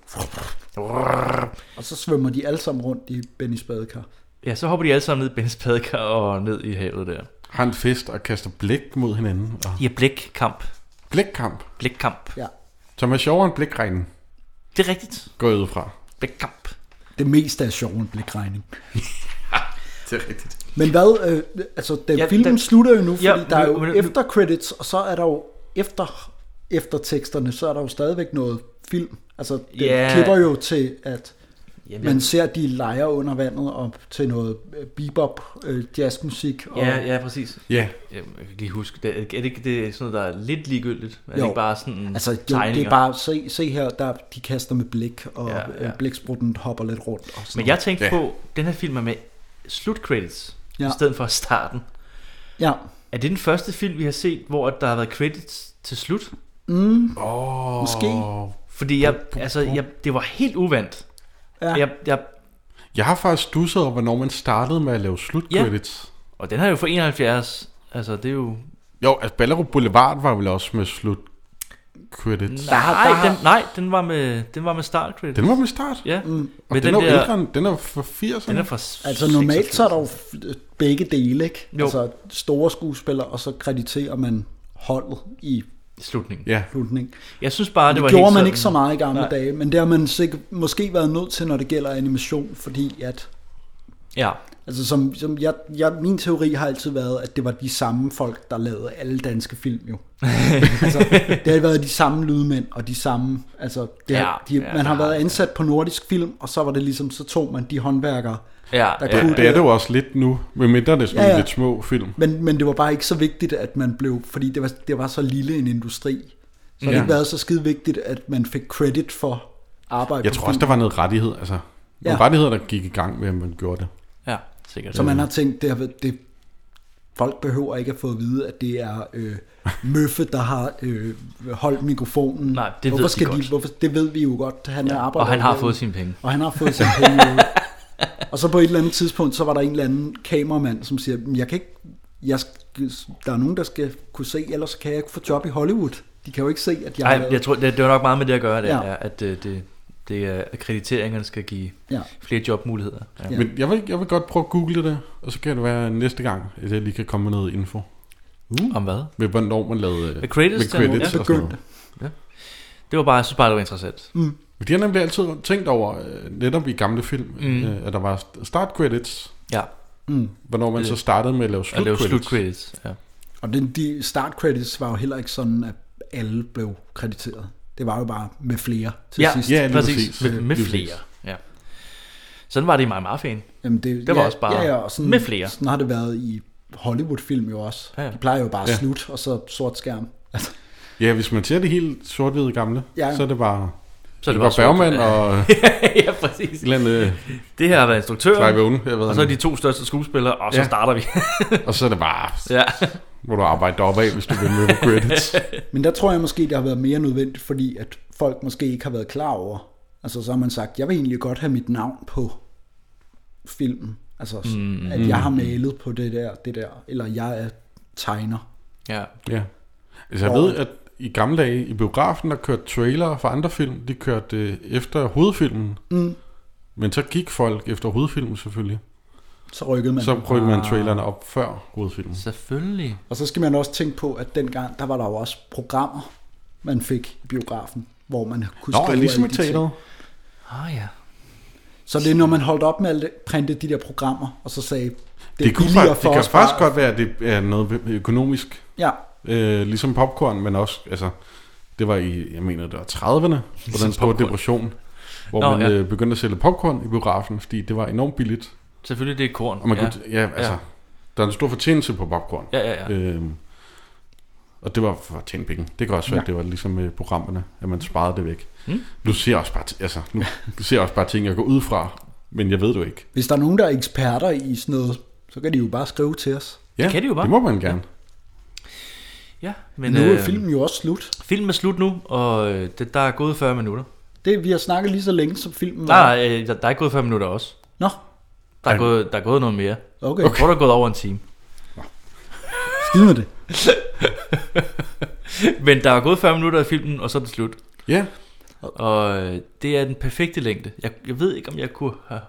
D: Og så svømmer de alle sammen rundt i Bennys badekar.
C: Ja, så hopper de alle sammen ned i Bens padkar og ned i havet der.
B: Har en fest og kaster blik mod hinanden. Og...
C: Ja, blikkamp.
B: Blikkamp.
C: Blikkamp.
D: Ja.
B: Som er sjovere end blikregnen.
C: Det er rigtigt.
B: Går jeg ud fra.
C: Blikkamp.
D: Det meste er sjovt en blikregning.
B: Det er rigtigt.
D: Men hvad, øh, altså den
C: Ja,
D: ja, filmen
C: den-
D: den, slutter jo nu, fordi
C: Ja,
D: ja, der er jo
C: men-
D: men,
C: men-
D: efter credits, og så er der jo efter efterteksterne, så er der jo stadigvæk noget film. Altså det
C: Ja.
D: yeah. klipper jo til, at
C: Jamen,
D: man
C: jeg-
D: ser, at de leger under vandet og til noget øh, bebop, øh, jazzmusik. Og,
C: Ja, ja, præcis.
B: Ja.
C: Jeg kan ikke lige huske, det, er det ikke det er sådan noget, der er lidt ligegyldigt? Er det
D: Jo.
C: ikke bare sådan
D: altså, jo, det
C: tegninger?
D: er bare, se, se her, der de kaster med blik, og
C: Ja,
D: ja,
C: ja.
D: ja. blæksprutten hopper lidt rundt. Og sådan
C: Men jeg
D: noget.
C: tænkte på, den her film er med slutcredits, ja.
D: Ja.
C: i stedet for starten.
D: Ja.
C: Er det den første film, vi har set, hvor at der har været credits til slut?
D: Mm.
B: Oh.
D: Måske.
C: Fordi jeg, altså, jeg, det var helt uvandt.
D: Ja.
C: Jeg, jeg,
B: Jeg har faktisk stusset over, hvornår man startede med at lave slutcredits.
C: og den er jo fra 71, altså det er jo...
B: Jo, altså Ballerup Boulevard var vel også med slutcredits.
C: Nej, der har... den, nej den, var med, den var med start credits.
B: Den var med start?
C: Ja.
D: Mm. Og
B: Og
C: Med
B: den, den,
C: den
B: er jo
C: der-
B: ældre, end- den er fra 80'erne.
C: Den er fra
D: Altså normalt så er der jo f- begge dele, ikke?
C: Jo.
D: Jo. Altså store skuespillere, og så krediterer man holdet i
C: slutningen.
B: Ja.
D: slutningen.
C: Jeg synes bare, det,
D: det
C: var
D: gjorde
C: helt
D: man
C: sådan-
D: ikke så meget i gamle
C: Nej.
D: Nej. dage, men det har man sikkert, måske været nødt til, når det gælder animation, fordi at,
C: Ja.
D: altså som, som jeg, jeg, min teori har altid været, at det var de samme folk, der lavede alle danske film jo. altså, det har været de samme lydmænd, og de samme, altså, det, ja, de,
C: Ja,
D: ja,
C: ja,
D: man har
C: det
D: været ansat på nordisk film, og så var det ligesom, så tog man de håndværkere,
C: Ja,
D: der
B: Ja, det er det jo også lidt nu, medmindre det er sådan ja, ja. lidt små film.
D: Men, men det var bare ikke så vigtigt, at man blev, fordi det var, det var så lille en industri. Så har det
B: Ja.
D: ikke været så skide vigtigt, at man fik credit for arbejde.
B: Jeg
D: på
B: tror også, der
D: filmen.
B: var noget rettighed, altså. Nogle
D: Ja.
B: rettigheder, der gik i gang med, at man gjorde det.
C: Ja, sikkert.
D: Så man har tænkt, det, har været- det folk behøver ikke at få at vide, at det er øh, Møffe, der har øh, holdt mikrofonen. Nej,
C: det ved
D: hvorfor
C: de
D: skal
C: godt.
D: hvorfor, det ved vi jo godt. Han ja,
C: og han har fået sine penge.
D: Og han har fået sine penge. jo. og så på et eller andet tidspunkt, så var der en eller anden kameramand, som siger, "Men jeg kan ikke, jeg, skal- der er nogen, der skal kunne se, ellers kan jeg ikke få job i Hollywood. De kan jo ikke se, at jeg har
C: Nej,
D: lavet-
C: jeg tror, det, det var nok meget med det at gøre, det
D: Ja.
C: ja. er, at øh, det, det er, at krediteringerne skal give
D: Ja.
C: ja. flere jobmuligheder. Ja.
B: Ja. Men jeg vil, jeg vil godt prøve at google det, og så kan det være næste gang, at jeg lige kan komme med noget info.
C: Om hvad?
B: Med hvornår man lavede...
C: Med credits,
B: med credits
C: ja.
B: og sådan noget.
C: Ja. Det var bare, jeg synes bare, det var interessant.
D: Mm.
B: Men de har nemlig altid tænkt over, øh, netop i gamle film,
C: Mm.
B: mm. at der var start credits.
C: Ja.
D: Mm.
B: Hvornår man
C: Øh,
B: så startede med at lave
C: at
B: slut
C: lave
B: credits.
C: slutcredits. Ja.
D: Og den, de start credits var jo heller ikke sådan, at alle blev krediteret. Det var jo bare med flere til
C: ja,
D: sidst.
C: Ja, lige præcis. Med, med
D: Lige
C: flere. Ja. Sådan var det i My Mafiaen.
D: Jamen det,
C: det var
D: ja,
C: også bare
D: ja, ja, og sådan,
C: med flere.
D: Sådan har det været i Hollywood-film jo også.
C: Ja, ja.
D: De plejer jo bare at
B: Ja.
D: slut, og så sort skærm. Altså,
B: Ja, hvis man ser det helt sort-hvide gamle,
D: Ja.
B: ja. så er det bare...
C: Så er det
B: var
C: bare sort.
B: Bergman og...
C: ja, præcis.
B: Et eller andet, øh,
C: Det her har været instruktøren,
B: Clive Owen, jeg ved
C: og så er
B: ikke.
C: de to største skuespillere, og så
B: Ja.
C: starter vi.
B: og så er det bare...
C: Ja.
B: Må du arbejde dig af, hvis du vil med på credits.
D: Men der tror jeg måske, det har været mere nødvendigt, fordi at folk måske ikke har været klar over. Altså så har man sagt, jeg vil egentlig godt have mit navn på filmen. Altså
B: Mm.
D: mm, at jeg har malet på det der, det der, eller jeg er tegner.
C: Ja.
B: Ja. Altså, jeg
D: Og-
B: ved, at i gamle dage i biografen og kørte trailer for andre film. De kørte øh, efter hovedfilmen.
D: Mm.
B: Men så gik folk efter hovedfilmen selvfølgelig.
D: Så rykkede man.
B: Så rykkede man
D: Ah.
B: trailerne op før hovedfilmen.
C: Selvfølgelig.
D: Og så skal man også tænke på, at dengang, der var der jo også programmer, man fik i biografen, hvor man kunne
B: Nå,
D: skrive
B: ligesom
D: alle
B: i
D: de ting.
B: teateret.
C: Ah ja.
D: Så det er, når man holdt op med at printe de der programmer, og så sagde, det
B: Det,
D: er
B: kunne,
D: billigere
B: faktisk,
D: for
B: det kan
D: os bare-
B: faktisk godt være, at det er noget økonomisk.
D: Ja.
B: Øh, ligesom popcorn, men også, altså, det var i, jeg mener, det var 30'erne, på,
C: Ligesom
B: den, på
C: popcorn.
B: depression, hvor
C: Nå,
B: Nå, man
C: ja.
B: ja. øh, begyndte at sælge popcorn i biografen, fordi det var enormt billigt.
C: Selvfølgelig, det er korn.
B: Og man
C: Ja.
B: ja. Kunne, ja, altså,
C: Ja.
B: ja. der er en stor fortjeneste på popcorn.
C: Ja, ja, ja.
B: Øhm, og det var for at tjene penge. Det kan også være,
C: Ja.
B: ja. det var ligesom med programmerne, at man sparede det væk.
C: Mm.
B: Nu ser jeg også bare, t- altså, nu ser jeg også bare ting, jeg går ud fra, men jeg ved det jo ikke.
D: Hvis der er nogen, der er eksperter i sådan noget, så kan de jo bare skrive til os.
B: Ja, Det kan de jo bare. det må man gerne.
C: Ja,
D: Men, nu
C: øh,
D: er filmen jo også slut.
C: Filmen er slut nu, og øh, det, der er gået 40 minutter.
D: Det, vi har snakket lige så længe, som filmen
C: Der
D: var.
C: er, øh, der, der er gået 5 minutter også.
D: Nå.
C: Der er, gået, der er gået noget mere.
D: Okay.
C: Jeg tror, der er gået over en time.
D: Skid med det.
C: Men der er gået 40 minutter af filmen, og så er det slut.
B: Ja.
C: Og øh, det er den perfekte længde. Jeg, jeg ved ikke, om jeg kunne have...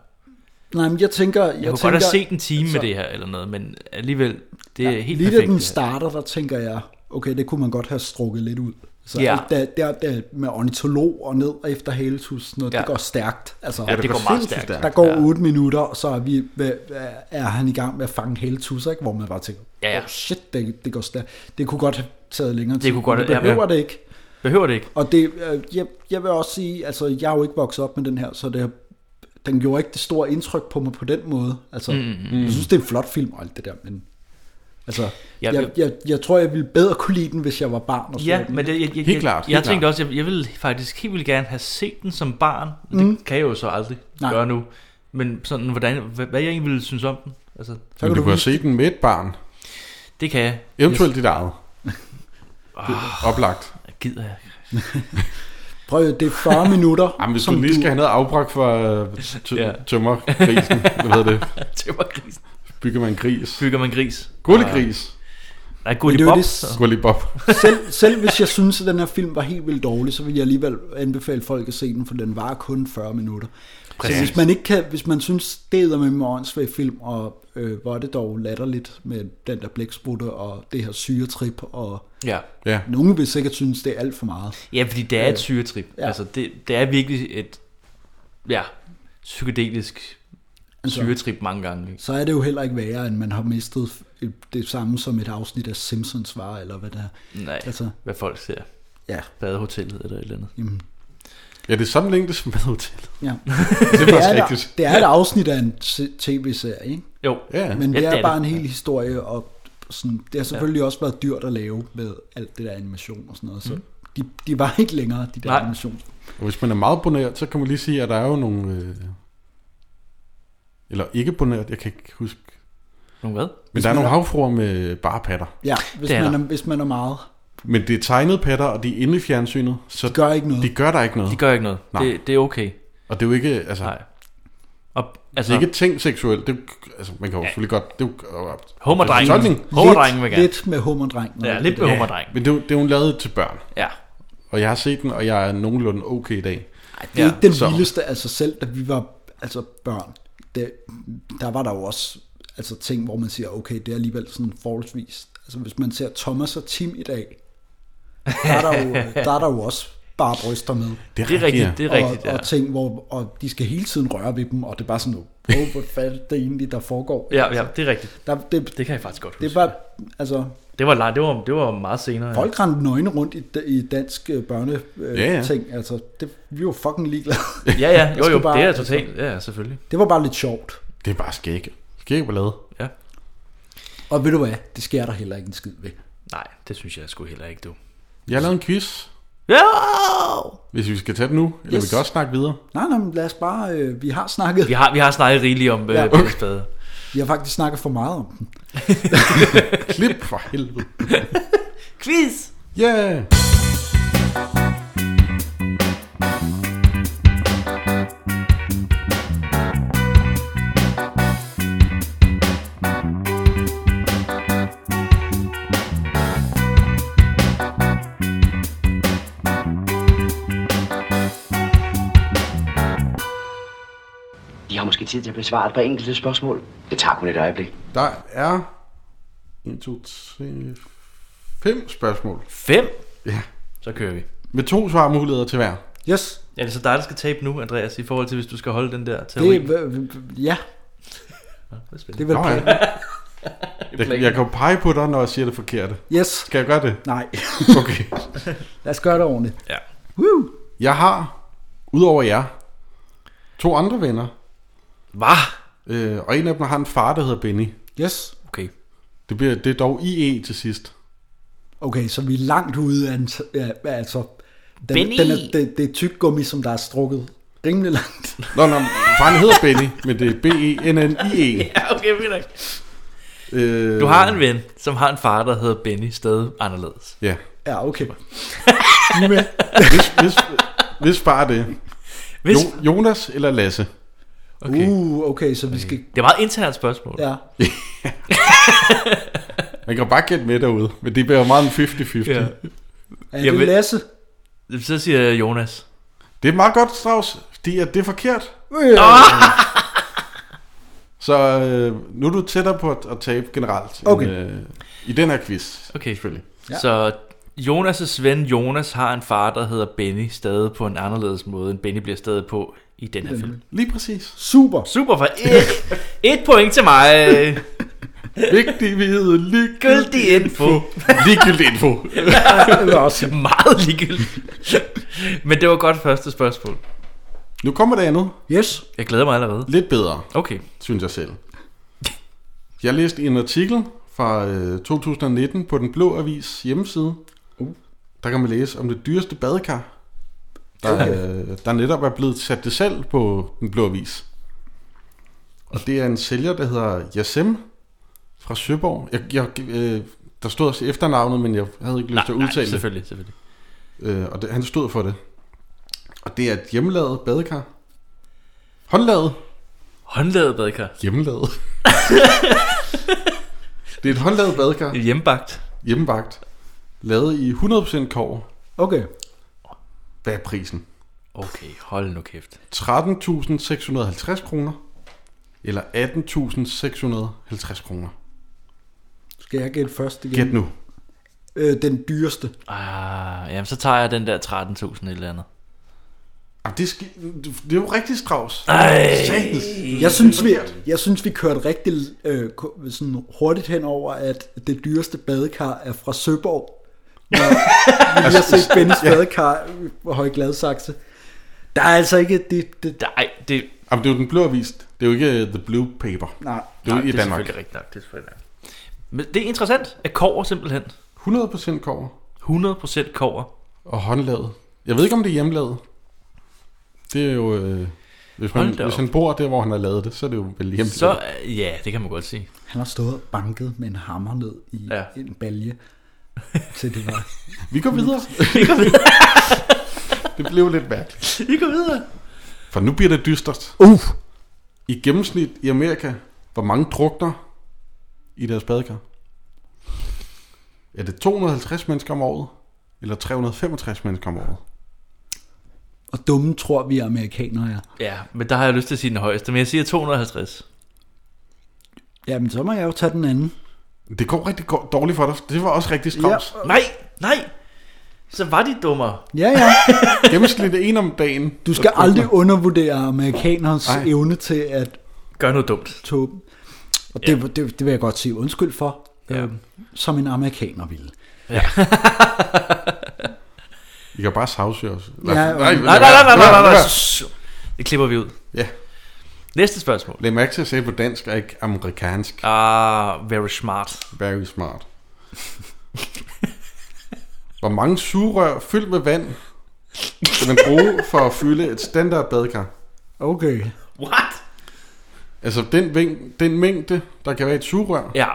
D: Nej, men jeg tænker... Jeg,
C: Jeg, jeg kunne
D: tænker,
C: godt have set en time altså, med det her, eller noget, men alligevel, det er ja, helt
D: Lige
C: perfekt.
D: da den starter, der tænker jeg, okay, det kunne man godt have strukket lidt ud. Så
C: Ja.
D: ja. alt der, der, der med ornitolog og ned og efter Haletus, noget, ja. det går stærkt. Altså,
C: Ja, det går meget
D: sindssygt
C: stærkt.
D: Der går ja. 8 minutter, og så er, vi, hvad, hvad- er han i gang med at fange Haletus, ikke? hvor man bare tænker,
C: Ja, ja.
D: Oh, shit, det, det går stærkt. Det kunne godt have taget længere
C: Det
D: tid,
C: kunne godt-
D: men
C: ja,
D: det behøver
C: ja.
D: det ikke.
C: Behøver det ikke.
D: Og det, øh, jeg, jeg vil også sige, altså jeg er jo ikke vokset op med den her, så det, har- den gjorde ikke det store indtryk på mig på den måde. Altså,
C: Mm.
D: mm. jeg synes, det er en flot film og alt det der, men altså,
C: Jeg-
D: jeg, jeg, jeg, jeg tror, jeg ville bedre kunne lide den, hvis jeg var barn og så
C: Ja,
D: den.
C: men det, jeg, jeg, jeg, jeg, jeg tænkte også, jeg, jeg ville faktisk helt vildt gerne have set den som barn. Det
D: Mm.
C: kan jeg jo så aldrig Nej.
D: Nej.
C: gøre nu. Men sådan, hvordan, hvad, hvad jeg egentlig ville synes om den. Altså,
B: Men du kunne have set den med et barn.
C: Det kan jeg.
B: Eventuelt dit eget. Det er oplagt.
C: Gider jeg.
D: Prøv at- det er 40 minutter.
B: Jamen, hvis du
D: som
B: lige skal have noget afbræk for uh,
C: Ja.
B: t- tømmergrisen, hvad hedder det?
C: Tømmergrisen.
B: Bygger man gris.
C: Bygger man gris.
B: Gullegris.
C: Nej,
D: Men det er jo
C: Gullibob.
D: det-
B: Gullibob.
D: selv, selv hvis jeg synes, at den her film var helt vildt dårlig, så vil jeg alligevel anbefale folk at se den, for den var kun 40 minutter.
C: Præcis.
D: Så hvis man, ikke kan, hvis man synes, det er med en åndssvag film, og øh, hvor er det dog latterligt med den der blæksprutte og det her syretrip, og
C: Ja.
B: Ja.
D: nogen vil sikkert synes, det er alt for meget.
C: Ja, fordi det er
D: Øh,
C: et syretrip. Ja.
D: ja.
C: Altså, det, det er virkelig et ja, psykedelisk
D: Altså,
C: syretrip mange gange. ikke?
D: Så er det jo heller ikke værre, end man har mistet det samme som et afsnit af Simpsons var, eller hvad det er.
C: Nej, altså, hvad folk ser.
D: Ja.
C: Badehotellet eller et eller andet.
D: Jamen.
B: Ja, det er samme længde som badehotellet.
D: Ja.
B: det er faktisk
D: et-
B: rigtigt.
D: det er et afsnit af en t- tv-serie, ikke?
C: Jo.
B: Ja.
D: Men
B: Ja,
D: det
B: det er
D: er bare en
B: det.
D: hel historie, og sådan, det har selvfølgelig ja. også været dyrt at lave med alt det der animation og sådan noget, så
B: Mm.
D: mm. de, de var ikke længere, de der
B: Nej.
D: Nej. animation.
B: Og hvis man er meget bonært, så kan man lige sige, at der er jo nogle... Øh, eller ikke bonært, jeg kan ikke huske.
C: Nogle hvad?
B: Men der er nogle havfruer med bare patter.
D: Ja, hvis,
B: Det er
D: man
B: der.
D: er, hvis man er meget.
B: Men det er tegnede patter, og de er inde i fjernsynet. Så de
D: gør ikke noget.
B: De gør der ikke noget.
C: De gør ikke noget.
B: Nej.
C: Det, det er okay.
B: Og det er jo ikke... Altså,
C: Nej. Og,
B: altså,
C: altså-
B: det er ikke tænkt seksuelt. Det, er jo- altså, man kan jo selvfølgelig godt... Det er jo,
C: Hummerdrengen.
B: det er fortolkning.
C: Hummerdrengen vil gerne.
D: Lidt med hummerdrengen.
C: Ja, lidt med hummerdrengen.
B: Men det, er jo- det er jo lavet til børn.
C: Ja.
B: Og jeg har set den, og jeg er nogenlunde okay i dag.
D: Ej, Det er ja. ikke den så. vildeste, altså selv da vi var altså børn, det, der var der jo også altså ting, hvor man siger, okay, det er alligevel sådan forholdsvis. Altså hvis man ser Thomas og Tim i dag, der er der jo, der er der jo også bare bryster med.
B: Det er Det er rigtigt, rigtigt, det er
D: og,
B: rigtigt, ja.
D: Og ting, hvor og de skal hele tiden røre ved dem, og det er bare sådan, oh, hvor fanden er det egentlig, der foregår?
C: Ja, ja, det er rigtigt.
D: Der, det,
C: det kan jeg faktisk godt
D: Det var, altså,
C: Det var, la- det var, det var meget senere.
D: folk rendte nøgne rundt i, i dansk øh, børne øh,
C: Ja,
D: ja,
C: ja.
D: ja. ting. Altså, det, vi var fucking ligeglade.
C: Ja, ja,
D: Der
C: jo, jo,
D: skulle
C: det er
D: altså-
C: totalt, ja, selvfølgelig.
D: Det var bare lidt sjovt.
B: Det er bare skæg. Skæg ballade.
C: Ja.
D: Og ved du hvad, det sker der heller ikke en skid ved.
C: Nej, det synes jeg sgu heller ikke, du.
B: Jeg har lavet en quiz,
C: Ja!
B: hvis vi skal tage den nu. Eller yes. vi
D: Yes.
B: kan også snakke videre.
D: Nej, nej, men lad os bare, øh, vi har snakket.
C: Vi har, vi har snakket rigeligt om ja.
D: Ja.
C: øh, bælgespader.
D: Vi har faktisk snakket for meget om den.
B: Klip for helvede.
C: Quiz!
B: Yeah!
N: har måske tid til at besvare et par enkelte spørgsmål. Det tager kun et øjeblik.
B: Der er 1, 2, 3, 5 spørgsmål.
C: 5?
B: Ja.
C: Så kører vi.
B: Med to svarmuligheder til hver.
D: Yes.
C: Er det så dig, der skal tabe nu, Andreas, i forhold til, hvis du skal holde den der teori?
D: Det, er- ja. Det er vel
B: Nå, ja.
D: planen.
B: Jeg, jeg kan jo pege på dig, når jeg siger det forkerte.
D: Yes.
B: Skal jeg gøre det?
D: Nej.
B: Okay.
D: Lad os gøre det ordentligt.
C: Ja.
D: Woo!
B: Jeg har, udover jer, to andre venner.
C: Hvad?
B: Øh, og en af dem har en far, der hedder Benny.
D: Yes.
C: Okay.
B: Det, bliver, det er dog IE til sidst.
D: Okay, så vi er langt ude af... en t- Ja, altså, den,
B: Benny!
D: Den er, det, det er tyk gummi, som der er strukket rimelig langt.
B: Nå, nå, faren hedder Benny, men det er E B-E-N-N-I-E.
C: Ja, okay, fint nok.
B: Øh,
C: Du har en ven, som har en far, der hedder Benny, stadig anderledes.
B: Ja.
D: Ja, okay.
B: hvis, hvis, hvis far er det. Hvis... Jo, Jonas eller Lasse?
D: Okay. Uh, okay, så vi skal...
C: Det er meget internt spørgsmål.
D: Ja.
B: Man kan jo bare gætte med derude, men det bliver jo meget en 50-50.
C: Ja.
B: Ja.
D: Er det Lasse?
C: Så siger jeg Jonas.
B: Det er meget godt, Strauss, fordi at det er forkert.
D: Øh.
B: Så øh, nu er du tættere på at, at tabe generelt
D: Okay.
B: end, øh, i den her quiz.
C: Okay.
B: Selvfølgelig.
C: Ja. Så Jonas' ven Jonas har en far, der hedder Benny, stadig på en anderledes måde, end Benny bliver stadig på i den her
B: Den-
C: film.
B: Lige præcis.
D: Super.
C: Super for et, et point til mig.
B: Vigtig viden,
C: ligegyldig info.
B: ligegyldig info.
D: det var også
C: meget ligegyldigt. Men det var godt første spørgsmål.
B: Nu kommer det andet.
D: Yes.
C: Jeg glæder mig allerede.
B: Lidt bedre.
C: Okay.
B: Synes jeg selv. Jeg læste en artikel fra øh, 2019 på Den Blå Avis hjemmeside.
D: Uh.
B: Der kan man læse om det dyreste badekar, der,
D: Okay.
B: øh, der netop er blevet sat til salg på Den Blå Avis. Og det er en sælger, der hedder Jasem fra Søborg. Jeg, jeg, øh, der stod også efternavnet, men jeg havde ikke lyst
C: Nej,
B: til at
C: nej,
B: udtale det.
C: selvfølgelig, selvfølgelig.
B: Øh, og det, han stod for det. Og det er et hjemmelavet badekar. Håndlavet.
C: Håndlavet badekar.
B: Hjemmelavet. det er et håndlavet badekar. Et
C: hjemmebagt.
B: Hjemmebagt. Lavet i 100% kover.
D: Okay.
B: Hvad er prisen?
C: Okay, hold nu kæft.
B: 13.650 kroner. Eller 18.650 kroner.
D: Skal jeg gætte først igen?
B: Gæt nu.
D: Øh, den dyreste.
C: Ah, jamen, så tager jeg den der 13.000 et eller andet.
B: Jamen, det, skal, det er jo rigtig straus.
C: Ej.
B: Satans.
D: Jeg synes, vi, jeg synes, vi kørte rigtig øh, ko- sådan hurtigt hen over, at det dyreste badekar er fra Søborg. Når vi lige har set Bens
B: Altså, Ja.
D: badekar på Højgladsaxe. Der er altså ikke... Det, det,
C: Nej, det...
B: Jamen, det er jo den blå avis. Det er jo ikke øh, The Blue Paper.
D: Nej.
B: Det er jo
C: Nej,
B: ikke i
C: det er
B: Danmark.
C: selvfølgelig rigtigt nok. Det er selvfølgelig rigtigt. Men det er interessant, at kover simpelthen.
B: 100% kover.
C: 100% kover.
B: Og håndlavet. Jeg ved ikke, om det er hjemmelavet. Det er jo... Øh, hvis, man,
C: Hold da
B: hvis
C: op.
B: han bor der, hvor han har lavet det, så er det jo vel hjemmelavet.
C: Så, øh, ja, det kan man godt sige.
D: Han har stået og banket med en hammer ned i ja. en balje. Så det var...
B: Vi går videre.
C: Vi går videre.
B: det blev lidt mærkeligt.
C: Vi går videre.
B: For nu bliver det dystert.
D: Uh.
B: I gennemsnit i Amerika, hvor mange drukner i deres badekar? Er det 250 mennesker om året? Eller 365 mennesker om året?
D: Og dumme tror vi amerikanere er.
C: Ja, men der har jeg lyst til at sige den højeste, men jeg siger 250.
D: Jamen, så må jeg jo tage den anden.
B: Det går rigtig go- dårligt for dig. Det var også rigtig stramt.
D: Ja.
C: Nej, nej. Så var de dummere.
D: Ja, ja.
B: Gennemsnit er en om dagen.
D: Du skal
B: Der drukner.
D: aldrig undervurdere amerikanernes
B: Ej.
D: evne til at...
C: Gøre noget dumt.
D: Tåbe. Og det, det, det vil jeg godt sige undskyld for, ja. øh, som en amerikaner ville.
C: Ja.
B: I kan bare savse os.
D: Ja, ja.
C: Nej, nej, nej, nej, nej, nej, nej. Shh. Det klipper vi ud.
B: Ja.
C: Næste spørgsmål.
B: Læg mærke til at sige på dansk og ikke amerikansk.
C: Ah, very smart.
B: Very smart. Hvor mange sugerør fyldt med vand skal man bruge for at fylde et standard badekar?
D: Okay.
C: What?
B: Altså den, ving, den mængde, der kan være i et sugerør,
C: Ja.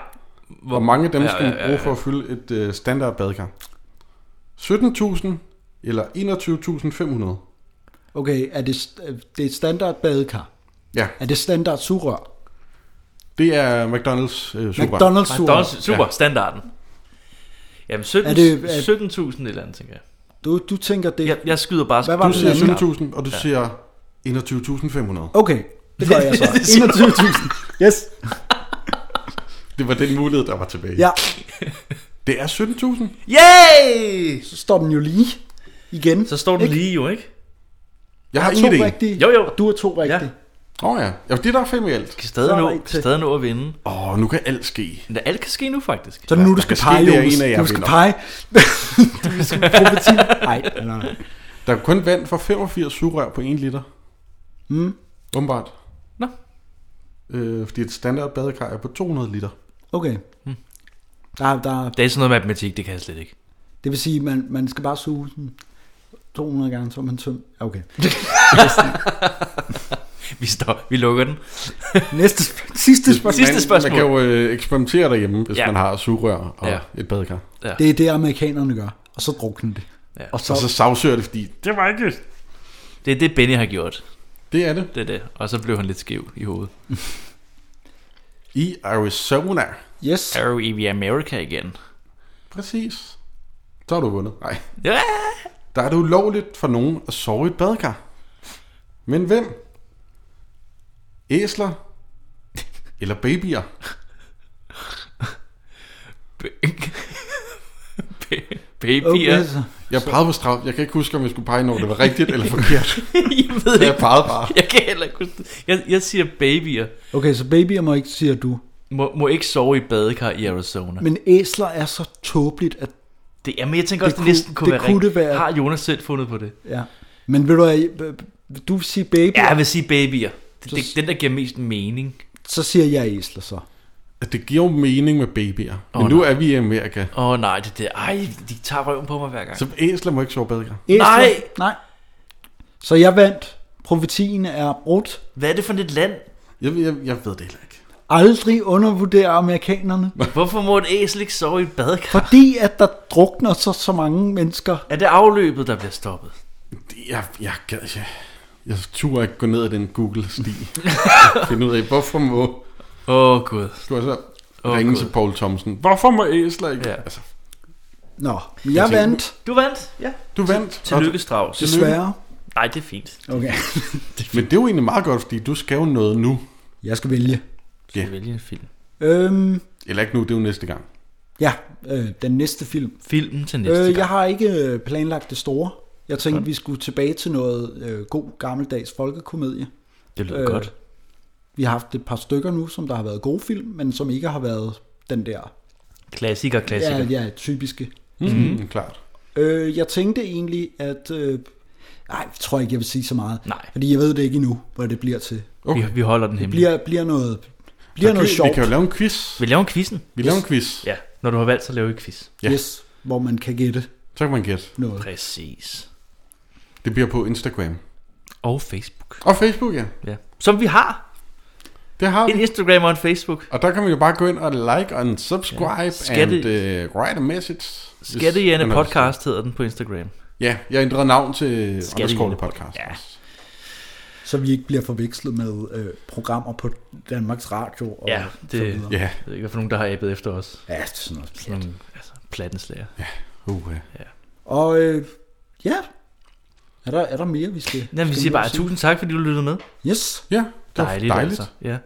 B: hvor, hvor mange af dem
C: Ja,
B: skal
C: ja,
B: man
C: ja,
B: bruge
C: ja.
B: for at fylde et øh, standard badekar? 17.000 eller 21.500?
D: Okay, er det, st- øh, det er et standard badekar?
B: Ja.
D: Er det standard sugerør?
B: Det er McDonald's øh, sugerør.
D: McDonald's sugerør.
C: McDonald's, super, ja. standarden. Jamen 17.000
D: Er
C: 17,
D: det- er-
C: 17.000 et eller andet, tænker jeg.
D: Du, du tænker det...
C: Jeg, jeg skyder bare...
D: Hvad var
B: Du
D: den
B: siger
D: anden?
B: 17.000, og du siger 21.500.
D: Okay, Det gør jeg så.
B: Det siger du.
D: 21.000. Yes.
B: Det var den mulighed, der var tilbage.
D: Ja.
B: Det er 17.000.
C: Yay!
D: Så står den jo lige igen. Så
C: står den ikke? lige jo, ikke?
B: Jeg har
D: to
B: ingen idé.
D: rigtige. Jo, jo. Du har to rigtige.
B: Åh oh, ja. ja, det er der er fem i alt.
C: Kan stadig, nå, stadig nå at vinde.
B: Åh, oh, nu kan alt ske.
C: Men alt kan ske nu, faktisk.
D: Så er det nu, du
B: Der
D: skal
B: kan
D: pege,
B: ske, det er
D: Jonas.
B: en af jer
D: Du skal
B: vinder.
D: pege. du skal profetere. Nej, nej, nej.
B: Der er kun vand for 85 sugerør på 1 liter.
D: Mm.
B: Umiddelbart.
C: Nå.
B: Øh, fordi et standard badekar er på 200 liter.
D: Okay.
C: Hmm.
D: Der, der,
C: Det er sådan noget matematik, det kan jeg slet ikke.
D: det vil sige, at man, man skal bare suge sådan 200 gange, så er man tømt. Ja, Okay.
C: Vi, står, vi lukker den.
D: Næste, sp- sidste spørgsmål.
C: Sidste spørgsmål.
B: Man kan jo øh, eksperimentere derhjemme, hvis
C: Ja.
B: ja. man har sugerør og
C: Ja.
B: ja. et badekar.
C: Ja.
D: Det er det, amerikanerne gør. Og så drukner det.
C: Ja.
B: Og så, og så sagsøger det, fordi
C: Det var ikke... Det er det, Benny har gjort.
B: Det er det.
C: Det er det. Og så blev han lidt skæv i hovedet.
B: i Arizona.
D: Yes.
C: Er jo i America igen.
B: Præcis. Så har du vundet. Nej.
C: Ja!
B: Der er det ulovligt for nogen at sove i et badekar. Men hvem? Æsler? Eller babyer?
C: Babyer.
B: Okay, så. jeg pegede på straf. Jeg kan ikke huske, om jeg skulle pege, når det var rigtigt eller forkert.
C: jeg ved
B: Så jeg
C: ikke.
B: pegede bare.
C: Jeg kan heller ikke huske det. jeg, jeg siger babyer.
D: Okay, så babyer må ikke, siger du.
C: Må, må ikke sove i badekar i Arizona.
D: Men æsler er så tåbeligt, at...
C: Det, jamen, jeg tænker også,
D: Det
C: det
D: kunne-
C: næsten kunne,
D: det
C: være
D: kunne
C: rigtigt.
D: det være.
C: Har Jonas selv fundet på det?
D: Ja. Men vil du, have- vil du sige babyer?
C: Ja, jeg vil sige babyer. Det, det, den, der giver mest mening.
D: Så siger jeg æsler så.
B: Det giver jo mening med babyer. Men
C: Åh,
B: oh, nu er vi i Amerika.
C: Åh oh, nej, det der. Ej, de tager røven på mig hver gang.
B: Så æsler må ikke sove i badekar.
D: Æsler?
C: Nej!
D: Nej. Så jeg vandt. Profetien er brudt.
C: Hvad er det for et land?
B: Jeg, jeg, jeg ved det heller ikke.
D: Aldrig undervurdere amerikanerne.
C: Hvorfor må et æsel ikke sove i et badekar?
D: Fordi at der drukner så, så mange mennesker.
C: Er det afløbet, der bliver stoppet?
B: Det- Jeg, jeg, jeg, jeg, jeg turde ikke gå ned ad den Google-sti. Finde ud af, hvorfor må...
C: Åh, oh, Gud.
B: Du har så
C: Åh,
B: oh, ringe
C: Gud.
B: til Paul Thomsen. Hvorfor må æsler ikke...
C: Ja.
B: Altså,
D: Nå, men jeg
B: tænker-
D: vandt.
C: Du vandt, ja.
B: du vandt.
C: Tillykke, Strauss.
D: Desværre.
C: Nej, det er fint.
D: Okay.
B: Men det er jo egentlig meget godt, fordi du skal jo noget nu.
D: Jeg skal vælge.
C: Du yeah. vælge en film.
D: Øhm,
B: Eller ikke nu, det er jo næste gang.
D: ja, øh, den næste film.
C: Filmen til næste
D: Øh,
C: øh,
D: jeg
C: gang.
D: har ikke øh, planlagt det store. Jeg tænkte, vi skulle tilbage til noget øh, god gammeldags folkekomedie.
C: Det lyder øh. godt.
D: Vi har haft et par stykker nu, som der har været gode film, men som ikke har været den der
C: Klassiker, klassiker.
D: ja, ja, typiske.
C: Mhm.
B: Mm-hmm. Klart.
D: Øh, jeg tænkte egentlig, at... Øh, nej, jeg tror ikke, jeg vil sige så meget.
C: Nej. Mm.
D: Fordi jeg ved det ikke endnu, hvad det bliver til.
B: Okay.
C: Vi, vi holder den
D: Det
C: hemmelig.
D: bliver, bliver noget, bliver
B: Så
D: noget
B: kan-
D: sjovt.
B: Vi kan jo lave en quiz.
C: Vi laver en quizzen.
B: Vi laver en quiz.
C: Ja, når du har valgt, så laver vi quiz.
B: Ja.
D: Yes, hvor man kan gætte
B: Så kan man gætte.
D: noget.
C: Præcis.
B: Det bliver på Instagram.
C: Og Facebook.
B: Og Facebook, ja.
C: Ja. Som vi har.
B: Det har
C: En
B: vi.
C: Instagram og en Facebook.
B: Og der kan man jo bare gå ind og like og subscribe ja.
C: Skatte-
B: and uh, write a message. hvis
C: Skattejerne
B: man har lyst til.
C: podcast hedder den på Instagram.
B: Ja, jeg ændrede navn til
C: Skattejerne
B: Underskålet Podcast.
C: Ja.
D: Så vi ikke bliver forvekslet med øh, programmer på Danmarks Radio og
C: Ja,
D: så
C: det-
D: videre.
B: Ja,
C: Jeg ved ikke, hvad for nogen, der har abet efter os.
D: Ja, det er sådan noget.
C: Sådan nogle altså, plattenslager.
B: uh,
D: Og øh, ja, er der, er der mere, vi skal...
C: Ja, vi
D: skal
C: siger
D: nå at
C: bare
D: sige?
C: tusind tak, fordi du lyttede med.
D: Yes.
B: ja det var
C: Dejligt, dejligt. altså. Ja.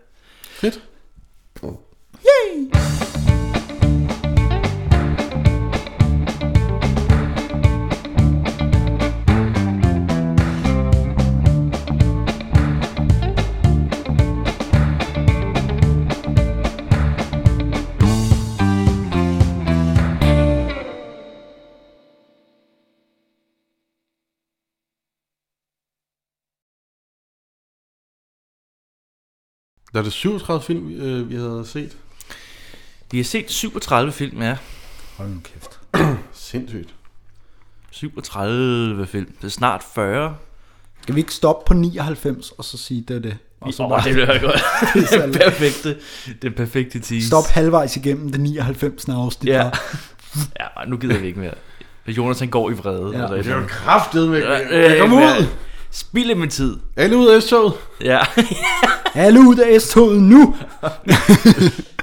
B: Fedt. Der er det 37 film, vi, øh, vi havde set.
C: Vi har set 37 film, ja.
D: Hold nu kæft.
B: Sindssygt.
C: 37 film. Det er snart 40.
D: Skal vi ikke stoppe på 99 og så sige, det er det? Og så
C: Åh, oh, det bliver godt.
D: Pisse
C: den
D: alle.
C: perfekte, den perfekte tease.
D: Stop halvvejs igennem det 99. afsnit.
C: Ja.
D: var.
C: Ja, nej, nu gider vi ikke mere. Jonas han går i vrede.
D: Ja.
C: Ja. Eller
B: Det er jo
C: et
B: kraftet med.
C: øh,
B: Kom
C: hvad-
B: ud!
C: Spilde min tid.
B: Alle ud af S-toget.
C: Ja.
D: Alle ud af S-toget nu!